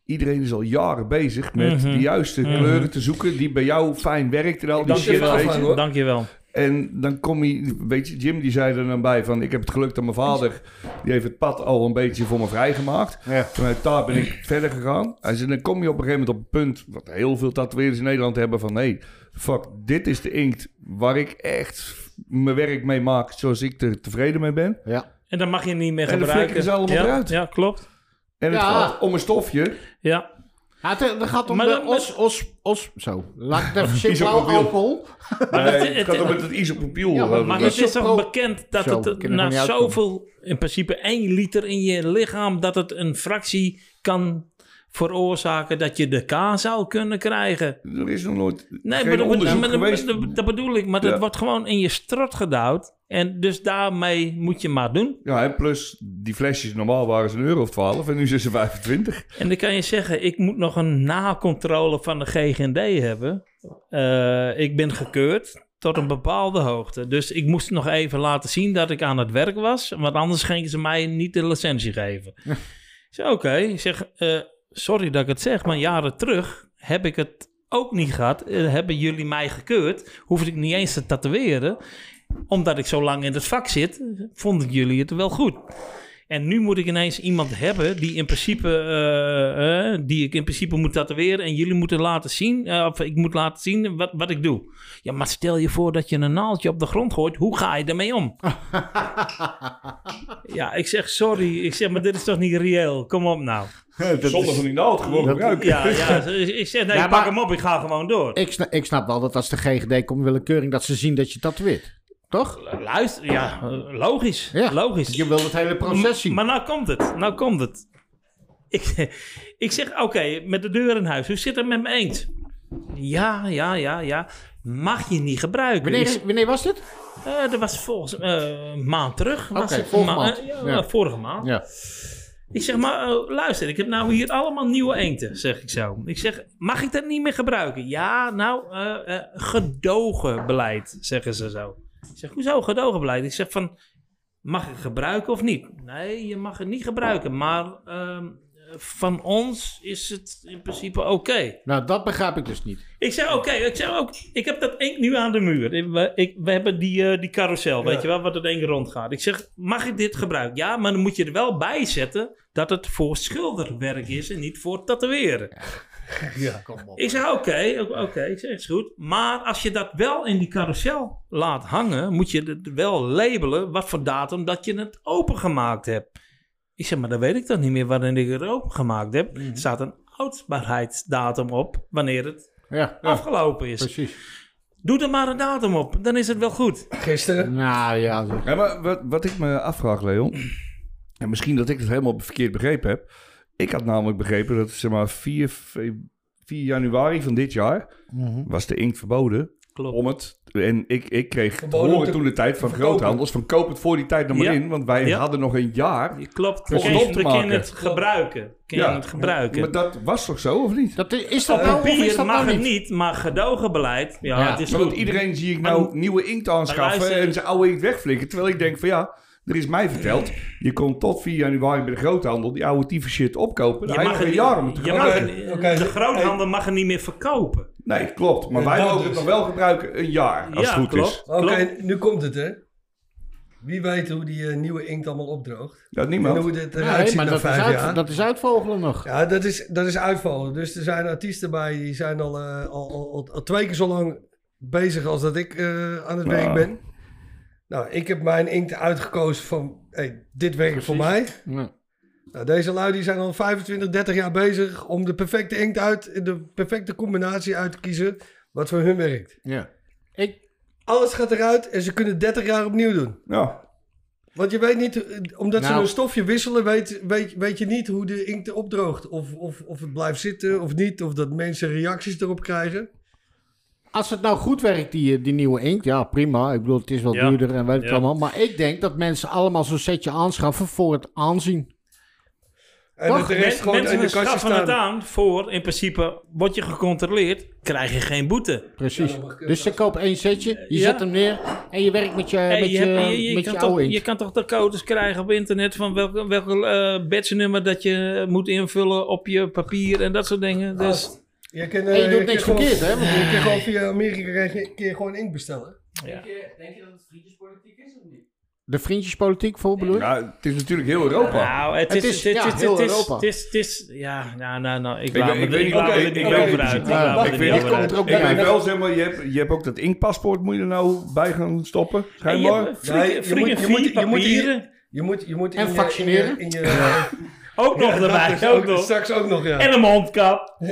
[SPEAKER 2] Iedereen is al jaren bezig met
[SPEAKER 3] Mhm.
[SPEAKER 2] de juiste
[SPEAKER 3] Mhm.
[SPEAKER 2] kleuren te zoeken die bij jou fijn werkt en al die
[SPEAKER 4] Dank je
[SPEAKER 2] shit,
[SPEAKER 4] wel.
[SPEAKER 2] weet je.
[SPEAKER 4] hoor.
[SPEAKER 3] Dankjewel.
[SPEAKER 2] En dan kom je, weet je, Jim die zei er dan bij van, ik heb het geluk dat mijn vader, die heeft het pad al een beetje voor me vrijgemaakt.
[SPEAKER 1] Ja.
[SPEAKER 2] Vanuit daar ben ik verder gegaan. Hij zei, dan kom je op een gegeven moment op een punt, wat heel veel tatoeëerders in Nederland hebben, van nee, fuck, dit is de inkt waar ik echt mijn werk mee maak zoals ik er tevreden mee ben.
[SPEAKER 3] En dan mag je niet meer
[SPEAKER 2] En de
[SPEAKER 3] gebruiken.
[SPEAKER 2] flikkers allemaal
[SPEAKER 3] ja,
[SPEAKER 2] eruit.
[SPEAKER 3] Ja, klopt.
[SPEAKER 2] En het
[SPEAKER 1] Ja.
[SPEAKER 2] gaat om een stofje.
[SPEAKER 3] Ja.
[SPEAKER 1] het, het gaat om
[SPEAKER 3] Maar
[SPEAKER 1] de
[SPEAKER 3] dat-
[SPEAKER 1] os, os, os, zo. Laat ik het even
[SPEAKER 2] Is ook
[SPEAKER 1] simpel
[SPEAKER 2] mobiel.
[SPEAKER 1] alcohol.
[SPEAKER 3] Maar
[SPEAKER 2] Nee,
[SPEAKER 3] dat-
[SPEAKER 2] het,
[SPEAKER 3] het-
[SPEAKER 2] gaat om het, het isopropiel.
[SPEAKER 1] Ja, maar
[SPEAKER 2] eh,
[SPEAKER 3] Maar
[SPEAKER 1] Dat
[SPEAKER 3] het
[SPEAKER 1] is
[SPEAKER 3] is
[SPEAKER 1] zo
[SPEAKER 3] toch
[SPEAKER 1] pro-
[SPEAKER 3] bekend dat
[SPEAKER 1] Zo, we
[SPEAKER 3] het
[SPEAKER 1] kunnen er
[SPEAKER 3] na
[SPEAKER 1] niet uitkomen.
[SPEAKER 3] zoveel, in principe één liter in je lichaam, dat het een fractie kan veroorzaken dat je de K zou kunnen krijgen.
[SPEAKER 2] er is nog nooit
[SPEAKER 3] Nee,
[SPEAKER 2] geen
[SPEAKER 3] maar, dat-
[SPEAKER 2] onderzoek
[SPEAKER 3] maar dat-
[SPEAKER 2] geweest.
[SPEAKER 3] dat, dat bedoel ik. Maar
[SPEAKER 2] Ja.
[SPEAKER 3] dat wordt gewoon in je strot gedouwd. En dus daarmee moet je maar doen.
[SPEAKER 2] Ja, en plus die flesjes, normaal waren ze een euro of 12 en nu zijn ze 25.
[SPEAKER 3] En dan kan je zeggen, ik moet nog een nacontrole van de GGD hebben. Eh, ik ben gekeurd tot een bepaalde hoogte. Dus ik moest nog even laten zien dat ik aan het werk was. Want anders gingen ze mij niet de licentie geven. Ik zei, oké. Ik zeg, eh, sorry dat ik het zeg, maar jaren terug heb ik het ook niet gehad. Eh, hebben jullie mij gekeurd? Hoefde ik niet eens te tatoeëren. Omdat ik zo lang in het vak zit, vonden jullie het wel goed. En nu moet ik ineens iemand hebben die in principe, eh, eh, die ik in principe moet tatoeëren. En jullie moeten laten zien, eh, of ik moet laten zien wat, wat ik doe. Ja, maar stel je voor dat je een naaldje op de grond gooit. Hoe ga je daarmee om? ja, ik zeg sorry. Ik zeg, maar dit is toch niet reëel? Kom op nou.
[SPEAKER 2] Zonder van die naald gewoon gebruiken.
[SPEAKER 3] Ja, ja ze- ik zeg, nee,
[SPEAKER 1] Ja,
[SPEAKER 3] ik pak
[SPEAKER 1] maar-
[SPEAKER 3] hem op. Ik ga gewoon door.
[SPEAKER 1] Ik, sna- ik snap wel dat als de GGD komt willekeurig dat ze zien dat je tatoeëert. Toch?
[SPEAKER 3] Luister, ja, eh, logisch.
[SPEAKER 1] Ja,
[SPEAKER 3] logisch.
[SPEAKER 1] Je wil het hele proces zien.
[SPEAKER 3] Maar nou komt het, nou komt het. Ik, ik zeg, oké, met de deur in huis. Hoe zit het met mijn eend? Ja, ja, ja, ja. Mag je niet gebruiken. Ik
[SPEAKER 1] Wanneer,
[SPEAKER 3] zeg,
[SPEAKER 1] wanneer was dit?
[SPEAKER 3] eh, dat was volgens eh, een maand terug. was
[SPEAKER 1] Oké,
[SPEAKER 3] het.
[SPEAKER 1] vorige
[SPEAKER 3] Ma-
[SPEAKER 1] maand.
[SPEAKER 3] eh, ja,
[SPEAKER 1] Ja.
[SPEAKER 3] vorige maand.
[SPEAKER 1] Ja.
[SPEAKER 3] Ik zeg, maar eh, luister, ik heb nou hier allemaal nieuwe eenden, zeg ik zo. Ik zeg, mag ik dat niet meer gebruiken? Ja, nou, eh, eh, gedogen beleid, zeggen ze zo. Ik zeg, hoezo gedogen beleid? Ik zeg van, mag ik het gebruiken of niet? Nee, je mag het niet gebruiken, maar ehm, van ons is het in principe oké.
[SPEAKER 1] Nou, dat begrijp ik dus niet.
[SPEAKER 3] Ik zeg, oké, ik zeg ook, ik heb dat ink nu aan de muur. Ik- We, ik- we hebben die, eh, die carousel, weet je wel, wat het ink rondgaat. Ik zeg, mag ik dit gebruiken? Ja, maar dan moet je er wel bij zetten dat het voor schilderwerk is en niet voor tatoeëren.
[SPEAKER 1] Kom op.
[SPEAKER 3] Ik zeg, oké, oké, oké, ik zeg, is goed. Maar als je dat wel in die carousel laat hangen, moet je het wel labelen wat voor datum dat je het opengemaakt hebt. Ik zeg, maar dan weet ik toch niet meer wanneer ik het opengemaakt heb.
[SPEAKER 1] Mhm.
[SPEAKER 3] Er staat een houdbaarheidsdatum op wanneer het
[SPEAKER 1] Ja, ja,
[SPEAKER 3] afgelopen is.
[SPEAKER 1] precies.
[SPEAKER 3] Doe er maar een datum op, dan is het wel goed.
[SPEAKER 4] Gisteren.
[SPEAKER 1] Nou ja, zeg.
[SPEAKER 2] Ja, maar wat, wat ik me afvraag, Leon, en misschien dat ik het helemaal verkeerd begrepen heb. Ik had namelijk begrepen dat zeg maar 4, fe- 4 januari van dit jaar was de inkt verboden
[SPEAKER 3] Klopt.
[SPEAKER 2] om het. En ik, ik kreeg te
[SPEAKER 4] Verboden
[SPEAKER 2] horen
[SPEAKER 4] te-
[SPEAKER 2] toen de tijd van
[SPEAKER 4] verkopen.
[SPEAKER 2] groothandels van koop het voor die tijd nog maar
[SPEAKER 3] Ja.
[SPEAKER 2] in, want wij
[SPEAKER 3] Ja.
[SPEAKER 2] hadden nog een jaar.
[SPEAKER 3] Klopt,
[SPEAKER 2] Om
[SPEAKER 3] we
[SPEAKER 2] het op te
[SPEAKER 3] kunnen
[SPEAKER 2] maken.
[SPEAKER 3] het gebruiken. Kun je
[SPEAKER 2] Ja.
[SPEAKER 3] het gebruiken.
[SPEAKER 2] Maar dat was toch zo, of niet?
[SPEAKER 1] Dat is, is dat
[SPEAKER 4] Eh,
[SPEAKER 1] nou of is
[SPEAKER 3] Papier
[SPEAKER 1] dat
[SPEAKER 3] mag
[SPEAKER 1] nou
[SPEAKER 3] het
[SPEAKER 1] niet?
[SPEAKER 3] niet, maar gedogenbeleid, ja,
[SPEAKER 1] Ja.
[SPEAKER 3] het is
[SPEAKER 2] Maar
[SPEAKER 3] goed.
[SPEAKER 2] want iedereen zie ik nou
[SPEAKER 3] Maar-
[SPEAKER 2] nieuwe inkt aanschaffen
[SPEAKER 3] luister-
[SPEAKER 2] en zijn oude inkt wegflikken. Terwijl ik denk van ja, er is mij verteld, je kon tot 4 januari bij de groothandel die oude tieve shit opkopen. Dan
[SPEAKER 3] Je
[SPEAKER 2] heb je
[SPEAKER 3] mag
[SPEAKER 2] nog
[SPEAKER 3] het
[SPEAKER 2] een
[SPEAKER 3] niet-
[SPEAKER 2] jaar om het te
[SPEAKER 3] je mag
[SPEAKER 2] gebruiken.
[SPEAKER 3] het niet-
[SPEAKER 4] Oké, oké.
[SPEAKER 3] De groothandel mag het niet meer verkopen.
[SPEAKER 2] Nee, klopt. Maar wij
[SPEAKER 4] dat
[SPEAKER 2] mogen het
[SPEAKER 4] dus.
[SPEAKER 2] nog wel gebruiken een jaar, als
[SPEAKER 3] ja,
[SPEAKER 2] het goed
[SPEAKER 3] klopt.
[SPEAKER 2] is.
[SPEAKER 4] Oké,
[SPEAKER 3] klopt.
[SPEAKER 4] nu komt het hè. Wie weet hoe die eh, nieuwe inkt allemaal opdroogt.
[SPEAKER 2] Ja,
[SPEAKER 4] En
[SPEAKER 2] niemand.
[SPEAKER 4] hoe dit eruit
[SPEAKER 1] Nee,
[SPEAKER 4] ziet
[SPEAKER 1] maar
[SPEAKER 4] na
[SPEAKER 1] dat is,
[SPEAKER 4] vijf jaar.
[SPEAKER 1] uit, dat is uitvogelen nog.
[SPEAKER 4] Ja, dat is, dat is uitvallen. Dus er zijn artiesten bij die zijn al, eh, al, al, al- al twee keer zo lang bezig als dat ik eh, aan het
[SPEAKER 2] Nou.
[SPEAKER 4] werk ben. Nou, ik heb mijn inkt uitgekozen van, hey, dit werkt voor mij.
[SPEAKER 8] Ja.
[SPEAKER 4] Nou, deze lui die zijn al 25, 30 jaar bezig om de perfecte inkt uit, de perfecte combinatie uit te kiezen wat voor hun werkt.
[SPEAKER 8] ja. Ik,
[SPEAKER 4] Alles gaat eruit en ze kunnen 30 jaar opnieuw doen.
[SPEAKER 2] Ja.
[SPEAKER 4] Want je weet niet, eh, omdat ze
[SPEAKER 8] Nou.
[SPEAKER 4] een stofje wisselen, weet, weet, weet je niet hoe de inkt opdroogt. Of, of, of het blijft zitten of niet, of dat mensen reacties erop krijgen.
[SPEAKER 1] Als het nou goed werkt, die, eh, die nieuwe inkt, ja prima. Ik bedoel, het is wel
[SPEAKER 3] Ja.
[SPEAKER 1] duurder en weet ik
[SPEAKER 3] Ja.
[SPEAKER 1] allemaal. Maar ik denk dat mensen allemaal zo'n setje aanschaffen voor het aanzien.
[SPEAKER 4] En
[SPEAKER 1] Toch?
[SPEAKER 4] dat de
[SPEAKER 3] Men-
[SPEAKER 4] rest gewoon in de
[SPEAKER 3] mensen
[SPEAKER 4] kastje
[SPEAKER 3] schaffen het
[SPEAKER 4] staan.
[SPEAKER 3] aan voor, in principe, word je gecontroleerd, krijg je geen boete.
[SPEAKER 1] Precies.
[SPEAKER 4] Ja, dat mag ik,
[SPEAKER 1] dus je koopt één setje, je
[SPEAKER 3] ja.
[SPEAKER 1] zet hem neer en je werkt met je,
[SPEAKER 3] Hey,
[SPEAKER 1] met
[SPEAKER 3] je,
[SPEAKER 1] je,
[SPEAKER 3] hebt- je- je
[SPEAKER 1] met
[SPEAKER 3] kan
[SPEAKER 1] je
[SPEAKER 3] toch,
[SPEAKER 1] oude
[SPEAKER 3] je
[SPEAKER 1] inkt.
[SPEAKER 3] kan toch de codes krijgen op internet van welke, welke eh, batchnummer dat je moet invullen op je papier en dat soort
[SPEAKER 4] Oh,
[SPEAKER 3] dingen. Dus,
[SPEAKER 4] Je, kan,
[SPEAKER 1] En je doet
[SPEAKER 4] kan
[SPEAKER 1] niks
[SPEAKER 4] gewoon-
[SPEAKER 1] verkeerd, hè? Want-
[SPEAKER 4] Je kan gewoon via Amerika een keer gewoon inkt bestellen.
[SPEAKER 9] Denk je dat het vriendjespolitiek is of niet?
[SPEAKER 1] De vriendjespolitiek voor bedoel je?
[SPEAKER 2] Ja, Nou, het is natuurlijk heel Europa.
[SPEAKER 3] nou, het
[SPEAKER 1] Het
[SPEAKER 3] is,
[SPEAKER 1] is-
[SPEAKER 3] het is,
[SPEAKER 1] ja,
[SPEAKER 3] het is,
[SPEAKER 1] heel
[SPEAKER 3] het is,
[SPEAKER 1] Europa.
[SPEAKER 3] het is, het is- ja, nou, nou, nou, ik
[SPEAKER 2] Ik
[SPEAKER 3] laat
[SPEAKER 2] weet-
[SPEAKER 3] me
[SPEAKER 2] ik
[SPEAKER 3] er-
[SPEAKER 2] weet
[SPEAKER 3] ik
[SPEAKER 2] niet-
[SPEAKER 3] laat me
[SPEAKER 2] oké,
[SPEAKER 3] er
[SPEAKER 2] ik
[SPEAKER 3] niet
[SPEAKER 2] weet
[SPEAKER 3] over
[SPEAKER 2] niet
[SPEAKER 3] uit. Ik
[SPEAKER 1] precies.
[SPEAKER 3] laat me
[SPEAKER 1] Ja,
[SPEAKER 3] er
[SPEAKER 2] ik
[SPEAKER 3] niet
[SPEAKER 2] weet-
[SPEAKER 3] over
[SPEAKER 1] Dit komt
[SPEAKER 3] uit.
[SPEAKER 1] er ook
[SPEAKER 2] Ik
[SPEAKER 1] bij.
[SPEAKER 2] weet
[SPEAKER 1] hè?
[SPEAKER 2] wel, zeg maar, je hebt, je hebt ook dat inkpaspoort moet je er nou bij gaan stoppen.
[SPEAKER 3] En je
[SPEAKER 2] Schijnbaar.
[SPEAKER 3] hebt freaking-
[SPEAKER 4] Nee, je
[SPEAKER 3] freaking
[SPEAKER 4] moet- je moet-
[SPEAKER 3] vier
[SPEAKER 4] je moet hier-
[SPEAKER 3] papieren.
[SPEAKER 4] Je moet, je moet in
[SPEAKER 1] En
[SPEAKER 4] je-
[SPEAKER 1] vaccineren?
[SPEAKER 4] In je, in je, ja,
[SPEAKER 3] Ook nog
[SPEAKER 4] dat
[SPEAKER 3] erbij,
[SPEAKER 4] is
[SPEAKER 3] ook nog.
[SPEAKER 4] Straks ook nog, ja.
[SPEAKER 3] En een mondkap.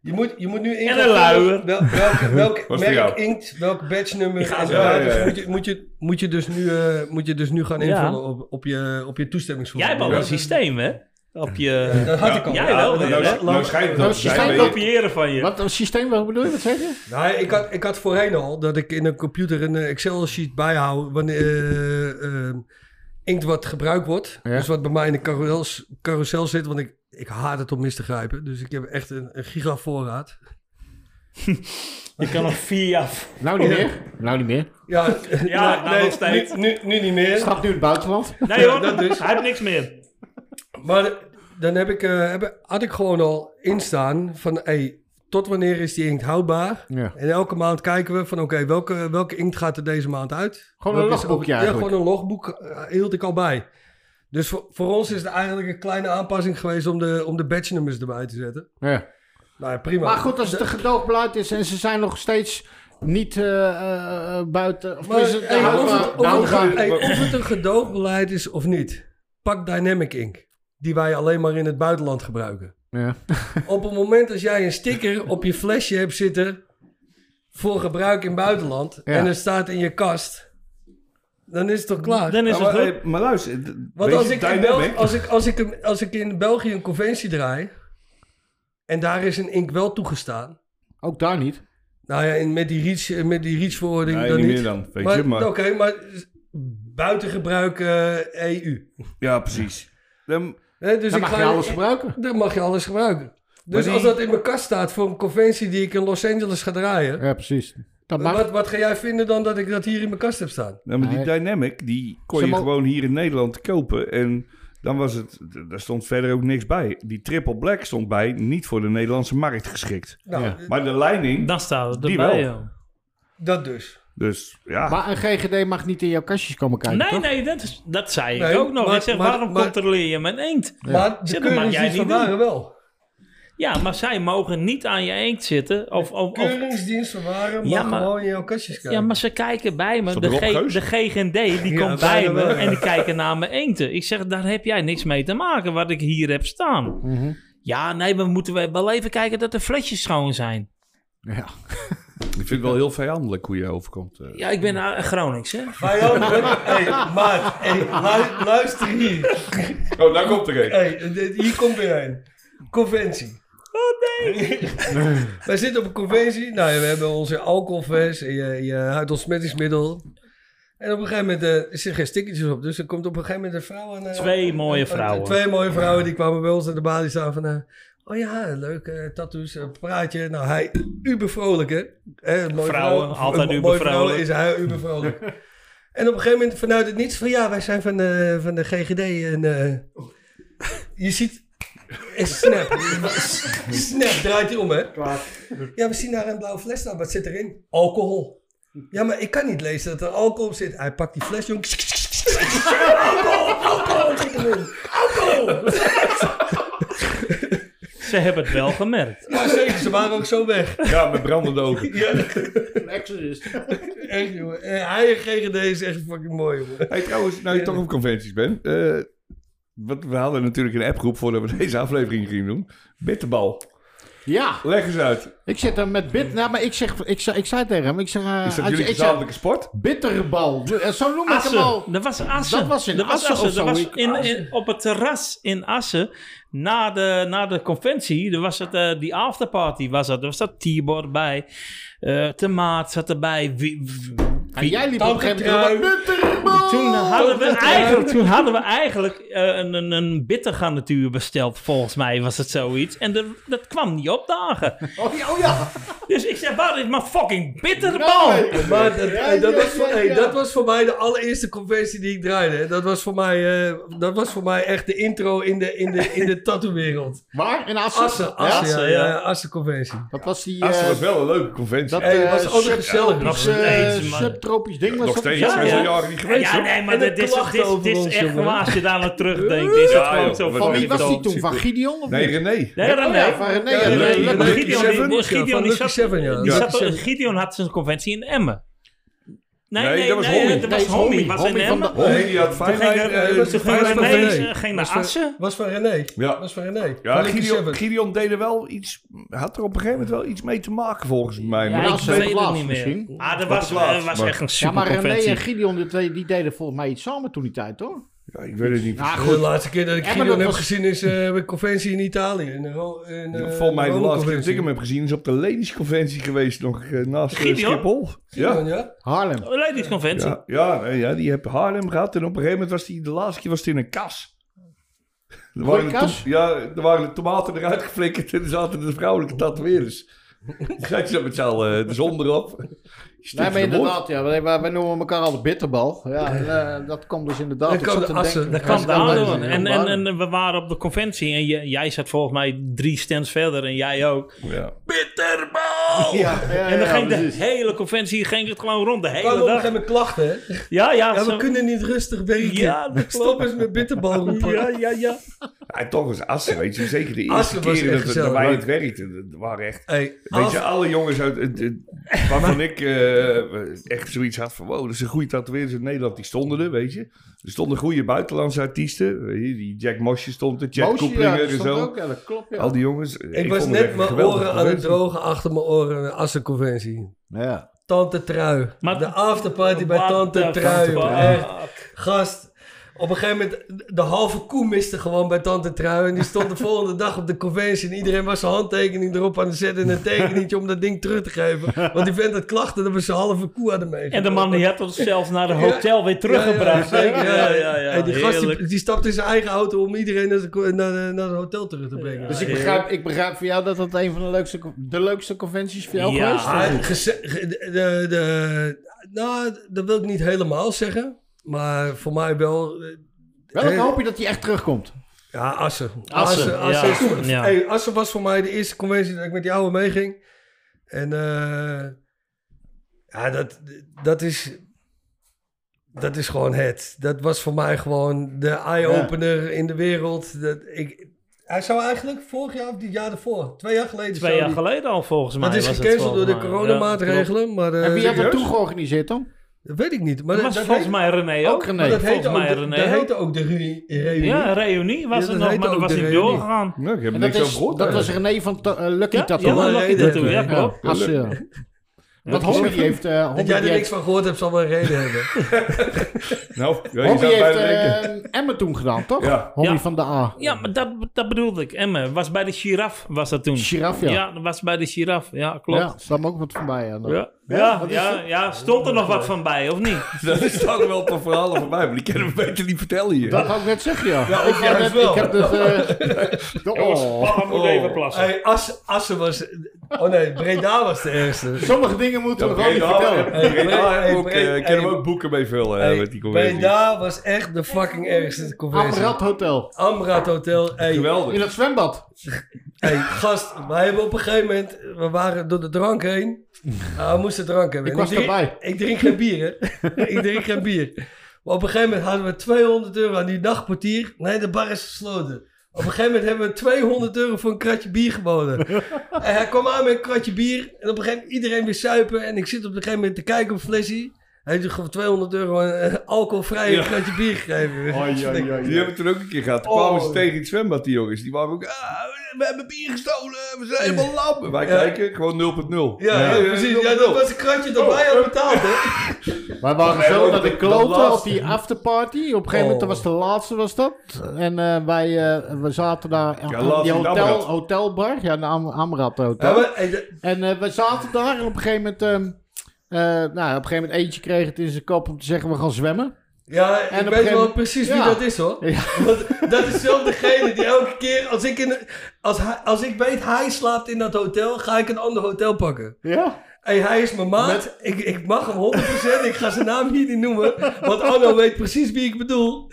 [SPEAKER 4] Je moet, je moet nu
[SPEAKER 3] En een luier.
[SPEAKER 4] Wel, welke welk
[SPEAKER 2] voor
[SPEAKER 4] merk
[SPEAKER 2] jou.
[SPEAKER 4] inkt, welk batchnummer.
[SPEAKER 3] Ik ga
[SPEAKER 4] en
[SPEAKER 3] zo.
[SPEAKER 4] zo.
[SPEAKER 2] Ja, ja, ja.
[SPEAKER 4] Dus moet, je, moet, je, moet, je dus nu, eh, moet je dus nu gaan
[SPEAKER 3] Ja.
[SPEAKER 4] invullen op, op, je, op je toestemmingsvorm.
[SPEAKER 3] Jij hebt al
[SPEAKER 4] Ja.
[SPEAKER 3] een systeem, hè? Op je...
[SPEAKER 4] Dat had ik al.
[SPEAKER 3] Jij wel,
[SPEAKER 2] Nou,
[SPEAKER 3] hè?
[SPEAKER 2] nou, nou schijnt het
[SPEAKER 1] Nou,
[SPEAKER 2] dat te zijn,
[SPEAKER 1] schijnt
[SPEAKER 2] maar
[SPEAKER 1] dat-
[SPEAKER 2] je-
[SPEAKER 3] Kopiëren van je.
[SPEAKER 1] Wat een systeem, wat bedoel je? Wat zeg je?
[SPEAKER 4] Nou, ik, had, ik had voorheen al dat ik in een computer een eh, Excel-sheet bijhoud wanneer eh, eh, inkt wat gebruikt wordt.
[SPEAKER 1] Ja.
[SPEAKER 4] Dus wat bij mij in de carousels- carousel zit, want ik, ik haat het om mis te grijpen. Dus ik heb echt een, een gigavoorraad.
[SPEAKER 3] Je kan nog vier jaar...
[SPEAKER 1] Nou niet meer. Nou niet meer.
[SPEAKER 4] Ja,
[SPEAKER 3] Ja, nou, nog
[SPEAKER 4] nee,
[SPEAKER 3] steeds.
[SPEAKER 4] nu, nu, nu niet meer.
[SPEAKER 1] Staat nu in het buitenland.
[SPEAKER 3] Nee hoor,
[SPEAKER 4] dat dus.
[SPEAKER 3] hij heeft niks meer.
[SPEAKER 4] Maar dan heb ik, eh, heb, had ik gewoon al instaan van, hey, tot wanneer is die inkt houdbaar?
[SPEAKER 1] Ja.
[SPEAKER 4] En elke maand kijken we van, oké, welke, welke inkt gaat er deze maand uit?
[SPEAKER 1] Gewoon een
[SPEAKER 4] Welke is-
[SPEAKER 1] logboekje
[SPEAKER 4] Ja,
[SPEAKER 1] eigenlijk.
[SPEAKER 4] gewoon een logboek eh, hield ik al bij. Dus voor, voor ons is het eigenlijk een kleine aanpassing geweest om de, om de batchnummers erbij te zetten.
[SPEAKER 1] Ja.
[SPEAKER 4] Nou ja, prima.
[SPEAKER 1] Maar goed, als het een gedoogbeleid is en ze zijn nog steeds niet eh, eh, eh, buiten... Of
[SPEAKER 4] Maar, eh,
[SPEAKER 1] is het,
[SPEAKER 4] hey,
[SPEAKER 1] nou,
[SPEAKER 4] of, het,
[SPEAKER 1] maar-
[SPEAKER 4] of het-
[SPEAKER 1] nou, maar-
[SPEAKER 4] hey, of het een gedoogbeleid is of niet, pak Dynamic Ink. Die wij alleen maar in het buitenland gebruiken.
[SPEAKER 1] Ja.
[SPEAKER 4] op het moment als jij een sticker op je flesje hebt zitten voor gebruik in buitenland
[SPEAKER 1] Ja.
[SPEAKER 4] en het staat in je kast, dan is het toch klaar?
[SPEAKER 3] Dan is
[SPEAKER 2] Ja,
[SPEAKER 3] het
[SPEAKER 2] maar,
[SPEAKER 3] goed.
[SPEAKER 2] eh, maar luister, d-
[SPEAKER 4] Want
[SPEAKER 2] weet
[SPEAKER 4] als
[SPEAKER 2] je,
[SPEAKER 4] ik, in
[SPEAKER 2] Dynamic-
[SPEAKER 4] Bel- als, ik, als, ik, een- als ik in België een conventie draai en daar is een ink wel toegestaan,
[SPEAKER 1] Ook daar niet.
[SPEAKER 4] nou ja, en met die reach, met die reach verordening
[SPEAKER 2] Nee,
[SPEAKER 4] dan
[SPEAKER 2] niet
[SPEAKER 4] niet.
[SPEAKER 2] meer dan, weet
[SPEAKER 4] Maar-
[SPEAKER 2] je, maar-
[SPEAKER 4] Oké, maar buiten gebruik eh, EU.
[SPEAKER 2] Ja, precies. Dan,
[SPEAKER 4] Hè, dus
[SPEAKER 1] Dan
[SPEAKER 4] ik
[SPEAKER 1] mag
[SPEAKER 4] ga
[SPEAKER 1] je alles gebruiken.
[SPEAKER 4] Dan mag je alles gebruiken. Dus
[SPEAKER 2] die-
[SPEAKER 4] als dat in mijn kast staat voor een conventie die ik in Los Angeles ga draaien,
[SPEAKER 1] Ja, precies. Dat mag.
[SPEAKER 4] Wat, wat ga jij vinden dan dat ik dat hier in mijn kast heb staan?
[SPEAKER 2] nou, maar die
[SPEAKER 1] Nee.
[SPEAKER 2] Dynamic, die kon
[SPEAKER 1] Ze
[SPEAKER 2] je
[SPEAKER 1] mo-
[SPEAKER 2] gewoon hier in Nederland kopen. En dan was het, d- daar stond verder ook niks bij. Die triple black stond bij, niet voor de Nederlandse markt geschikt.
[SPEAKER 4] Nou,
[SPEAKER 1] Ja.
[SPEAKER 4] eh,
[SPEAKER 2] Maar de leiding,
[SPEAKER 3] Dan staat het
[SPEAKER 2] Die
[SPEAKER 3] erbij,
[SPEAKER 2] wel.
[SPEAKER 3] joh.
[SPEAKER 4] dat dus.
[SPEAKER 2] dus ja.
[SPEAKER 1] Maar een GGD mag niet in jouw kastjes komen kijken,
[SPEAKER 3] Nee,
[SPEAKER 1] toch?
[SPEAKER 3] nee, dat, is, dat zei ik
[SPEAKER 4] Nee,
[SPEAKER 3] ook nog.
[SPEAKER 4] maar-
[SPEAKER 3] ik zeg,
[SPEAKER 4] maar-
[SPEAKER 3] waarom
[SPEAKER 4] maar-
[SPEAKER 3] controleer je mijn inkt?
[SPEAKER 4] Maar de
[SPEAKER 3] Zit, dat mag jij
[SPEAKER 4] keuringsdienst
[SPEAKER 3] niet
[SPEAKER 4] van waren wel.
[SPEAKER 3] Ja, maar zij mogen niet aan je inkt zitten. Of, of, of-
[SPEAKER 4] Keuringsdienst van waren mag
[SPEAKER 3] Ja, maar-
[SPEAKER 4] gewoon in jouw kastjes kijken.
[SPEAKER 3] ja, maar ze kijken bij me.
[SPEAKER 2] dat
[SPEAKER 3] De,
[SPEAKER 2] Rob
[SPEAKER 3] G,
[SPEAKER 2] Geus?
[SPEAKER 3] de GGD die
[SPEAKER 4] Ja,
[SPEAKER 3] komt bij me
[SPEAKER 4] bijna wel, ja.
[SPEAKER 3] en die kijken naar mijn inkten. Ik zeg, daar heb jij niks mee te maken wat ik hier heb staan.
[SPEAKER 1] Mhm.
[SPEAKER 3] Ja, nee, we moeten wel even kijken dat de flesjes schoon zijn.
[SPEAKER 1] Ja.
[SPEAKER 2] Ik vind het wel heel vijandelijk hoe je overkomt. eh.
[SPEAKER 3] Ja, ik ben eh, Gronings, hè?
[SPEAKER 4] Maar jou- hey, maat, hey, lu- luister hier.
[SPEAKER 2] Oh, daar komt er een.
[SPEAKER 4] Hey, dit- hier komt weer een. Conventie. Oh nee. Wij zitten op een conventie. Nou ja, we hebben onze alcoholvers, je, je huidontsmettingsmiddel. En op een gegeven moment eh, zitten geen stickertjes op. Dus er komt op een gegeven moment een vrouw aan. eh,
[SPEAKER 3] Twee mooie vrouwen.
[SPEAKER 4] Twee mooie vrouwen die kwamen bij ons aan de balie staan van... eh, oh ja, leuk, eh, tattoos, eh, praatje. Nou, hij ubervrolijk, hè? Eh, een mooie
[SPEAKER 3] Vrouwen,
[SPEAKER 4] vrouw-
[SPEAKER 3] altijd
[SPEAKER 4] een mooie vrouw
[SPEAKER 3] ubervrolijk.
[SPEAKER 4] is hij ubervrolijk. en op een gegeven moment vanuit het niets van... Ja, wij zijn van, eh, van de GGD en... eh, je ziet... eh, Snap. Snap, draait hij om, hè? Ja, we zien daar een blauwe fles staan. Wat zit erin? Alcohol. Ja, maar ik kan niet lezen dat er alcohol op zit. Hij pakt die fles, jong. alcohol, alcohol zit erin. Alcohol!
[SPEAKER 3] Ze hebben het wel gemerkt.
[SPEAKER 4] Ja, zeker. Ze waren ook zo weg.
[SPEAKER 2] Ja, met brandende ogen.
[SPEAKER 4] Ja.
[SPEAKER 1] Exodus.
[SPEAKER 4] echt, jongen. Eh, Hij en GGD is echt fucking mooi, jongen.
[SPEAKER 2] Hey, trouwens, nou je toch op conventies bent. eh, wat, we hadden natuurlijk een appgroep voordat we deze aflevering gingen doen. Bitterbal.
[SPEAKER 1] Ja,
[SPEAKER 2] Leg eens uit.
[SPEAKER 1] ik zit er met bit. Nou, maar ik zeg, ik, zei- ik zei tegen hem, ik zeg, eh,
[SPEAKER 2] Is dat
[SPEAKER 1] als je-
[SPEAKER 2] jullie
[SPEAKER 1] ik zeg
[SPEAKER 2] gezamenlijke sport?
[SPEAKER 1] bitterbal. Eh, Zo noem ik hem al.
[SPEAKER 3] Assen. Dat was Assen.
[SPEAKER 1] Dat was in
[SPEAKER 3] dat
[SPEAKER 1] Assen of
[SPEAKER 3] Dat was
[SPEAKER 1] zo. Ik-
[SPEAKER 3] in, in, op het terras in Assen. Na de, na de conventie, er was het, eh, die afterparty was dat. Er zat Tibor bij. eh Temaat zat erbij. Wie, wie-
[SPEAKER 1] En jij liep op een gegeven moment door, bitterbal.
[SPEAKER 3] toen hadden we eigenlijk, toen hadden we eigenlijk eh, een, een, een bitter garnituur besteld. Volgens mij was het zoiets. En er- dat kwam niet opdagen.
[SPEAKER 1] Oh ja, oh ja.
[SPEAKER 3] Dus ik zei, waar is mijn fucking bitterbal?
[SPEAKER 1] Nou, nee.
[SPEAKER 4] Maar dat,
[SPEAKER 1] Ja,
[SPEAKER 4] hey, dat,
[SPEAKER 1] ja,
[SPEAKER 4] was voor,
[SPEAKER 1] ja,
[SPEAKER 4] hey,
[SPEAKER 1] ja.
[SPEAKER 4] dat was voor mij de allereerste conventie die ik draaide. hè. Dat was voor mij, eh, dat was voor mij echt de intro in de, in de, in de tattoo-wereld.
[SPEAKER 1] Waar? In Assen?
[SPEAKER 4] Assen,
[SPEAKER 1] Ja?
[SPEAKER 4] Assen, ja, ja,
[SPEAKER 3] ja.
[SPEAKER 4] Assen-conventie.
[SPEAKER 1] Dat was die...
[SPEAKER 2] Dat
[SPEAKER 1] eh,
[SPEAKER 2] was wel een leuke conventie.
[SPEAKER 1] dat
[SPEAKER 2] Eh,
[SPEAKER 4] Hey,
[SPEAKER 1] eh,
[SPEAKER 4] het was altijd gezellig.
[SPEAKER 1] subtropisch,
[SPEAKER 3] nog
[SPEAKER 1] eh,
[SPEAKER 3] steeds, man.
[SPEAKER 1] subtropisch ding. was
[SPEAKER 2] nog
[SPEAKER 1] dat
[SPEAKER 2] steeds.
[SPEAKER 1] niet?
[SPEAKER 3] Ja,
[SPEAKER 2] Wij zijn
[SPEAKER 3] ja.
[SPEAKER 2] jaren niet geweest.
[SPEAKER 3] Ja,
[SPEAKER 2] hoor.
[SPEAKER 3] nee,
[SPEAKER 4] En
[SPEAKER 3] maar
[SPEAKER 4] de
[SPEAKER 3] dit is,
[SPEAKER 4] klachten
[SPEAKER 3] dit, is-
[SPEAKER 4] over
[SPEAKER 3] dit
[SPEAKER 4] ons,
[SPEAKER 3] is echt
[SPEAKER 4] jongen.
[SPEAKER 3] waar als je daar naar terugdenkt. Dit is het
[SPEAKER 2] Ja,
[SPEAKER 3] gewoon
[SPEAKER 2] joh,
[SPEAKER 3] zo
[SPEAKER 2] wat
[SPEAKER 1] Van
[SPEAKER 3] van...
[SPEAKER 1] wie was die
[SPEAKER 2] Verdomd,
[SPEAKER 1] toen? Van
[SPEAKER 2] super.
[SPEAKER 1] Gideon? Of
[SPEAKER 2] Nee,
[SPEAKER 1] niet?
[SPEAKER 2] René.
[SPEAKER 3] Nee,
[SPEAKER 1] Oh ja,
[SPEAKER 3] René.
[SPEAKER 1] van René.
[SPEAKER 4] Ja,
[SPEAKER 1] ja, René,
[SPEAKER 4] René, René.
[SPEAKER 1] René.
[SPEAKER 3] Maar
[SPEAKER 4] Lucky
[SPEAKER 3] Gideon,
[SPEAKER 4] Seven?
[SPEAKER 3] die-
[SPEAKER 4] Ja, van
[SPEAKER 3] Gideon, die
[SPEAKER 4] Lucky
[SPEAKER 3] zat,
[SPEAKER 4] Seven, ja.
[SPEAKER 3] die
[SPEAKER 4] Lucky
[SPEAKER 3] zat-
[SPEAKER 4] Seven.
[SPEAKER 3] Gideon had zijn conventie in Emmen. Nee,
[SPEAKER 2] Nee, dat was Homie.
[SPEAKER 3] dat was
[SPEAKER 1] Nee,
[SPEAKER 3] Homie.
[SPEAKER 1] Homie.
[SPEAKER 3] Was
[SPEAKER 1] Homie
[SPEAKER 3] in
[SPEAKER 1] van de-
[SPEAKER 3] Emmen.
[SPEAKER 2] Homie, die had
[SPEAKER 3] Toen ging,
[SPEAKER 2] Feyenoord.
[SPEAKER 3] er-
[SPEAKER 2] eh,
[SPEAKER 3] toen
[SPEAKER 4] was
[SPEAKER 3] ging
[SPEAKER 4] van
[SPEAKER 3] René
[SPEAKER 4] René.
[SPEAKER 3] eh, ging
[SPEAKER 4] Was
[SPEAKER 3] naar
[SPEAKER 4] van-
[SPEAKER 3] Assen.
[SPEAKER 4] Was van René.
[SPEAKER 2] Ja.
[SPEAKER 4] Was van René.
[SPEAKER 2] Ja,
[SPEAKER 4] Van Lucky
[SPEAKER 2] Gideon,
[SPEAKER 4] Seven.
[SPEAKER 2] Gideon deed er wel iets... Had er op een gegeven moment wel iets mee te maken, volgens mij.
[SPEAKER 3] Ja,
[SPEAKER 2] Maar
[SPEAKER 3] ik
[SPEAKER 1] Assen
[SPEAKER 3] weet het
[SPEAKER 1] Klaas
[SPEAKER 3] niet meer.
[SPEAKER 1] misschien.
[SPEAKER 3] Ah, dat was,
[SPEAKER 2] Klaas,
[SPEAKER 3] eh, was
[SPEAKER 2] maar-
[SPEAKER 3] echt een
[SPEAKER 1] Ja,
[SPEAKER 3] super
[SPEAKER 1] maar René en
[SPEAKER 3] conventie.
[SPEAKER 1] Gideon, die, twee- die deden volgens mij iets samen toen die tijd, hoor.
[SPEAKER 2] Ja, ik weet het niet.
[SPEAKER 1] Nou,
[SPEAKER 4] De
[SPEAKER 1] goed.
[SPEAKER 4] laatste keer dat ik
[SPEAKER 1] Ja, maar
[SPEAKER 4] Gideon
[SPEAKER 1] dat
[SPEAKER 4] heb
[SPEAKER 1] was-
[SPEAKER 4] gezien is eh, bij een conventie in Italië. In, de Ro- in, eh,
[SPEAKER 2] Volgens mij de laatste keer dat
[SPEAKER 4] Rome-conventie.
[SPEAKER 2] ik hem heb gezien is op de Ladies Conventie geweest nog eh, naast eh,
[SPEAKER 3] Gideon?
[SPEAKER 2] Schiphol. Ja.
[SPEAKER 4] Gideon, ja?
[SPEAKER 1] Haarlem.
[SPEAKER 3] Ladies Conventie.
[SPEAKER 2] Ja, ja, nee, ja, die heb Haarlem gehad en op een gegeven moment was die, de laatste keer was het in een kas. Er
[SPEAKER 1] Goeie
[SPEAKER 2] de
[SPEAKER 1] kas?
[SPEAKER 2] to- Ja, er waren de tomaten eruit geflikkerd en er zaten de vrouwelijke tatoeëerders. Kijk, ze hebben het al eh, de zon erop.
[SPEAKER 1] Nee,
[SPEAKER 2] Stikt
[SPEAKER 1] maar
[SPEAKER 2] in de mond.
[SPEAKER 1] inderdaad, ja. Wij, wij wij noemen elkaar al de bitterbal. Ja, en, eh, dat komt dus inderdaad.
[SPEAKER 4] Dat
[SPEAKER 1] Ik
[SPEAKER 4] kwam
[SPEAKER 1] zat
[SPEAKER 4] de
[SPEAKER 1] te
[SPEAKER 4] Assen,
[SPEAKER 1] denken,
[SPEAKER 4] dat
[SPEAKER 1] ja,
[SPEAKER 4] kwam
[SPEAKER 3] Kan
[SPEAKER 4] de
[SPEAKER 1] dat
[SPEAKER 3] daar
[SPEAKER 1] was
[SPEAKER 3] doen.
[SPEAKER 1] in
[SPEAKER 3] En, en,
[SPEAKER 1] Baden.
[SPEAKER 3] en we waren op de conventie en je- jij zat volgens mij drie stands verder en jij ook.
[SPEAKER 2] Ja.
[SPEAKER 3] Bitterbal!
[SPEAKER 1] Ja, ja, ja,
[SPEAKER 3] en dan
[SPEAKER 1] ja,
[SPEAKER 3] ging de
[SPEAKER 1] precies.
[SPEAKER 3] hele conventie ging het gewoon rond, de
[SPEAKER 4] We hadden
[SPEAKER 3] hele
[SPEAKER 4] op een
[SPEAKER 3] dag.
[SPEAKER 4] gegeven moment klachten, hè?
[SPEAKER 3] Ja, ja,
[SPEAKER 4] Ja, we
[SPEAKER 3] zo-
[SPEAKER 4] kunnen niet rustig werken.
[SPEAKER 3] Ja, dat
[SPEAKER 4] Stop eens met bitterbal roepen.
[SPEAKER 3] ja, ja, ja.
[SPEAKER 2] En toch was Assen, weet je, zeker de eerste
[SPEAKER 4] Assen was
[SPEAKER 2] keer dat,
[SPEAKER 4] echt
[SPEAKER 2] dat
[SPEAKER 4] gezellig,
[SPEAKER 2] wij
[SPEAKER 4] leuk.
[SPEAKER 2] het werkten. Dat dat waren echt
[SPEAKER 4] Hey,
[SPEAKER 2] Weet
[SPEAKER 4] af-
[SPEAKER 2] je, alle jongens uit, het- het- waarvan ik eh, echt zoiets had van... wow, dat is een goede tatoeëerders in Nederland. Die stonden er, weet je. Er stonden goede buitenlandse artiesten. Weet je, Die Jack Mosje stond er, Jack
[SPEAKER 1] Moosje, ja,
[SPEAKER 2] Koeplinger
[SPEAKER 1] dat
[SPEAKER 2] en
[SPEAKER 1] stond
[SPEAKER 2] zo.
[SPEAKER 1] ook, ja, dat klopt, ja.
[SPEAKER 2] Al die jongens. eh,
[SPEAKER 4] ik, was net mijn oren aan het drogen achter mijn oren. Een Assenconventie.
[SPEAKER 1] Ja.
[SPEAKER 4] Tante Trui.
[SPEAKER 3] Maar-
[SPEAKER 4] de afterparty bij
[SPEAKER 3] What
[SPEAKER 4] Tante
[SPEAKER 3] the
[SPEAKER 4] Trui.
[SPEAKER 3] fuck?
[SPEAKER 4] joh. Echt. Gast. Op een gegeven moment, de halve koe miste gewoon bij Tante Trui. En die stond de volgende dag op de conventie. En iedereen was zijn handtekening erop aan het zetten. En een tekeningetje om dat ding terug te geven. Want die vent had klachten dat we zijn halve koe hadden meegenomen.
[SPEAKER 3] En de man die had ons zelfs naar het hotel weer teruggebracht.
[SPEAKER 4] Ja, ja, zeker.
[SPEAKER 3] Ja, ja, ja.
[SPEAKER 4] En die gast
[SPEAKER 3] Heerlijk.
[SPEAKER 4] die, die stapte in zijn eigen auto om iedereen naar, zijn co- naar, naar, naar het hotel terug te brengen.
[SPEAKER 1] Dus ik begrijp, ik begrijp voor jou dat dat een van de leukste, co- de leukste conventies voor jou
[SPEAKER 3] Ja.
[SPEAKER 1] geweest is.
[SPEAKER 4] Ah, geze- ge- de, de, de- nou, dat wil ik niet helemaal zeggen. Maar voor mij wel... eh,
[SPEAKER 1] Wel, ik
[SPEAKER 4] eh,
[SPEAKER 1] hoop je dat die echt terugkomt.
[SPEAKER 4] Ja, Assen.
[SPEAKER 3] Assen,
[SPEAKER 4] Assen,
[SPEAKER 3] ja.
[SPEAKER 4] is voor-
[SPEAKER 3] Ja.
[SPEAKER 4] Hey, Assen was voor mij de eerste conventie dat ik met die oude meeging. En eh, ja, dat, dat is... Dat is gewoon het. Dat was voor mij gewoon de eye-opener in de wereld. Dat ik, hij zou eigenlijk vorig jaar of die jaar ervoor, twee jaar geleden...
[SPEAKER 3] Twee
[SPEAKER 4] zou
[SPEAKER 3] jaar
[SPEAKER 4] die-
[SPEAKER 3] geleden al volgens mij.
[SPEAKER 4] Het is
[SPEAKER 3] was
[SPEAKER 4] gecanceld door
[SPEAKER 3] volgens
[SPEAKER 4] de
[SPEAKER 3] mij.
[SPEAKER 4] coronamaatregelen, maar eh,
[SPEAKER 1] En wie had dat
[SPEAKER 2] serieus?
[SPEAKER 1] toen georganiseerd dan?
[SPEAKER 4] dat weet ik niet. Maar
[SPEAKER 3] Ja, klopt. Dat was
[SPEAKER 4] dat, dat
[SPEAKER 3] volgens
[SPEAKER 4] heet-
[SPEAKER 3] mij René ook.
[SPEAKER 1] Ook René.
[SPEAKER 4] maar dat
[SPEAKER 3] volgens
[SPEAKER 4] heette ook,
[SPEAKER 3] mij
[SPEAKER 4] de-
[SPEAKER 3] René
[SPEAKER 4] dat
[SPEAKER 3] ook.
[SPEAKER 4] heette ook de re- reunie.
[SPEAKER 3] Ja, reunie was het
[SPEAKER 4] Ja, dat
[SPEAKER 3] nog,
[SPEAKER 4] heette
[SPEAKER 3] maar dat
[SPEAKER 4] ook
[SPEAKER 3] was
[SPEAKER 4] de
[SPEAKER 3] niet
[SPEAKER 4] reunie.
[SPEAKER 3] doorgegaan.
[SPEAKER 2] Nee, Nou, ik heb
[SPEAKER 1] En dat,
[SPEAKER 2] niks
[SPEAKER 1] is-
[SPEAKER 2] over gehoord.
[SPEAKER 1] dat was
[SPEAKER 2] eigenlijk.
[SPEAKER 1] René van Ta- eh, Lucky
[SPEAKER 3] Ja,
[SPEAKER 1] Tattoo.
[SPEAKER 3] ja,
[SPEAKER 1] hè?
[SPEAKER 3] dat
[SPEAKER 4] Wel
[SPEAKER 3] was
[SPEAKER 4] reden
[SPEAKER 3] niet toe. Ja,
[SPEAKER 4] hebben,
[SPEAKER 1] Ja,
[SPEAKER 3] klopt.
[SPEAKER 1] Assen, ja. Want
[SPEAKER 3] klopt.
[SPEAKER 1] Hobby heeft... eh Hobby
[SPEAKER 4] Dat jij er niks
[SPEAKER 1] heeft,
[SPEAKER 4] van gehoord hebt, zal wel een reden hebben.
[SPEAKER 2] Nou, ja, je
[SPEAKER 1] Hobby
[SPEAKER 2] zou het
[SPEAKER 1] heeft
[SPEAKER 2] bijna denken.
[SPEAKER 1] eh, Emmen toen gedaan, toch?
[SPEAKER 2] Ja.
[SPEAKER 1] Hobby
[SPEAKER 3] Ja.
[SPEAKER 1] van de A.
[SPEAKER 3] Ja, maar dat, dat bedoelde ik. Emme was bij de giraf, was dat toen.
[SPEAKER 1] Giraf, ja.
[SPEAKER 3] ja. dat was bij de giraf. Ja,
[SPEAKER 1] Ja,
[SPEAKER 3] klopt.
[SPEAKER 1] daar staat me ook wat voorbij aan.
[SPEAKER 3] Ja, ja,
[SPEAKER 1] Ja,
[SPEAKER 3] ja,
[SPEAKER 1] wat is
[SPEAKER 3] ja,
[SPEAKER 1] dat?
[SPEAKER 3] stond er nog wat van bij, of niet?
[SPEAKER 2] Dat is dan wel een verhalen van mij, maar die kunnen we beter niet vertellen hier.
[SPEAKER 1] Dat had ik net zeggen, ja.
[SPEAKER 4] Ja,
[SPEAKER 1] ik,
[SPEAKER 4] of
[SPEAKER 1] wou net-
[SPEAKER 4] juist wel.
[SPEAKER 1] ik heb dus... eh, de- oh.
[SPEAKER 3] Papa moet even plassen.
[SPEAKER 4] Hey, Assen, Assen was... Oh nee, Breda was de ergste.
[SPEAKER 1] Sommige dingen moeten
[SPEAKER 2] Ja,
[SPEAKER 1] we gewoon niet
[SPEAKER 2] Breda,
[SPEAKER 1] vertellen.
[SPEAKER 2] eh, Breda
[SPEAKER 4] Hey,
[SPEAKER 2] hebben we ook,
[SPEAKER 4] Breda,
[SPEAKER 2] eh, kunnen we
[SPEAKER 4] hey,
[SPEAKER 2] ook boeken mee vullen eh,
[SPEAKER 4] Hey,
[SPEAKER 2] met die conventie.
[SPEAKER 4] Breda was echt de fucking ergste conventie.
[SPEAKER 1] Amrad Hotel.
[SPEAKER 4] Amrad Hotel. Hey,
[SPEAKER 1] In
[SPEAKER 2] Geweldig.
[SPEAKER 1] dat zwembad.
[SPEAKER 4] hey, gast, wij hebben op een gegeven moment... We waren door de drank heen. Ah, we moesten drank hebben.
[SPEAKER 1] Ik
[SPEAKER 4] En
[SPEAKER 1] was
[SPEAKER 4] drink-
[SPEAKER 1] erbij.
[SPEAKER 4] Ik drink geen bier, hè. ik drink geen bier. Maar op een gegeven moment hadden we 200 euro aan die dagportier. Nee, de bar is gesloten. Op een gegeven moment hebben we 200 euro voor een kratje bier geboden. en hij kwam aan met een kratje bier. En op een gegeven moment iedereen weer suipen. En ik zit op een gegeven moment te kijken op een flesje. Hij heeft gewoon 200 euro een eh, alcoholvrij
[SPEAKER 2] Ja.
[SPEAKER 4] kratje bier gegeven.
[SPEAKER 10] Oei, oei, oei.
[SPEAKER 2] Die hebben we toen ook een keer gehad. Toen kwamen ze tegen in het zwembad, die jongens. Die waren ook, ah, we hebben bier gestolen, we zijn helemaal lam. En wij
[SPEAKER 4] Ja.
[SPEAKER 2] kijken, gewoon 0.0.
[SPEAKER 4] Ja, ja, precies. Ja, Oh. dat was een kratje dat wij hadden betaald, hè?
[SPEAKER 1] Maar we waren
[SPEAKER 2] Nee,
[SPEAKER 1] zo
[SPEAKER 2] ook
[SPEAKER 1] dat
[SPEAKER 2] de-
[SPEAKER 1] ik
[SPEAKER 2] dat
[SPEAKER 1] klote op
[SPEAKER 2] laatste.
[SPEAKER 1] die afterparty. Op een gegeven moment, dat was de laatste was dat. En eh, wij eh, we zaten daar aan
[SPEAKER 2] Ja,
[SPEAKER 1] die
[SPEAKER 2] laatste in de
[SPEAKER 1] hotel,
[SPEAKER 2] Amrad.
[SPEAKER 1] hotelbar. Ja, de Am Amrad Hotel.
[SPEAKER 4] Ja, maar, eh, d-
[SPEAKER 1] En eh, we zaten daar en op een gegeven moment... ehm, eh, nou, op een gegeven moment eentje kreeg het in zijn kop om te zeggen we gaan zwemmen.
[SPEAKER 4] ja,
[SPEAKER 1] op
[SPEAKER 4] ik
[SPEAKER 1] een
[SPEAKER 4] weet
[SPEAKER 1] gegeven
[SPEAKER 4] wel
[SPEAKER 1] moment-
[SPEAKER 4] precies wie
[SPEAKER 1] Ja.
[SPEAKER 4] dat is, hoor.
[SPEAKER 1] Ja.
[SPEAKER 4] Want dat is zelf degene die elke keer, als ik, in, een- als, hij, als ik weet hij slaapt in dat hotel, ga ik een ander hotel pakken.
[SPEAKER 1] Ja.
[SPEAKER 4] Hey, hij is mijn maat. Ik, ik mag hem 100%. ik ga zijn naam hier niet noemen. Want Anno weet precies wie ik bedoel.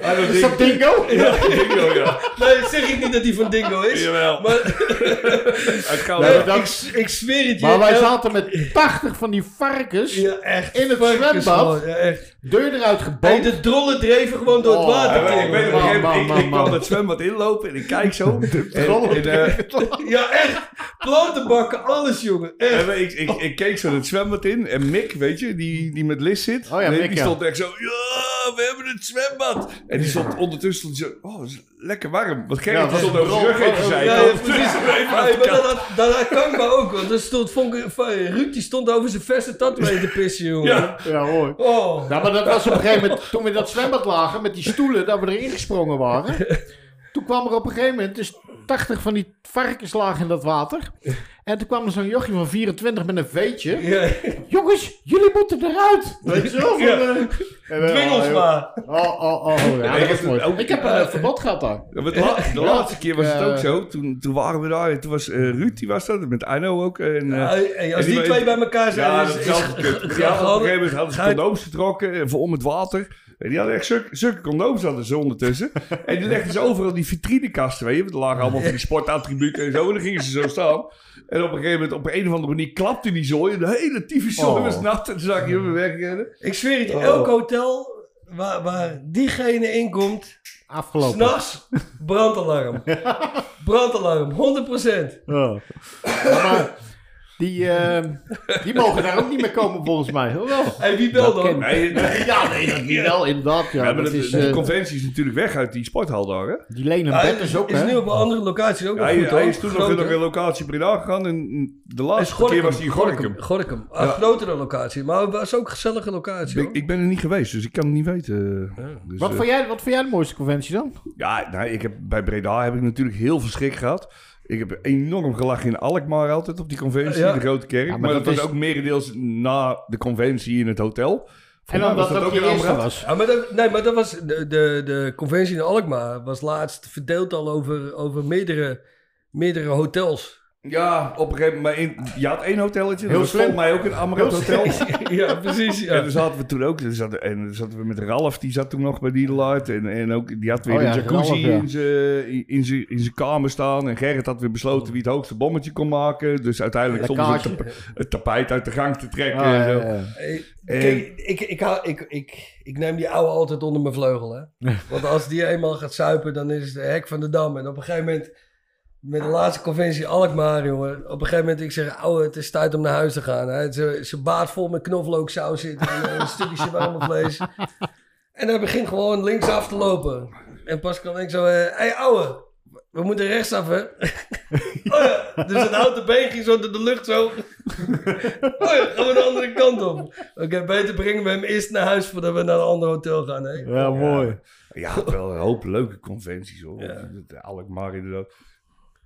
[SPEAKER 2] Ah, dat
[SPEAKER 1] Is dat bingo?
[SPEAKER 2] ding, joh, ja.
[SPEAKER 4] Nee, zeg ik niet dat hij van Dingo is.
[SPEAKER 2] Jawel.
[SPEAKER 4] Maar
[SPEAKER 2] Uit Gouden.
[SPEAKER 4] nee,
[SPEAKER 1] maar dat-
[SPEAKER 4] ik, ik zweer het je.
[SPEAKER 1] Maar wij
[SPEAKER 4] el-
[SPEAKER 1] zaten met 80 van die varkens.
[SPEAKER 4] Ja, echt.
[SPEAKER 1] in het
[SPEAKER 4] varkens
[SPEAKER 1] zwembad.
[SPEAKER 4] gewoon, Ja, echt.
[SPEAKER 1] Deur eruit geboomd.
[SPEAKER 4] Hey, de drollen dreven gewoon door het
[SPEAKER 1] Oh.
[SPEAKER 2] Ja,
[SPEAKER 4] water.
[SPEAKER 2] maar ik weet nog,
[SPEAKER 1] Man,
[SPEAKER 2] ik-
[SPEAKER 1] man,
[SPEAKER 2] ik-
[SPEAKER 1] man,
[SPEAKER 2] ik kwam
[SPEAKER 1] man.
[SPEAKER 2] het zwembad inlopen en ik kijk zo. En- en, eh,
[SPEAKER 4] Ja, echt. Plantenbakken, alles jongen. Echt.
[SPEAKER 2] En ik, ik, ik keek zo het zwembad in en Mick, weet je, die, die met Liz zit,
[SPEAKER 1] Oh ja,
[SPEAKER 2] die,
[SPEAKER 1] Mick,
[SPEAKER 2] die
[SPEAKER 1] ja.
[SPEAKER 2] stond echt zo, ja, we hebben het zwembad. En die stond ondertussen stond die zo, oh, het is lekker warm. Wat Gerrit
[SPEAKER 1] Ja,
[SPEAKER 2] die
[SPEAKER 1] was
[SPEAKER 2] stond
[SPEAKER 1] een
[SPEAKER 2] over zijn
[SPEAKER 1] brol-
[SPEAKER 2] rug heen te
[SPEAKER 1] brol-
[SPEAKER 2] zijn.
[SPEAKER 4] Ja,
[SPEAKER 2] Dat
[SPEAKER 4] ja,
[SPEAKER 2] was
[SPEAKER 4] precies.
[SPEAKER 2] precies even aan
[SPEAKER 4] Hey,
[SPEAKER 2] de
[SPEAKER 4] maar dat,
[SPEAKER 2] kant.
[SPEAKER 4] had, dat had Kanka ook, want er stond Vonke, van- Ruudje stond over zijn verse tatoeage te pissen, jongen.
[SPEAKER 2] Ja,
[SPEAKER 1] Ja hoor.
[SPEAKER 4] Oh.
[SPEAKER 1] Nou, maar dat was op een gegeven moment, toen we in dat zwembad lagen, met die stoelen, dat we erin gesprongen waren. Toen kwam er op een gegeven moment, dus 80 van die varkens lagen in dat water. En toen kwam er zo'n jochie van 24 met een veetje.
[SPEAKER 4] Ja.
[SPEAKER 1] Jongens, jullie moeten eruit! Weet je wel?
[SPEAKER 4] Ja.
[SPEAKER 1] van, eh, en, eh,
[SPEAKER 4] Dwing ons
[SPEAKER 1] oh,
[SPEAKER 4] maar.
[SPEAKER 1] Oh, oh, oh. Ja,
[SPEAKER 2] Ik
[SPEAKER 1] dat
[SPEAKER 2] heb
[SPEAKER 1] was
[SPEAKER 2] het
[SPEAKER 1] mooi.
[SPEAKER 2] ook-
[SPEAKER 1] Ik heb een eh, verbod gehad daar.
[SPEAKER 2] Ja, maar het la-
[SPEAKER 1] Ja.
[SPEAKER 2] de laatste keer was het
[SPEAKER 1] Eh.
[SPEAKER 2] ook zo. Toen, toen waren we daar en toen was eh, Ruud, die was dat, met Arno ook. En, eh,
[SPEAKER 4] Ja, hey, als
[SPEAKER 2] en
[SPEAKER 4] die,
[SPEAKER 2] die-
[SPEAKER 4] twee bij elkaar zijn,
[SPEAKER 2] ja,
[SPEAKER 4] is,
[SPEAKER 2] dat is
[SPEAKER 4] is-
[SPEAKER 2] altijd kut.
[SPEAKER 4] ja,
[SPEAKER 2] Ja, op een
[SPEAKER 4] gewoon-
[SPEAKER 2] gegeven moment hadden ze
[SPEAKER 4] Ga je-
[SPEAKER 2] condooms getrokken, eh, vol met water. En die hadden echt zulke, zulke condooms hadden ze ondertussen. En die legden ze overal die vitrinekasten, weet je. Want er lagen allemaal van die sportattributen en zo. En dan gingen ze zo staan. En op een gegeven moment, op een of andere manier, klapte die zooi. En de hele tyfus zooi
[SPEAKER 1] Oh.
[SPEAKER 2] was nat. En toen zag ik hem weer wegrennen.
[SPEAKER 4] ik zweer het, je,
[SPEAKER 2] Oh.
[SPEAKER 4] elk hotel waar, waar diegene inkomt,
[SPEAKER 1] Afgelopen.
[SPEAKER 4] s'nachts brandalarm. brandalarm, 100%.
[SPEAKER 1] Ja. Ja, maar die, eh, die mogen daar ook niet meer komen volgens mij. Hoewel.
[SPEAKER 4] Hey, wie belt dan?
[SPEAKER 2] Nee, eh,
[SPEAKER 1] Ja, nee, dat niet wel, inderdaad. Ja,
[SPEAKER 2] ja, maar
[SPEAKER 1] dat
[SPEAKER 2] dat-
[SPEAKER 1] is,
[SPEAKER 2] de
[SPEAKER 1] eh,
[SPEAKER 2] conventie is natuurlijk weg uit die sporthal daar, hè?
[SPEAKER 1] die lenen
[SPEAKER 4] Ja,
[SPEAKER 1] bed Ah, is ook,
[SPEAKER 4] is
[SPEAKER 1] hè?
[SPEAKER 4] nu op een andere locatie ook nog
[SPEAKER 2] Hij,
[SPEAKER 4] goed,
[SPEAKER 2] hij
[SPEAKER 4] hoor.
[SPEAKER 2] is toen nog
[SPEAKER 4] Groter.
[SPEAKER 2] nog een locatie per dag gegaan. En de
[SPEAKER 4] Hij
[SPEAKER 2] laatste
[SPEAKER 4] is
[SPEAKER 2] keer
[SPEAKER 4] Oh, Gorkum,
[SPEAKER 2] was hij in Gorkum.
[SPEAKER 4] Gorkum. Gorkum. Een
[SPEAKER 2] Ja.
[SPEAKER 4] grotere locatie, maar het was ook een gezellige locatie.
[SPEAKER 2] Ik,
[SPEAKER 4] hoor.
[SPEAKER 2] ik ben er niet geweest, dus ik kan het niet weten. Dus,
[SPEAKER 1] Wat
[SPEAKER 2] eh,
[SPEAKER 1] vond, jij, wat vond jij de mooiste conventie dan?
[SPEAKER 2] Ja, nou, ik heb, bij Breda heb ik natuurlijk heel veel schrik gehad. Ik heb enorm gelachen in Alkmaar altijd op die conventie,
[SPEAKER 4] Ja.
[SPEAKER 2] in de Grote Kerk.
[SPEAKER 1] Ja,
[SPEAKER 2] maar,
[SPEAKER 1] maar
[SPEAKER 2] dat,
[SPEAKER 1] dat
[SPEAKER 2] was
[SPEAKER 1] is-
[SPEAKER 2] ook merendeels na de conventie in het hotel.
[SPEAKER 1] En
[SPEAKER 2] mij
[SPEAKER 1] omdat
[SPEAKER 2] was dat
[SPEAKER 1] dat
[SPEAKER 2] ook
[SPEAKER 1] ook je
[SPEAKER 2] in
[SPEAKER 1] eerste
[SPEAKER 2] Amrad.
[SPEAKER 1] was.
[SPEAKER 4] Ja, Ah, maar dat, nee, maar dat was de, de, de conventie in Alkmaar was laatst verdeeld al over, over meerdere, meerdere hotels.
[SPEAKER 2] Ja, op een gegeven moment. maar in- je had één hotelletje, dat
[SPEAKER 1] Heel
[SPEAKER 2] was
[SPEAKER 1] slim.
[SPEAKER 2] volgens mij ook een Amrad Hotel.
[SPEAKER 4] ja, precies. Ja.
[SPEAKER 2] En dan zaten we toen ook, dan zaten, en dan zaten we met Ralf, die zat toen nog bij Dealerlight. En, en ook, die had weer
[SPEAKER 1] Oh ja,
[SPEAKER 2] een jacuzzi
[SPEAKER 1] Ralf, ja.
[SPEAKER 2] in zijn- in zijn- in zijn kamer staan. En Gerrit had weer besloten wie het hoogste bommetje kon maken. Dus uiteindelijk
[SPEAKER 1] Ja,
[SPEAKER 2] stond
[SPEAKER 1] kaartje.
[SPEAKER 2] het, het tapijt uit de gang te trekken.
[SPEAKER 1] Ah,
[SPEAKER 2] en
[SPEAKER 1] ja,
[SPEAKER 2] zo.
[SPEAKER 1] ja.
[SPEAKER 4] Hey,
[SPEAKER 2] En-
[SPEAKER 4] Eh, Kijk, ik, ik, hou- ik, ik, ik neem die ouwe altijd onder mijn vleugel. Hè? Want als die eenmaal gaat suipen, dan is het de hek van de dam. En op een gegeven moment, met de laatste conventie Alkmaar, jongen. Op een gegeven moment, ik zeg, ouwe, het is tijd om naar huis te gaan. Hè? Ze, ze baat vol met knoflooksaus zit en eh, een stukje shawarmavlees. En hij begint gewoon linksaf te lopen. En Pascal denkt zo, hé hey, ouwe, we moeten rechtsaf, hè? oh ja, dus het houten been ging zo door de lucht zo. Oh ja, gaan we de andere kant op. Oké, beter brengen we hem eerst naar huis voordat we naar een ander hotel gaan. Hè?
[SPEAKER 1] Ja, mooi.
[SPEAKER 2] Ja, wel een hoop leuke conventies hoor. Dat eh, Alkmaar inderdaad.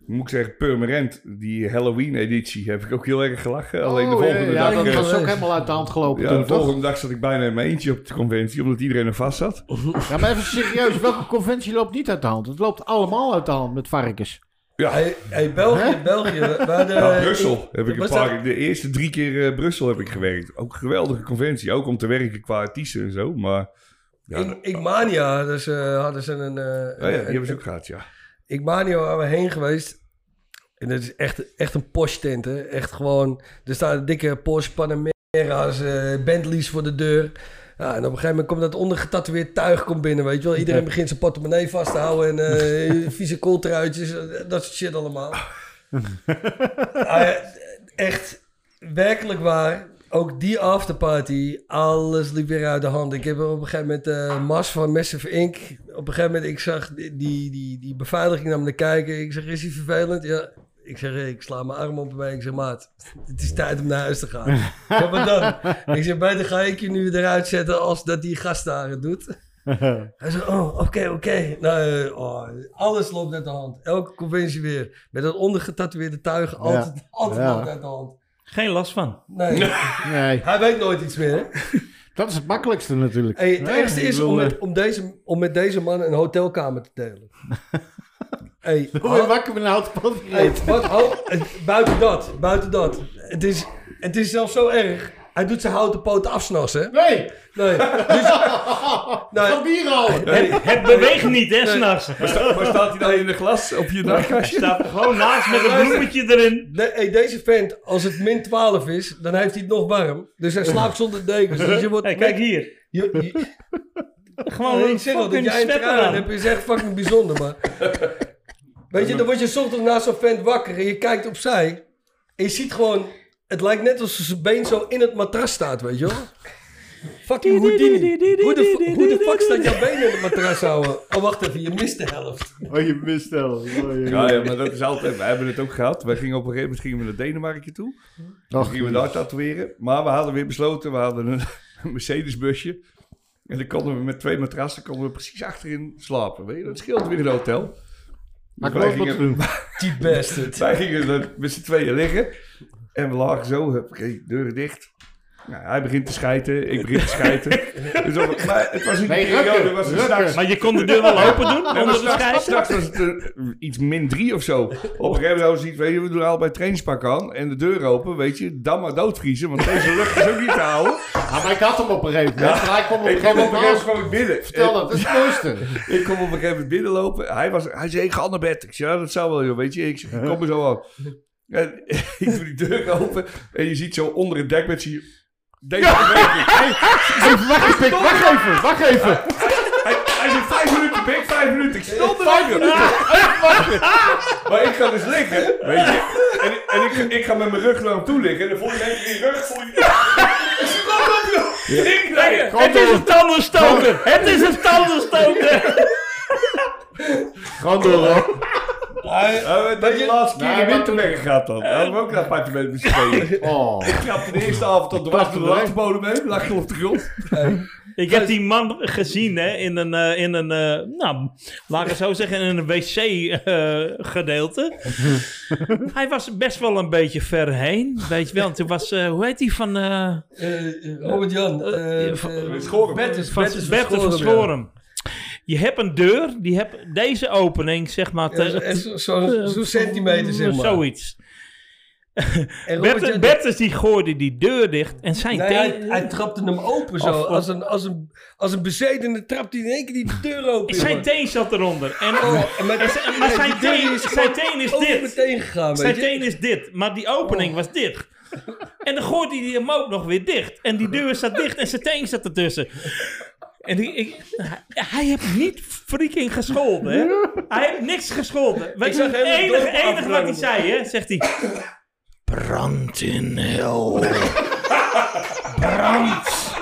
[SPEAKER 2] Ik moet zeggen, Permanent, die Halloween-editie, heb ik ook heel erg gelachen. Alleen de
[SPEAKER 1] Oh,
[SPEAKER 2] volgende
[SPEAKER 1] ja,
[SPEAKER 2] dag...
[SPEAKER 1] ja, dat
[SPEAKER 2] eh,
[SPEAKER 1] was ook helemaal uit de hand gelopen
[SPEAKER 2] ja,
[SPEAKER 1] toen,
[SPEAKER 2] de
[SPEAKER 1] toch?
[SPEAKER 2] volgende dag zat ik bijna in mijn eentje op de conventie, omdat iedereen er vast zat.
[SPEAKER 1] Ja, maar even serieus, welke conventie loopt niet uit de hand? Het loopt allemaal uit de hand met varkens.
[SPEAKER 4] Hey, hey, België,
[SPEAKER 1] Hè?
[SPEAKER 4] België. we- we hadden- eh,
[SPEAKER 2] Ja, Nou, Brussel heb Eh, ik
[SPEAKER 4] was
[SPEAKER 2] een paar
[SPEAKER 4] dat-
[SPEAKER 2] keer- De eerste drie keer eh, Brussel heb ik gewerkt. Ook een geweldige conventie, ook om te werken qua artiesten en zo. Maar oh ja,
[SPEAKER 4] In Ikmania hadden ze, hadden ze een... eh,
[SPEAKER 2] nou ja, die
[SPEAKER 4] een-
[SPEAKER 2] hebben ze ook gehad, ja.
[SPEAKER 4] Ikmania waren we heen geweest. En dat is echt, echt een Porsche tent, hè. Echt gewoon... Er staan dikke Porsche Panamera's, eh, Bentleys voor de deur. Ja, en op een gegeven moment komt dat ondergetatoeëerd tuig komt binnen, weet je wel. Iedereen begint zijn portemonnee vast te houden en eh vieze kooltruitjes, eh, dat soort shit allemaal. Nou ja, echt, werkelijk waar. Ook die afterparty, alles liep weer uit de hand. Ik heb er op een gegeven moment eh Mas van Massive Inc. Op een gegeven moment, ik zag die, die, die, die beveiliging naar me kijken. Ik zeg, is hij vervelend? Ja. Ik zeg, hey, ik sla mijn arm op mij. Ik zeg, maat, het is tijd om naar huis te gaan. Ja, maar dan? Ik zeg, beter ga ik je nu eruit zetten als dat die gast daar het doet. Hij zegt, oh, oké, oké. Nou, eh, oh, alles loopt uit de hand. Elke conventie weer. Met dat ondergetatoeëerde tuig, altijd, altijd
[SPEAKER 1] Ja.
[SPEAKER 4] loopt uit de hand.
[SPEAKER 3] Geen last van.
[SPEAKER 4] Nee,
[SPEAKER 1] Nee,
[SPEAKER 4] hij weet nooit iets meer. hè?
[SPEAKER 1] dat is het makkelijkste natuurlijk.
[SPEAKER 4] Hey, het
[SPEAKER 1] Nee,
[SPEAKER 4] ergste
[SPEAKER 1] ik
[SPEAKER 4] is
[SPEAKER 1] bedoel,
[SPEAKER 4] om
[SPEAKER 1] eh,
[SPEAKER 4] met, om, deze, om met deze man een hotelkamer te delen. Hey,
[SPEAKER 1] Hoe je wakker met een houten pan
[SPEAKER 4] Hey, wat, oh, eh, buiten dat, buiten dat. Het is, het is zelfs zo erg. Hij doet zijn houten poten afsnassen.
[SPEAKER 1] Nee,
[SPEAKER 4] Nee, dus, nee,
[SPEAKER 1] van bier houden.
[SPEAKER 3] Het, het beweegt niet, hè, s'nachts. Hij
[SPEAKER 2] Waar staat hij dan in een glas op je nachtkastje?
[SPEAKER 3] staat er gewoon naast met een bloemetje erin.
[SPEAKER 4] de- hey, deze vent, als het min 12 is, dan heeft hij het nog warm. Dus hij slaapt zonder dekens. Dus je wordt
[SPEAKER 3] Hey, kijk hier.
[SPEAKER 4] Je, je-
[SPEAKER 3] Gewoon
[SPEAKER 4] ik
[SPEAKER 3] een
[SPEAKER 4] zeg al, dat
[SPEAKER 3] fucking
[SPEAKER 4] jij een
[SPEAKER 3] sweater
[SPEAKER 4] trui aan
[SPEAKER 3] aan.
[SPEAKER 4] hebt is echt fucking bijzonder, maar... Weet je, dan word je 's ochtends naast zo'n vent wakker en je kijkt opzij. En je ziet gewoon... Het lijkt net alsof zijn been zo in het matras staat, weet je wel? Fucking Houdini. Hoe de, fu- hoe de fuck staat jouw been in het matras houden? Oh, wacht even, je mist de helft.
[SPEAKER 1] Oh, je mist wel. Oh, je-
[SPEAKER 2] Ja, ja, maar dat is altijd. We hebben het ook gehad. Wij gingen op een gegeven moment gingen we naar Denemarken toe. Dan
[SPEAKER 1] Ach,
[SPEAKER 2] gingen we daar tatoeëren. Maar we hadden weer besloten, we hadden een, een Mercedes-busje. En dan konden we met twee matrassen konden we precies achterin slapen. Weet je? Dat scheelt weer in een hotel.
[SPEAKER 1] maar ik
[SPEAKER 2] wij
[SPEAKER 1] loop wat te
[SPEAKER 2] gingen,
[SPEAKER 1] doen.
[SPEAKER 4] Die bastard.
[SPEAKER 2] wij gingen er met z'n tweeën liggen. En we lagen zo, huppakee, deuren dicht. Nou, hij begint te schijten, ik begin te schijten. dus op- maar het was niet
[SPEAKER 1] Nee,
[SPEAKER 2] periode,
[SPEAKER 1] rukken,
[SPEAKER 2] was het
[SPEAKER 1] rukken.
[SPEAKER 2] s'nachts.
[SPEAKER 3] Maar je kon de deur wel open doen, onder de
[SPEAKER 2] Straks,
[SPEAKER 3] schijf.
[SPEAKER 2] straks was het eh, iets min drie of zo. Op een gegeven moment hadden ze iets, weet je, we doen allebei trainingspak aan en de deur open, weet je, dan maar doodvriezen, want deze lucht is ook niet te houden.
[SPEAKER 1] Ah, maar ik had hem op een gegeven moment. Maar hij kwam op een
[SPEAKER 2] Ik kwam
[SPEAKER 1] gegeven
[SPEAKER 2] op een gegeven
[SPEAKER 1] moment
[SPEAKER 2] moment binnen.
[SPEAKER 1] Vertel dat, dat is het mooiste.
[SPEAKER 2] Ik kom op een gegeven moment binnenlopen. Hij, was, hij zei, ik ga naar bed. Ik zei, ja, dat zou wel, joh. Weet je, ik zeg, ik kom er zo aan. En ik doe die deur open en je ziet zo onder het dekbed, zie je... Deze beweging. Hij,
[SPEAKER 1] Even, wacht even, Pik, wacht even, wacht even.
[SPEAKER 2] hij, hij zei, vijf minuten, Pik, vijf minuten. Ik stond er vijf Maar ik ga dus liggen, weet je. En, en ik, ik ga met mijn rug naar hem toe liggen. En dan voel je in één keer die rug, voel je... Ik snap dat, joh. Ik nee.
[SPEAKER 1] Gewoon
[SPEAKER 3] Het is
[SPEAKER 1] door,
[SPEAKER 3] een tandenstoker! Het is een tandenstoker!
[SPEAKER 1] gewoon door. hoor.
[SPEAKER 2] Dat is de laatste keer
[SPEAKER 1] Nou,
[SPEAKER 2] in
[SPEAKER 1] wat-
[SPEAKER 2] Winterberg gaat dan. Dan hebben we ook een appartement met z'n tweeën.
[SPEAKER 1] Oh.
[SPEAKER 2] Ik trapte de eerste avond op de was door de wasbodem heen, lag ik op de grond.
[SPEAKER 3] Ik heb die man gezien hè, in een, eh, in een eh, nou, laat ik het zo zeggen, in een wc-gedeelte. Hij was best wel een beetje ver heen, weet je wel. En toen was, eh, hoe heet die van, eh
[SPEAKER 4] Robert-Jan. eh, eh,
[SPEAKER 2] Schoren.
[SPEAKER 4] Bertus-
[SPEAKER 3] van
[SPEAKER 4] Bertus
[SPEAKER 3] Bertus van
[SPEAKER 4] Schoren, ja.
[SPEAKER 3] Schorum. Je hebt een deur, die hebt deze opening, zeg maar.
[SPEAKER 4] Ja,
[SPEAKER 3] te-
[SPEAKER 4] zo- echt zo-
[SPEAKER 3] te-
[SPEAKER 4] Zo'n zo'n centimeter, zeg maar.
[SPEAKER 3] Zoiets.
[SPEAKER 4] En
[SPEAKER 3] Bertus,
[SPEAKER 4] Robert-Jan-
[SPEAKER 3] Bertus die gooide die deur dicht en zijn
[SPEAKER 4] Nee,
[SPEAKER 3] teen...
[SPEAKER 4] hij, hij trapte hem open zo.
[SPEAKER 3] Of- of-
[SPEAKER 4] als, een, als, een, als een bezetene trapt hij in één keer die deur open.
[SPEAKER 3] Zijn
[SPEAKER 4] jongen.
[SPEAKER 3] teen zat eronder. En,
[SPEAKER 4] Oh, en met-
[SPEAKER 3] en zijn- maar
[SPEAKER 4] en
[SPEAKER 3] zijn
[SPEAKER 4] die deur
[SPEAKER 3] teen-
[SPEAKER 4] is
[SPEAKER 3] zijn
[SPEAKER 4] gewoon Oh,
[SPEAKER 3] teen is
[SPEAKER 4] over
[SPEAKER 3] dit.
[SPEAKER 4] meteen gegaan,
[SPEAKER 3] Zijn
[SPEAKER 4] weet je. Oh.
[SPEAKER 3] teen is dit, maar die opening was dit. En dan gooit hij hem ook nog weer dicht. En die deur zat dicht en zijn teen zat ertussen. En die, ik, hij, hij heeft niet freaking gescholden, hè? Hij heeft niks gescholden. Weet je,
[SPEAKER 4] zag
[SPEAKER 3] het
[SPEAKER 4] hem het
[SPEAKER 3] enige,
[SPEAKER 4] dorp
[SPEAKER 3] enige wat hij
[SPEAKER 4] afbranden.
[SPEAKER 3] zei, hè? Zegt hij... Brand in hel. Brand.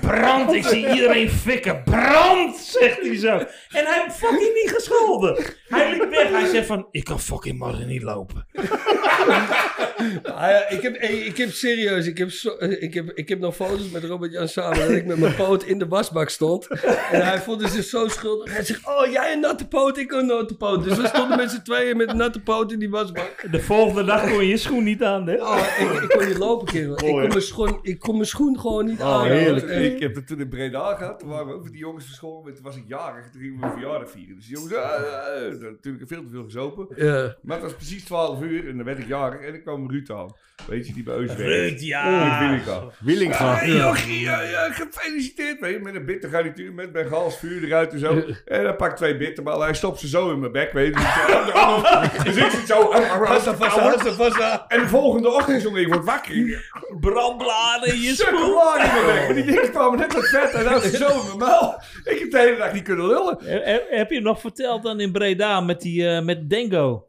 [SPEAKER 3] Brand. Ik zie iedereen fikken. Brand, zegt hij zo. En hij heeft fucking niet gescholden. Hij liep weg. Hij zegt van... Ik kan fucking morgen niet lopen.
[SPEAKER 4] Ah ja, ik, heb, eh, ik heb serieus, ik heb, zo- eh, ik heb, ik heb nog foto's met Robert Jan samen dat ik met mijn poot in de wasbak stond. En hij voelde zich zo schuldig. Hij zegt, oh jij een natte poot, ik een natte poot. Dus we stonden met z'n tweeën met een natte poot in die wasbak.
[SPEAKER 3] De volgende dag kon je je schoen niet aan, hè?
[SPEAKER 4] Oh, ik, ik kon niet lopen, kerel. Ik kon mijn schoen, ik kon mijn schoen gewoon niet aan.
[SPEAKER 1] heerlijk.
[SPEAKER 4] Eh,
[SPEAKER 2] Oh, Ik heb het toen in Breda gehad, toen waren we ook met die jongens verscholen, maar toen was ik jarig, toen gingen we een verjaardag vieren. Dus die jongens, eh, eh, eh, natuurlijk veel te veel gezopen.
[SPEAKER 4] Ja.
[SPEAKER 2] Maar het was precies 12 uur en dan werd ik jarig en ik kwam Ruud aan. Weet je, die bij Eus
[SPEAKER 3] Ruud,
[SPEAKER 2] werkt.
[SPEAKER 3] ja.
[SPEAKER 2] Ruud Willinga.
[SPEAKER 1] Willinga.
[SPEAKER 2] Hey, Jochie, ja, ja, gefeliciteerd. Weet je, met een bitter gaat hij natuurlijk met mijn gals vuur eruit en zo. En hij pakt twee bitterballen. Hij stopt ze zo in mijn bek. Weet je. Dus ik- Dus ik zit zo. En de volgende ochtend jongen, ik word wakker.
[SPEAKER 3] Brandbladen in je
[SPEAKER 2] Sukker
[SPEAKER 3] spoel.
[SPEAKER 2] laag in mijn bek. Maar die dingen kwamen net wat vet. En dat is zo in mijn muil. Ik heb de hele dag niet kunnen lullen.
[SPEAKER 3] He- he- Heb je hem nog verteld dan in Breda met, die, eh, met Dengo?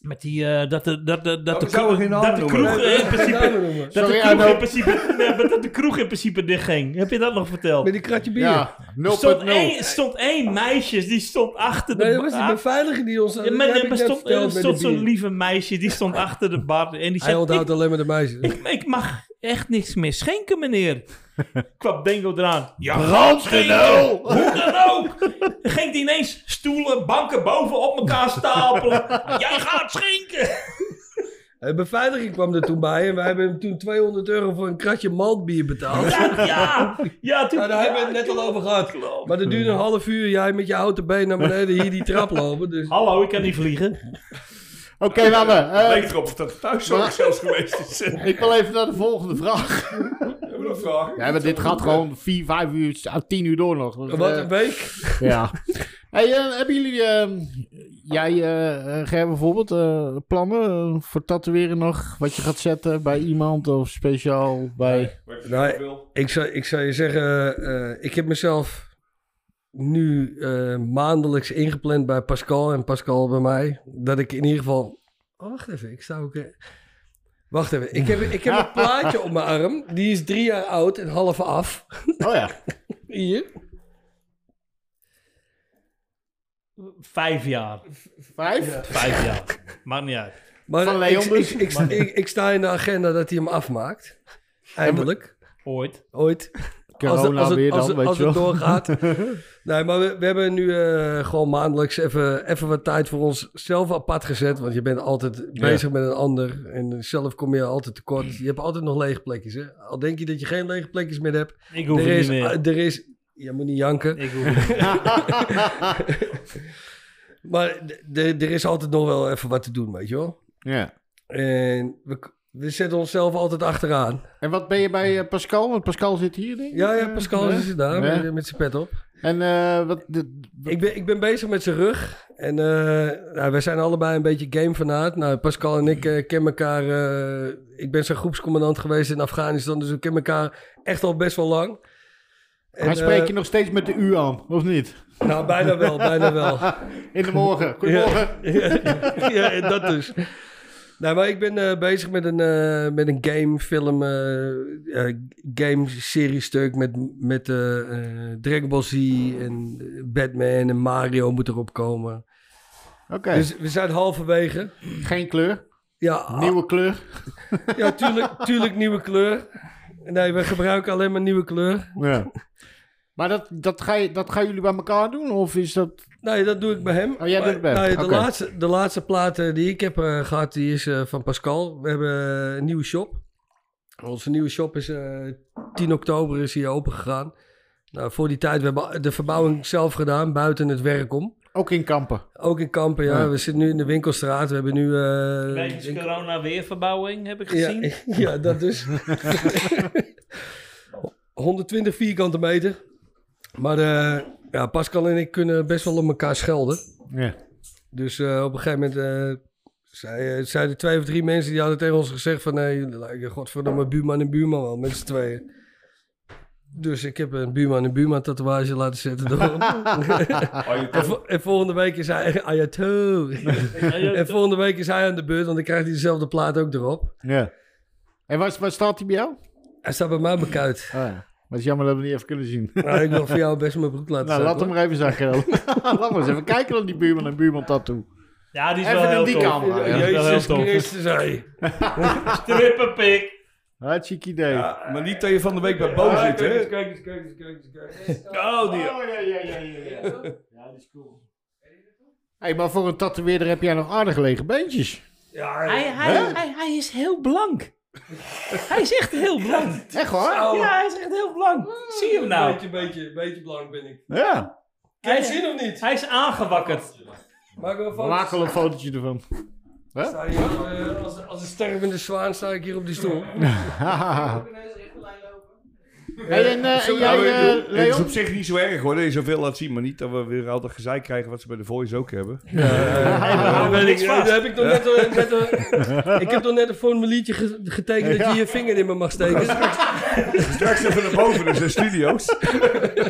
[SPEAKER 3] Met die, eh, dat de, dat de, dat
[SPEAKER 2] Oh,
[SPEAKER 3] de,
[SPEAKER 2] we zouden
[SPEAKER 3] kroeg-
[SPEAKER 2] geen namen
[SPEAKER 3] dat de
[SPEAKER 2] noemen.
[SPEAKER 3] kroeg eh, in principe...
[SPEAKER 4] noemen.
[SPEAKER 3] Dat de,
[SPEAKER 11] Sorry,
[SPEAKER 3] kroeg
[SPEAKER 11] Arno.
[SPEAKER 3] in principe, nee, maar dat de kroeg in principe dichtging. Heb je dat nog verteld?
[SPEAKER 4] Met die kratje bier.
[SPEAKER 1] Ja,
[SPEAKER 3] Er stond
[SPEAKER 1] 0.0.
[SPEAKER 3] één, stond één meisje, die stond achter de
[SPEAKER 4] Nee, dat was die
[SPEAKER 3] bar.
[SPEAKER 4] beveiliger die ons...
[SPEAKER 3] Ja,
[SPEAKER 4] Ja,
[SPEAKER 3] maar
[SPEAKER 4] heb
[SPEAKER 3] er
[SPEAKER 4] ik net
[SPEAKER 3] stond,
[SPEAKER 4] verteld
[SPEAKER 3] er
[SPEAKER 4] met
[SPEAKER 3] stond
[SPEAKER 4] de
[SPEAKER 3] zo'n
[SPEAKER 4] bier.
[SPEAKER 3] lieve meisje, die stond achter de bar. En die
[SPEAKER 4] Hij
[SPEAKER 3] zei,
[SPEAKER 4] onthoudt
[SPEAKER 3] ik,
[SPEAKER 4] alleen maar de meisjes.
[SPEAKER 3] ik, ik mag echt niks meer schenken, meneer. Kwam Dengo eraan. Ja,
[SPEAKER 1] Brandgenul!
[SPEAKER 3] Hoe dan ook! Dan ging hij ineens stoelen, banken boven op elkaar stapelen. Jij gaat schenken!
[SPEAKER 4] De beveiliging kwam er toen bij en wij hebben hem toen 200 euro voor een kratje maltbier betaald.
[SPEAKER 3] Ja! Ja, toen...
[SPEAKER 4] Nou, daar hebben we het net al over gehad.
[SPEAKER 3] Klopt.
[SPEAKER 4] Maar dat duurde een half uur, jij met je houten been naar beneden hier die trap lopen. Dus.
[SPEAKER 3] Hallo, ik kan niet vliegen.
[SPEAKER 1] Oké, mannen. eh,
[SPEAKER 2] Leek erop of dat thuis ook zelfs geweest is. Hebben
[SPEAKER 1] ik wil even naar de volgende vraag.
[SPEAKER 2] we nog vragen?
[SPEAKER 1] Ja, maar dit gaat gewoon 4, 5 uur, ah, 10 uur door nog. Dus,
[SPEAKER 4] Wat
[SPEAKER 1] eh,
[SPEAKER 4] een week.
[SPEAKER 1] ja. Hey, eh, hebben jullie, eh, jij eh eh, Ger bijvoorbeeld, eh, plannen eh, voor tatoeëren nog? Wat je gaat zetten bij iemand of speciaal bij...
[SPEAKER 2] Wat je
[SPEAKER 4] Nee.
[SPEAKER 2] wil.
[SPEAKER 4] Ik zou, ik zou je zeggen, eh, ik heb mezelf nu eh, maandelijks ingepland bij Pascal en Pascal bij mij. Dat ik in ieder geval... Oh, wacht even, ik zou ook... eh, Wacht even, ik heb, ik heb een plaatje op mijn arm. Die is drie jaar oud en half af.
[SPEAKER 1] Oh ja.
[SPEAKER 4] Hier.
[SPEAKER 3] Vijf jaar.
[SPEAKER 1] Vijf?
[SPEAKER 3] Vijf jaar. Maakt niet uit.
[SPEAKER 4] Maar
[SPEAKER 1] Van Leon
[SPEAKER 4] ik,
[SPEAKER 1] dus.
[SPEAKER 4] ik, ik, ik, ik sta in de agenda dat hij hem afmaakt. Eindelijk.
[SPEAKER 3] Ooit.
[SPEAKER 4] Ooit.
[SPEAKER 1] Corona weer dan,
[SPEAKER 4] als, het-
[SPEAKER 1] weet
[SPEAKER 4] als
[SPEAKER 1] je
[SPEAKER 4] het
[SPEAKER 1] wel.
[SPEAKER 4] doorgaat. nee, maar we, we hebben nu eh, gewoon maandelijks even, even wat tijd voor onszelf apart gezet. Want je bent altijd bezig met een ander. En zelf kom je altijd tekort. Je hebt altijd nog lege plekjes. Hè? Al denk je dat je geen lege plekjes meer hebt.
[SPEAKER 3] Ik hoef
[SPEAKER 4] er,
[SPEAKER 3] het
[SPEAKER 4] is, Ah,
[SPEAKER 3] niet meer.
[SPEAKER 4] er is... Je moet niet janken.
[SPEAKER 3] Ik hoef het niet meer.
[SPEAKER 4] Maar d- d- er is altijd nog wel even wat te doen, weet je wel.
[SPEAKER 1] Ja.
[SPEAKER 4] En we, k- we zetten onszelf altijd achteraan.
[SPEAKER 1] En wat ben je bij eh, Pascal? Want Pascal zit hier, denk ik.
[SPEAKER 4] Ja, ja,
[SPEAKER 1] Eh,
[SPEAKER 4] Pascal
[SPEAKER 1] hè?
[SPEAKER 4] is er daar
[SPEAKER 1] Ja.
[SPEAKER 4] met, met zijn pet op.
[SPEAKER 1] En eh, wat... de- wat-
[SPEAKER 4] Ik ben, ik ben bezig met zijn rug. En eh, nou, wij zijn allebei een beetje gamefanaat. Nou, Pascal en ik eh kennen elkaar. eh, ik ben zijn groepscommandant geweest in Afghanistan. Dus we kennen elkaar echt al best wel lang. En,
[SPEAKER 1] Hij spreekt
[SPEAKER 4] eh,
[SPEAKER 1] je nog steeds met de U aan, of niet?
[SPEAKER 4] nou, bijna wel, bijna wel.
[SPEAKER 1] In de morgen. Goedemorgen.
[SPEAKER 4] ja, en dat dus. Nou, maar ik ben eh, bezig met een, eh, met een game, film, eh, eh, game serie stuk met, met eh, eh, Dragon Ball Z en Batman en Mario moet erop komen.
[SPEAKER 1] Oké.
[SPEAKER 4] Dus we zijn halverwege.
[SPEAKER 1] Geen kleur.
[SPEAKER 4] Ja,
[SPEAKER 1] Nieuwe kleur.
[SPEAKER 4] ja tuurlijk, tuurlijk nieuwe kleur. Nee, we gebruiken alleen maar nieuwe kleur.
[SPEAKER 1] Ja. Maar dat, dat, ga je, dat gaan jullie bij elkaar doen? Of is dat...
[SPEAKER 4] Nee, dat doe ik bij hem.
[SPEAKER 1] Oh, jij doet het bij hem.
[SPEAKER 4] nee, de,
[SPEAKER 1] Oké.
[SPEAKER 4] laatste, de laatste plaat eh, die ik heb eh, gehad, die is eh, van Pascal. We hebben eh, een nieuwe shop. Onze nieuwe shop is eh 10 oktober is hier open gegaan. Nou, voor die tijd, we hebben de verbouwing zelf gedaan, buiten het werk om.
[SPEAKER 1] Ook in kampen.
[SPEAKER 4] Ook in Kampen, ja.
[SPEAKER 1] Ja.
[SPEAKER 4] We zitten nu in de winkelstraat. We hebben nu... eh,
[SPEAKER 3] Wegens
[SPEAKER 4] winkel-
[SPEAKER 3] corona weer verbouwing, heb ik gezien.
[SPEAKER 4] Ja, ja, dat dus. 120 vierkante meter. Maar eh, ja, Pascal en ik kunnen best wel op elkaar schelden.
[SPEAKER 1] Ja.
[SPEAKER 4] Dus eh, op een gegeven moment eh, zei, zeiden twee of drie mensen... die hadden tegen ons gezegd van... nee, jullie lijken godverdomme buurman en buurman wel, met z'n tweeën. Dus ik heb een buurman en buurman tatoeage laten zetten. door hem.
[SPEAKER 2] Oh, je
[SPEAKER 4] en, vo- en volgende week is hij... Ayato. en volgende week is hij aan de beurt... want dan krijgt hij dezelfde plaat ook erop.
[SPEAKER 1] Ja. En waar, waar staat hij bij jou?
[SPEAKER 4] Hij staat bij mij bekuit.
[SPEAKER 1] Ah, ja. Maar het is jammer dat we het niet even kunnen zien.
[SPEAKER 4] Nou, ik wil voor jou best mijn broek laten
[SPEAKER 1] nou, laat hem
[SPEAKER 4] zakken,
[SPEAKER 1] maar even zakken. laat maar eens even kijken dan die buurman en buurman tattoo.
[SPEAKER 3] Ja, die is
[SPEAKER 1] Even
[SPEAKER 3] wel
[SPEAKER 1] in
[SPEAKER 3] heel
[SPEAKER 1] die
[SPEAKER 3] tof.
[SPEAKER 1] kamer.
[SPEAKER 4] hoor.
[SPEAKER 1] Ja, dat
[SPEAKER 3] is wel
[SPEAKER 4] Jezus
[SPEAKER 3] heel tof.
[SPEAKER 4] Christus, hé.
[SPEAKER 3] Strippenpik.
[SPEAKER 1] Hartstikke idee.
[SPEAKER 2] Ja, maar niet dat je van de week bij Bo zit, hè?
[SPEAKER 4] Kijk eens, kijk eens, kijk eens, kijk eens.
[SPEAKER 2] Oh, die...
[SPEAKER 1] ja, ja, ja, ja. Ja, dat is cool. hey, maar voor een tatoeëerder heb jij nog aardig lege beentjes.
[SPEAKER 4] Ja,
[SPEAKER 3] Hij, hij, hij, hij is heel blank. hij is echt heel blank.
[SPEAKER 1] Echt waar?
[SPEAKER 4] Ouwe.
[SPEAKER 3] Ja, hij is echt heel blank. Zie je hem
[SPEAKER 4] Een
[SPEAKER 3] nou?
[SPEAKER 4] beetje, beetje, beetje blank ben ik.
[SPEAKER 1] Ja.
[SPEAKER 4] Heb
[SPEAKER 3] Hij
[SPEAKER 4] je
[SPEAKER 3] is,
[SPEAKER 4] zin of niet?
[SPEAKER 3] hij is aangewakkerd.
[SPEAKER 4] Maak wel
[SPEAKER 1] Maak
[SPEAKER 4] foto's.
[SPEAKER 1] wel een fotootje ervan.
[SPEAKER 4] Sta je, eh, als, als een stervende zwaan sta ik hier op die stoel.
[SPEAKER 12] Ook ineens echt een lijn lopen.
[SPEAKER 1] Hey, en, eh, en jij,
[SPEAKER 2] Nou, ik bedoel,
[SPEAKER 1] eh,
[SPEAKER 2] het is
[SPEAKER 1] Leon?
[SPEAKER 2] op zich niet zo erg hoor, dat je zoveel laat zien. Maar niet dat we weer altijd gezeik krijgen wat ze bij de Voice ook hebben.
[SPEAKER 4] Ja, weet ik, eh, daar heb ik nog net, een- net een- ik heb nog net een formuliertje ge- getekend dat je je vinger in me mag steken.
[SPEAKER 2] Straks even naar boven, dus de studio's.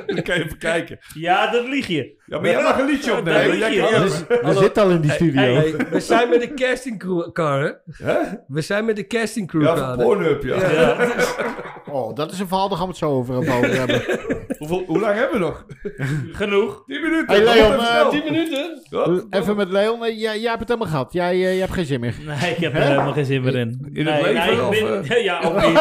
[SPEAKER 2] Dan kan je even kijken.
[SPEAKER 3] Ja, dat lieg je.
[SPEAKER 2] Ja, maar jij mag een liedje
[SPEAKER 3] dat
[SPEAKER 2] opnemen.
[SPEAKER 3] liedje,
[SPEAKER 2] Jij kan-
[SPEAKER 3] ja.
[SPEAKER 1] We zitten al in die studio.
[SPEAKER 4] Hey, we zijn met de casting crew, car, hè?
[SPEAKER 2] Hè?
[SPEAKER 4] We zijn met de casting crew,
[SPEAKER 2] Ja,
[SPEAKER 4] Karen.
[SPEAKER 2] van Pornhub, ja.
[SPEAKER 1] Oh, dat is een verhaal, daar gaan we het zo over over hebben.
[SPEAKER 2] Hoeveel, hoe lang hebben we nog?
[SPEAKER 3] Genoeg.
[SPEAKER 2] 10 minuten.
[SPEAKER 1] Hey, Leon,
[SPEAKER 2] Hop, even
[SPEAKER 1] eh,
[SPEAKER 2] snel.
[SPEAKER 4] 10 minuten?
[SPEAKER 3] Oh,
[SPEAKER 2] Hop.
[SPEAKER 1] Even met Leon, eh, jij, jij hebt het helemaal gehad. Jij, eh, jij hebt geen zin meer.
[SPEAKER 3] Nee, ik heb er helemaal geen zin meer in.
[SPEAKER 2] In het
[SPEAKER 3] nee,
[SPEAKER 2] leven,
[SPEAKER 3] nee, ik
[SPEAKER 2] of,
[SPEAKER 3] ben, Ja, ook niet.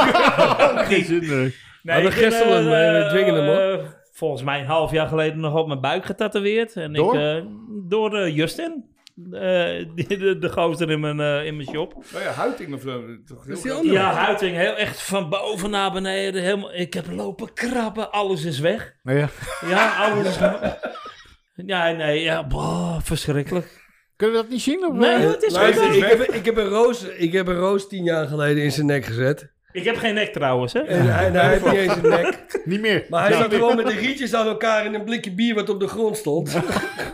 [SPEAKER 3] Geen zin
[SPEAKER 4] Hadden gisteren hem, eh, dwingen hem, hoor.
[SPEAKER 3] volgens mij een half jaar geleden nog op mijn buik getatoeëerd. En
[SPEAKER 1] Door?
[SPEAKER 3] Ik, eh, door eh, Justin. Eh, die- de, de gozer in mijn, eh, in mijn shop.
[SPEAKER 2] Nou ja, Huiting of zo. Toch heel
[SPEAKER 4] Is die
[SPEAKER 2] graag.
[SPEAKER 4] andere?
[SPEAKER 3] Ja, huiting. Heel, echt van boven naar beneden. Helemaal, ik heb lopen krabben. Alles is weg.
[SPEAKER 1] Ja.
[SPEAKER 3] Ja, alles. Ja, nee, ja, boah, verschrikkelijk.
[SPEAKER 1] Kunnen we dat niet zien? Of,
[SPEAKER 3] Nee,
[SPEAKER 1] eh?
[SPEAKER 3] het is
[SPEAKER 2] Luister,
[SPEAKER 3] goed.
[SPEAKER 4] Ik heb, ik, heb een roos, ik heb een roos tien jaar geleden in zijn nek gezet.
[SPEAKER 3] Ik heb geen nek trouwens, hè?
[SPEAKER 4] En hij, en hij heeft niet eens een nek.
[SPEAKER 1] eh, Niet meer.
[SPEAKER 4] Maar hij zat gewoon met de rietjes aan elkaar in een blikje bier wat op de grond stond.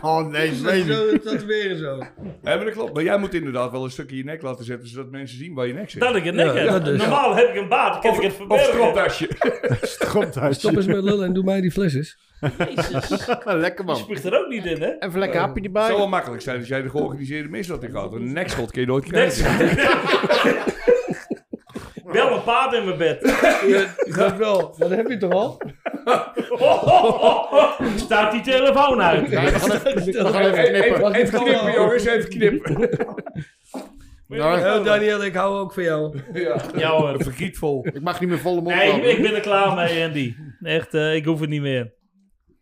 [SPEAKER 1] Oh nee, nee. niet.
[SPEAKER 4] Zo, dat weer zo.
[SPEAKER 2] Ja, maar dat klopt. Maar jij moet inderdaad wel een stukje in je nek laten zetten, zodat mensen zien waar je nek zit.
[SPEAKER 3] Dat ik een nek
[SPEAKER 4] Ja,
[SPEAKER 3] heb.
[SPEAKER 4] dat dus.
[SPEAKER 3] Normaal heb ik een baard, kan ik het
[SPEAKER 2] Of
[SPEAKER 3] verbergen.
[SPEAKER 2] stropdasje.
[SPEAKER 1] Stromthuis.
[SPEAKER 4] Stop eens met lullen en doe mij die flesjes.
[SPEAKER 3] Jezus,
[SPEAKER 1] Lekker
[SPEAKER 3] je
[SPEAKER 1] man.
[SPEAKER 3] spuugt er ook niet in, hè?
[SPEAKER 1] Even lekker hapje
[SPEAKER 2] Het zou
[SPEAKER 1] erbij.
[SPEAKER 2] wel makkelijk zijn als jij de georganiseerde misdaad in gaat. Een nekschot kun je nooit
[SPEAKER 3] Net
[SPEAKER 2] krijgen.
[SPEAKER 3] Wel een paard in mijn bed.
[SPEAKER 4] dat wel. Dat heb je toch al?
[SPEAKER 3] Oh, oh, oh, oh. Staat die telefoon uit?
[SPEAKER 1] Nee, we gaan even, we gaan even knippen.
[SPEAKER 2] Even, even knippen, jongens. Even knippen.
[SPEAKER 1] Nou,
[SPEAKER 4] Daniel, Daniel, ik hou ook van jou.
[SPEAKER 3] Ja hoor.
[SPEAKER 2] Vergietvol.
[SPEAKER 1] ik mag niet meer volle mond
[SPEAKER 3] Nee, ik, ik
[SPEAKER 1] houden.
[SPEAKER 3] ben er klaar mee, Andy. Echt, eh, ik hoef het niet meer.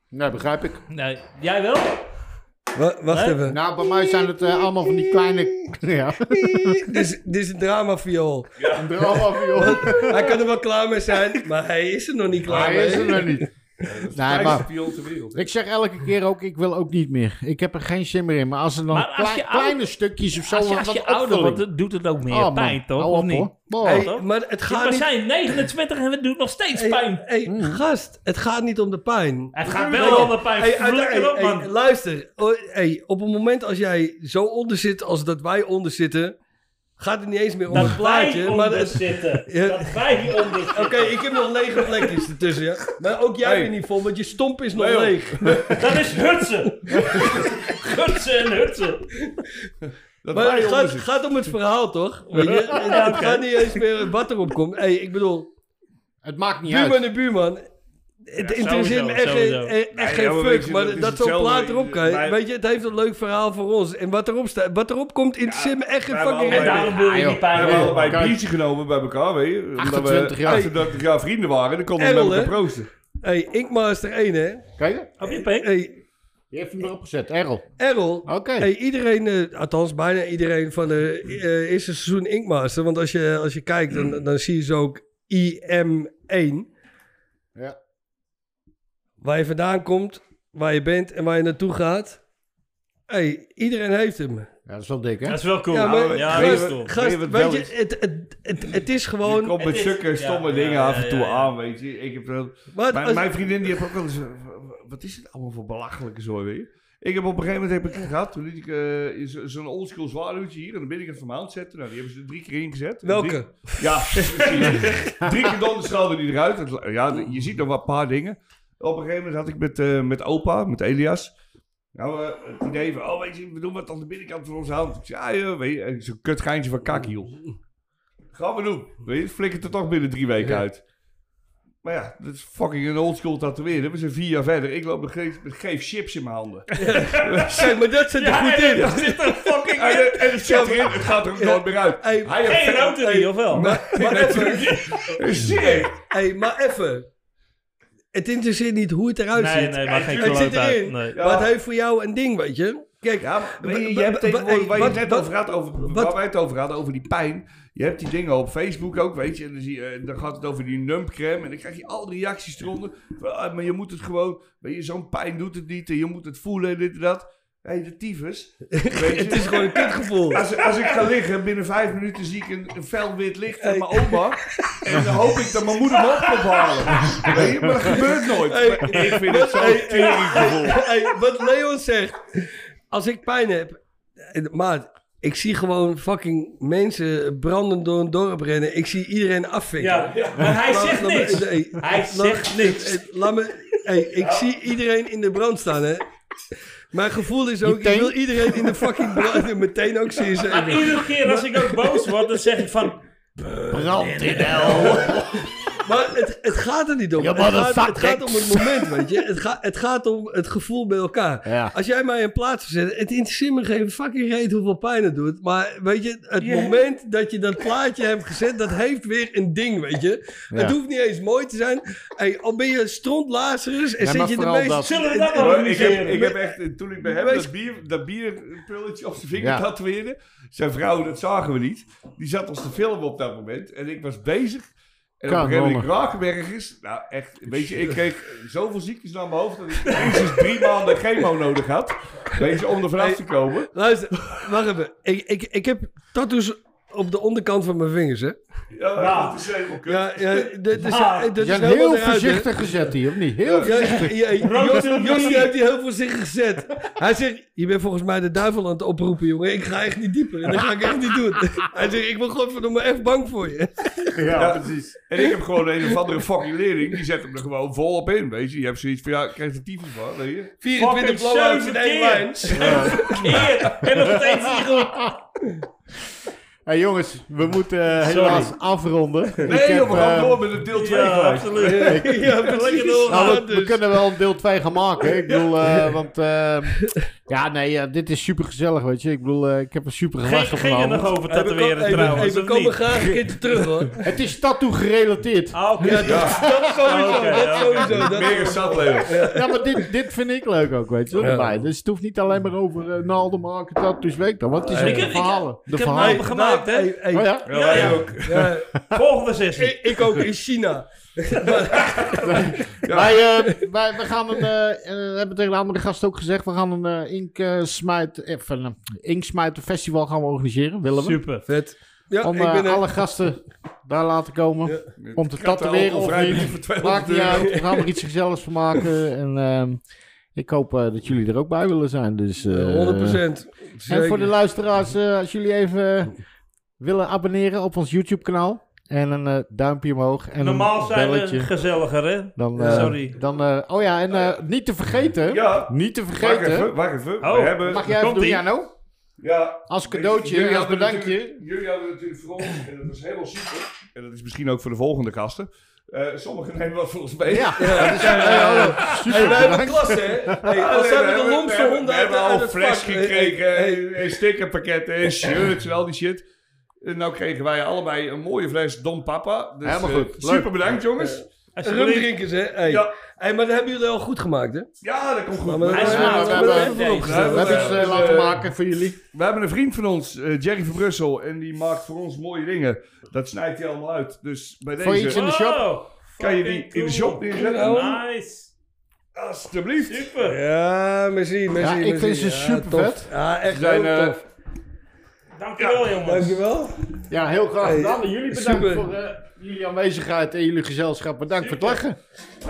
[SPEAKER 1] Nee, begrijp ik.
[SPEAKER 3] Nee, jij wel?
[SPEAKER 4] Wa- wacht
[SPEAKER 3] Nee?
[SPEAKER 4] even.
[SPEAKER 1] Nou, bij mij zijn het eh, allemaal van die kleine... Ja,
[SPEAKER 4] Dit is, dit is een drama viool.
[SPEAKER 1] er allemaal van, joh.
[SPEAKER 4] Hij kan er wel klaar mee zijn, maar hij is er nog niet klaar
[SPEAKER 1] Hij
[SPEAKER 4] mee.
[SPEAKER 1] is er nog niet. Nee,
[SPEAKER 2] Hij is
[SPEAKER 1] maar
[SPEAKER 2] de pion ter wereld. hè.
[SPEAKER 1] Ik zeg elke keer ook, ik wil ook niet meer. Ik heb er geen zin meer in. Maar als er dan
[SPEAKER 3] Maar als
[SPEAKER 1] klei-
[SPEAKER 3] je ouder-
[SPEAKER 1] kleine stukjes of zo...
[SPEAKER 3] Als je,
[SPEAKER 1] wat
[SPEAKER 3] als je
[SPEAKER 1] opvulling.
[SPEAKER 3] ouder wordt, dan doet het ook meer
[SPEAKER 1] Oh, man.
[SPEAKER 3] pijn, toch?
[SPEAKER 1] Hou
[SPEAKER 3] of
[SPEAKER 1] op,
[SPEAKER 3] niet?
[SPEAKER 1] hoor. Wow.
[SPEAKER 4] Hey,
[SPEAKER 3] toch?
[SPEAKER 4] maar het
[SPEAKER 3] Ja,
[SPEAKER 4] gaat
[SPEAKER 3] we
[SPEAKER 4] niet...
[SPEAKER 3] zijn 29 en het doet nog steeds pijn.
[SPEAKER 4] Hey,
[SPEAKER 2] Hmm.
[SPEAKER 4] hey, gast, het gaat niet om de pijn.
[SPEAKER 3] Het gaat wel om de pijn.
[SPEAKER 4] Hey,
[SPEAKER 3] Vlek
[SPEAKER 4] uit-
[SPEAKER 3] lekker op,
[SPEAKER 4] hey,
[SPEAKER 3] man.
[SPEAKER 4] hey, luister, O- hey, op het moment als jij zo onder zit als dat wij onder zitten, gaat het niet eens meer om
[SPEAKER 3] Dat
[SPEAKER 4] het plaatje.
[SPEAKER 3] wij
[SPEAKER 4] maar
[SPEAKER 3] onder
[SPEAKER 4] het-
[SPEAKER 3] zitten.
[SPEAKER 4] Ja.
[SPEAKER 3] Dat wij onder zitten.
[SPEAKER 4] Oké, ik heb nog lege plekjes ertussen, ja. Maar ook jij
[SPEAKER 2] Hey.
[SPEAKER 4] weer niet vol, want je stomp is nog
[SPEAKER 2] Leo.
[SPEAKER 4] leeg.
[SPEAKER 3] Dat is hutsen. hutsen en hutsen.
[SPEAKER 2] Dat
[SPEAKER 4] Maar
[SPEAKER 2] wij
[SPEAKER 4] het gaat,
[SPEAKER 2] onderzoek.
[SPEAKER 4] gaat om het verhaal, toch? Weet je? Het gaat niet eens meer wat erop komt. Hey, ik bedoel,
[SPEAKER 1] Het maakt niet uit.
[SPEAKER 4] buurman en buurman. Het interesseert
[SPEAKER 3] sowieso,
[SPEAKER 4] me echt, geen-
[SPEAKER 3] sowieso.
[SPEAKER 4] eh, echt
[SPEAKER 2] Nee,
[SPEAKER 4] geen
[SPEAKER 2] ja, maar weet
[SPEAKER 4] fuck.
[SPEAKER 2] je,
[SPEAKER 4] Maar
[SPEAKER 2] dat is
[SPEAKER 4] dat zo'n
[SPEAKER 2] hetzelfde.
[SPEAKER 4] plaat erop kan.
[SPEAKER 2] Wij-
[SPEAKER 4] Weet je, het heeft een leuk verhaal voor ons. En wat erop, staat, wat erop komt, interesseert me echt geen
[SPEAKER 2] wij hebben
[SPEAKER 4] fucking
[SPEAKER 3] En
[SPEAKER 2] allebei-
[SPEAKER 4] reet.
[SPEAKER 3] daarom wil je
[SPEAKER 1] joh.
[SPEAKER 3] die
[SPEAKER 2] We
[SPEAKER 3] pijn
[SPEAKER 2] hebben
[SPEAKER 3] weer.
[SPEAKER 2] allebei een
[SPEAKER 1] Kijk.
[SPEAKER 2] biertje genomen bij elkaar, weet je. Omdat
[SPEAKER 1] 28
[SPEAKER 2] we
[SPEAKER 1] jaar.
[SPEAKER 2] 38 jaar vrienden waren. Dan konden we
[SPEAKER 4] Engel,
[SPEAKER 2] met elkaar
[SPEAKER 4] hè?
[SPEAKER 2] proosten.
[SPEAKER 4] Hey, Inkmaster 1, hè?
[SPEAKER 1] Kijk, je?
[SPEAKER 3] Op je pijn?
[SPEAKER 4] Hey,
[SPEAKER 1] die heeft hem erop gezet. Errol.
[SPEAKER 4] Errol.
[SPEAKER 1] Oké.
[SPEAKER 4] Hey, iedereen, eh, althans bijna iedereen van de eh, eerste seizoen Inkmaster. Want als je, als je kijkt, dan, dan zie je ze ook IM1.
[SPEAKER 1] Ja.
[SPEAKER 4] Waar je vandaan komt, waar je bent en waar je naartoe gaat. Hey, iedereen heeft hem.
[SPEAKER 1] Ja, dat is wel dik, hè?
[SPEAKER 3] Dat is wel cool.
[SPEAKER 4] Ja,
[SPEAKER 3] Ja,
[SPEAKER 4] maar-
[SPEAKER 3] ja, dat
[SPEAKER 2] Weet
[SPEAKER 3] is
[SPEAKER 2] je-
[SPEAKER 3] cool.
[SPEAKER 2] Weet
[SPEAKER 4] Gast,
[SPEAKER 2] je wat
[SPEAKER 4] weet,
[SPEAKER 2] wel
[SPEAKER 4] je,
[SPEAKER 2] is?
[SPEAKER 4] het, het, het, het is
[SPEAKER 2] Je
[SPEAKER 4] gewoon...
[SPEAKER 2] komt met
[SPEAKER 3] is-
[SPEAKER 2] zulke stomme
[SPEAKER 3] ja,
[SPEAKER 2] dingen
[SPEAKER 3] ja,
[SPEAKER 2] af en toe
[SPEAKER 3] ja, ja.
[SPEAKER 2] aan, weet je. Ik heb wel-
[SPEAKER 4] Wat,
[SPEAKER 2] mijn,
[SPEAKER 4] als-
[SPEAKER 2] mijn vriendin die heeft ook wel eens... eh, w- Wat is het allemaal voor belachelijke zooi weer? Ik heb op een gegeven moment heb ik gehad, toen liet ik eh, zo- zo'n oldschool zwaluwtje hier aan de binnenkant van mijn hand zetten. Nou, die hebben ze er drie keer ingezet. Drie-
[SPEAKER 4] welke?
[SPEAKER 2] ja, precies. drie keer donderschalden die eruit. Het- Ja, je ziet nog wat paar dingen. Op een gegeven moment had ik met, eh, met opa, met Elias. Nou, eh, het idee van, oh weet je, we doen wat aan de binnenkant van onze hand. Ik zei, ja, joh, weet je, en zo'n kutgeintje van kakhiel. Gaan we doen. Weet je, het flikkert er toch binnen drie weken uit. Maar ja, dat is fucking een oldschool tatoeëren. We zijn vier jaar verder. Ik loop nog steeds met geef chips in mijn handen.
[SPEAKER 4] Kijk, maar dat zit er goed in.
[SPEAKER 3] Er zit er fucking
[SPEAKER 2] En, het- en het zit erin, het gaat er ook nooit meer uit.
[SPEAKER 4] Hey,
[SPEAKER 2] Hij heeft
[SPEAKER 3] geen auto in, of wel?
[SPEAKER 4] maar even,
[SPEAKER 2] Zeer.
[SPEAKER 4] hey, maar even. Het interesseert niet hoe het eruit
[SPEAKER 3] Nee,
[SPEAKER 4] ziet.
[SPEAKER 3] nee, maar geen
[SPEAKER 4] het zit
[SPEAKER 3] kloot uit.
[SPEAKER 4] erin.
[SPEAKER 3] Nee.
[SPEAKER 4] Maar het heeft voor jou een ding, weet je. Kijk,
[SPEAKER 2] Ja, maar
[SPEAKER 4] Wa-
[SPEAKER 2] weet je,
[SPEAKER 4] wa-
[SPEAKER 2] je hebt
[SPEAKER 4] wa-
[SPEAKER 2] tegenwoordig,
[SPEAKER 4] hey,
[SPEAKER 2] waar je
[SPEAKER 4] wat-
[SPEAKER 2] het net
[SPEAKER 4] wat-
[SPEAKER 2] over had, over,
[SPEAKER 4] wat-
[SPEAKER 2] waar wij het over hadden, over die pijn. Je hebt die dingen op Facebook ook, weet je. En dan, zie je, eh, dan gaat het over die numbcreme. En dan krijg je al die reacties eronder. Van, ah, maar je moet het gewoon, weet je, zo'n pijn doet het niet. En je moet het voelen en dit en dat. Hé, hey, de tyfus. Weet je?
[SPEAKER 4] Het is gewoon een kutgevoel.
[SPEAKER 2] Als, als ik ga liggen, binnen vijf minuten zie ik een, een fel wit licht en mijn oma. En dan hoop ik dat mijn moeder me op komt halen. Weet je, Maar dat gebeurt nooit. Maar ik vind het zo'n
[SPEAKER 4] Hey,
[SPEAKER 2] teringgevoel.
[SPEAKER 4] hey, wat Leon zegt. Als ik pijn heb. eh, Maar ik zie gewoon fucking mensen brandend door een dorp rennen. Ik zie iedereen afvikken.
[SPEAKER 3] Ja, maar hij
[SPEAKER 4] Laat-
[SPEAKER 3] zegt
[SPEAKER 4] laat me-
[SPEAKER 3] niks.
[SPEAKER 4] nee,
[SPEAKER 3] Hij
[SPEAKER 4] laat-
[SPEAKER 3] zegt niks.
[SPEAKER 4] eh, Laat me. Hey, ik zie iedereen in de brand staan, hè? Mijn gevoel is ook, ik
[SPEAKER 1] tank.
[SPEAKER 4] wil iedereen in de fucking brand meteen ook zien
[SPEAKER 3] En
[SPEAKER 4] zijn.
[SPEAKER 3] iedere keer als ik ook boos word, dan zeg ik van...
[SPEAKER 1] Brand in hel.
[SPEAKER 4] Maar het, het gaat er niet om.
[SPEAKER 1] Ja,
[SPEAKER 4] Het
[SPEAKER 1] maar dat
[SPEAKER 4] gaat, het
[SPEAKER 1] zakt, hè?
[SPEAKER 4] gaat om het moment, weet je. Het, gaat het gaat om het gevoel bij elkaar.
[SPEAKER 1] Ja.
[SPEAKER 4] Als jij mij in plaats zet, het interesseert me geen fucking reet hoeveel pijn het doet. Maar weet je, het
[SPEAKER 3] Ja.
[SPEAKER 4] moment dat je dat plaatje hebt gezet, dat heeft weer een ding, weet je. Het hoeft niet eens mooi te zijn. Hey, al ben je strontlazerus en
[SPEAKER 1] Ja,
[SPEAKER 4] zit
[SPEAKER 1] maar
[SPEAKER 4] je de
[SPEAKER 1] vooral
[SPEAKER 4] meest...
[SPEAKER 1] dat.
[SPEAKER 3] Zullen we dat nou
[SPEAKER 2] Maar ik, heb,
[SPEAKER 3] organiseren?
[SPEAKER 2] ik heb echt, eh, toen ik bij hem
[SPEAKER 4] Wees-
[SPEAKER 2] dat, bier, dat bierpulletje op zijn vinger
[SPEAKER 1] Ja.
[SPEAKER 2] tatoeëerde, zijn vrouw, dat zagen we niet, die zat ons te filmen op dat moment en ik was bezig. En op een gegeven moment raak ik ergens. Nou echt, weet je, ik kreeg zoveel ziektes naar mijn hoofd dat ik minstens drie maanden chemo nodig had. Weet je, om er vanaf te komen.
[SPEAKER 4] Luister, wacht even. Ik, ik, ik heb tattoos op de onderkant van mijn vingers, hè.
[SPEAKER 2] Ja, dat is helemaal kut.
[SPEAKER 4] Ja, ja, Ah. dit is, dit
[SPEAKER 1] Je
[SPEAKER 4] is
[SPEAKER 1] hebt
[SPEAKER 4] helemaal
[SPEAKER 1] heel
[SPEAKER 4] eruit, hè.
[SPEAKER 1] voorzichtig gezet hier, of niet? Heel
[SPEAKER 4] Ja, ja, ja,
[SPEAKER 3] Rood
[SPEAKER 4] Jos-
[SPEAKER 3] wil ik
[SPEAKER 4] Jos
[SPEAKER 3] niet.
[SPEAKER 4] die heeft die heel voorzichtig gezet. Hij zegt, je bent volgens mij de duivel aan het oproepen, jongen. Ik ga echt niet dieper. En dat ga ik echt niet doen. Hij zegt, ik ben godverdomme echt bang voor je.
[SPEAKER 2] Ja, precies. En ik heb gewoon een of andere fucking leerling, die zet hem er gewoon vol op in, weet je. Je hebt zoiets van, ja, ik krijg er tyfus van, weet je.
[SPEAKER 4] 24
[SPEAKER 3] Fucking
[SPEAKER 4] blowouts in
[SPEAKER 3] zeven
[SPEAKER 4] één
[SPEAKER 3] keer.
[SPEAKER 4] lijn.
[SPEAKER 3] Eer, en nog steeds niet goed.
[SPEAKER 1] Hey jongens, we moeten eh, helaas afronden. ik
[SPEAKER 2] Nee,
[SPEAKER 1] heb,
[SPEAKER 2] joh, we gaan
[SPEAKER 1] eh,
[SPEAKER 2] door met een deel 2
[SPEAKER 3] Ja,
[SPEAKER 2] gelijk.
[SPEAKER 3] absoluut.
[SPEAKER 4] Ja, precies.
[SPEAKER 1] Nou,
[SPEAKER 4] Ja,
[SPEAKER 1] we, we
[SPEAKER 4] dus.
[SPEAKER 1] kunnen wel een deel 2 gaan maken. Ik bedoel, eh, want... eh, ja, nee, eh, dit is super gezellig, weet je. Ik bedoel, eh, ik heb er super
[SPEAKER 3] Ging,
[SPEAKER 1] gelachen
[SPEAKER 3] ging je nog
[SPEAKER 1] van.
[SPEAKER 3] over
[SPEAKER 4] Hey, we,
[SPEAKER 3] tatoeëren
[SPEAKER 4] hey, we-
[SPEAKER 3] trouwens,
[SPEAKER 4] hey, we
[SPEAKER 3] of
[SPEAKER 4] komen
[SPEAKER 3] niet?
[SPEAKER 4] graag een keertje terug, hoor.
[SPEAKER 1] Het is tattoo gerelateerd.
[SPEAKER 3] Ah, oké.
[SPEAKER 4] Dat sowieso,
[SPEAKER 3] Oké,
[SPEAKER 4] dat
[SPEAKER 3] oké.
[SPEAKER 4] sowieso. dat-
[SPEAKER 2] Meer een zatleven.
[SPEAKER 1] Ja, maar dit, dit vind ik leuk ook, weet je. wel, erbij. Dus het hoeft niet alleen maar over eh naalden maken, tattoos, weet ik dan. Want het is
[SPEAKER 4] Eh,
[SPEAKER 1] ook
[SPEAKER 4] ik
[SPEAKER 1] de
[SPEAKER 3] heb- ik
[SPEAKER 1] verhalen. de
[SPEAKER 3] Ik heb
[SPEAKER 1] verhalen.
[SPEAKER 3] hem open gemaakt, hè?
[SPEAKER 4] Hey, hey,
[SPEAKER 1] Oh ja?
[SPEAKER 2] Ja, wij
[SPEAKER 3] ja.
[SPEAKER 2] ook.
[SPEAKER 4] ja,
[SPEAKER 3] Volgende sessie.
[SPEAKER 4] ik, ik ook in China.
[SPEAKER 1] Wij, eh, wij, we gaan een, eh, en dat hebben tegen de andere gasten ook gezegd, we gaan een eh ink, eh, smijt, eh, van, eh, inksmijten festival gaan we organiseren, willen we.
[SPEAKER 3] Super.
[SPEAKER 4] Vet. Ja,
[SPEAKER 1] Om
[SPEAKER 4] ik ben
[SPEAKER 1] eh,
[SPEAKER 4] er.
[SPEAKER 1] alle gasten daar laten komen. Om te
[SPEAKER 2] Kant
[SPEAKER 1] tatoeëren
[SPEAKER 2] al
[SPEAKER 1] of
[SPEAKER 2] vrij
[SPEAKER 1] niet.
[SPEAKER 2] drie voor 200
[SPEAKER 1] Maakt niet
[SPEAKER 2] euro.
[SPEAKER 1] uit, we gaan er iets gezelligs van maken. En ehm, ik hoop eh, dat jullie er ook bij willen zijn. Dus, eh,
[SPEAKER 4] 100%.
[SPEAKER 1] En voor de
[SPEAKER 4] Zeker.
[SPEAKER 1] luisteraars, eh, als jullie even eh, willen abonneren op ons YouTube kanaal. En een eh, duimpje omhoog. En
[SPEAKER 3] Normaal
[SPEAKER 1] een
[SPEAKER 3] zijn
[SPEAKER 1] belletje.
[SPEAKER 3] we gezelliger, hè?
[SPEAKER 1] Dan,
[SPEAKER 3] Ja,
[SPEAKER 1] eh,
[SPEAKER 3] sorry.
[SPEAKER 1] Dan, eh, oh ja, en eh, niet te vergeten.
[SPEAKER 2] Ja,
[SPEAKER 1] Niet te
[SPEAKER 2] wacht
[SPEAKER 1] vergeten.
[SPEAKER 2] even, wacht even.
[SPEAKER 3] Oh.
[SPEAKER 2] We hebben...
[SPEAKER 1] Mag jij even doen,
[SPEAKER 3] Komt-ie.
[SPEAKER 1] Jano?
[SPEAKER 2] Ja.
[SPEAKER 1] Als cadeautje,
[SPEAKER 2] Jullie
[SPEAKER 1] als
[SPEAKER 2] hadden
[SPEAKER 1] bedankje.
[SPEAKER 2] natuurlijk- Jullie hadden natuurlijk voor ons, en dat was helemaal super, en dat is misschien ook voor de volgende gasten, eh, sommigen nemen wat volgens mij.
[SPEAKER 1] Ja, dat is, eh, hallo. super
[SPEAKER 4] Hey, wij hebben
[SPEAKER 1] bedankt.
[SPEAKER 4] klasse, hè?
[SPEAKER 1] Oh,
[SPEAKER 4] Hey,
[SPEAKER 2] Ja,
[SPEAKER 4] als
[SPEAKER 2] nee, eh, we
[SPEAKER 4] hebben de
[SPEAKER 2] hebben-
[SPEAKER 4] lomse
[SPEAKER 2] we hebben-
[SPEAKER 4] honden
[SPEAKER 2] We
[SPEAKER 4] uit,
[SPEAKER 2] hebben al
[SPEAKER 4] uit
[SPEAKER 2] een
[SPEAKER 4] het
[SPEAKER 2] fles
[SPEAKER 4] vak. Hey,
[SPEAKER 2] gekregen, en stickerpakketten, en shirts en al die shit. En nou kregen wij allebei een mooie fles Don Papa. Dus,
[SPEAKER 1] Helemaal
[SPEAKER 2] eh,
[SPEAKER 1] goed, leuk.
[SPEAKER 2] Super bedankt, jongens.
[SPEAKER 3] Alsjeblieft.
[SPEAKER 4] Rumdrinkers, hè? Hey.
[SPEAKER 2] Ja.
[SPEAKER 4] Hey, maar dat hebben jullie al goed gemaakt, hè?
[SPEAKER 2] Ja, dat komt goed.
[SPEAKER 4] Maar
[SPEAKER 3] Hij is
[SPEAKER 4] maar-
[SPEAKER 3] smaakt.
[SPEAKER 4] maar- maar-
[SPEAKER 3] Nee,
[SPEAKER 4] voorop
[SPEAKER 3] nee.
[SPEAKER 4] gezet.
[SPEAKER 1] We hebben iets eh,
[SPEAKER 2] Dus, eh,
[SPEAKER 1] laten maken voor jullie.
[SPEAKER 2] We hebben een vriend van ons, eh, Jerry van Brussel, en die maakt voor ons mooie dingen. Dat snijdt hij allemaal uit. Dus bij
[SPEAKER 1] Voor
[SPEAKER 2] deze
[SPEAKER 1] iets in de shop.
[SPEAKER 2] kan je die in de shop neerzetten.
[SPEAKER 3] Oh, Nice.
[SPEAKER 2] Alsjeblieft.
[SPEAKER 3] Super.
[SPEAKER 4] Ja, merci, merci,
[SPEAKER 1] Ja, ik
[SPEAKER 4] merci.
[SPEAKER 1] vind ze
[SPEAKER 4] Ja,
[SPEAKER 1] super
[SPEAKER 4] tof.
[SPEAKER 1] vet.
[SPEAKER 4] Ja, echt
[SPEAKER 2] Ze zijn,
[SPEAKER 4] heel
[SPEAKER 2] eh,
[SPEAKER 4] tof.
[SPEAKER 3] Dankjewel, jongens.
[SPEAKER 4] Dankjewel.
[SPEAKER 1] Ja, heel graag
[SPEAKER 4] Hey,
[SPEAKER 1] gedaan. En jullie bedankt
[SPEAKER 4] super.
[SPEAKER 1] voor eh, jullie aanwezigheid en jullie gezelschap. Bedankt voor het lachen.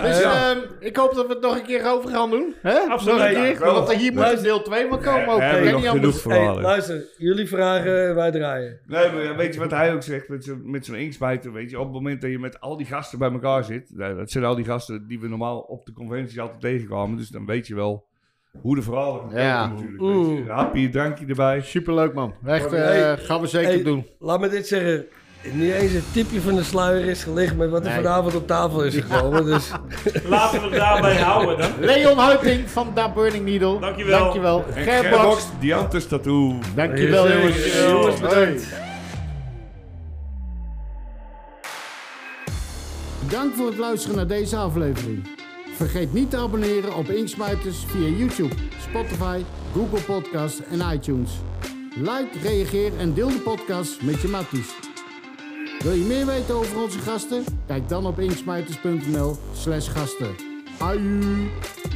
[SPEAKER 1] Dus
[SPEAKER 2] Ja.
[SPEAKER 1] ehm, ik hoop dat we het nog een keer over gaan doen. hè?
[SPEAKER 3] Absoluut.
[SPEAKER 1] Nog een
[SPEAKER 3] Ja,
[SPEAKER 1] keer.
[SPEAKER 2] wel.
[SPEAKER 1] Want hier moet een deel 2 van komen ook.
[SPEAKER 2] we hebben
[SPEAKER 1] kan
[SPEAKER 2] nog
[SPEAKER 1] niet
[SPEAKER 2] genoeg
[SPEAKER 1] anders.
[SPEAKER 4] Hey,
[SPEAKER 2] verhalen.
[SPEAKER 4] luister, jullie vragen, eh, wij draaien.
[SPEAKER 2] Nee, maar ja, weet je wat hij ook zegt met zo'n met zo'n inksmijter? Weet je, op het moment dat je met al die gasten bij elkaar zit, nou, dat zijn al die gasten die we normaal op de conventies altijd tegenkwamen, dus dan weet je wel hoe de verhalen gaan
[SPEAKER 1] Ja.
[SPEAKER 2] komen natuurlijk. weet je. Een hapje, een drankje erbij.
[SPEAKER 1] Superleuk man. Echt, eh,
[SPEAKER 4] Hey,
[SPEAKER 1] gaan we zeker
[SPEAKER 4] Hey,
[SPEAKER 1] doen.
[SPEAKER 4] Laat me dit zeggen. Niet eens een tipje van de sluier is gelegd met wat er
[SPEAKER 1] Nee.
[SPEAKER 4] vanavond op tafel is gekomen. Dus
[SPEAKER 3] Laten we het daarbij houden dan.
[SPEAKER 1] Leon Huiting van Da Burning Needle.
[SPEAKER 3] Dankjewel.
[SPEAKER 1] Dankjewel.
[SPEAKER 2] En
[SPEAKER 1] Ger Box.
[SPEAKER 2] Gerbox, Diantes Tattoo.
[SPEAKER 1] Dankjewel
[SPEAKER 4] Yes,
[SPEAKER 1] jongens.
[SPEAKER 4] yes, jongens, bedankt.
[SPEAKER 13] Bedankt voor het luisteren naar deze aflevering. Vergeet niet te abonneren op Inksmijters via YouTube, Spotify, Google Podcasts en iTunes. Like, reageer en deel de podcast met je matties. Wil je meer weten over onze gasten? Kijk dan op inksmijters.nl slash gasten. Aju!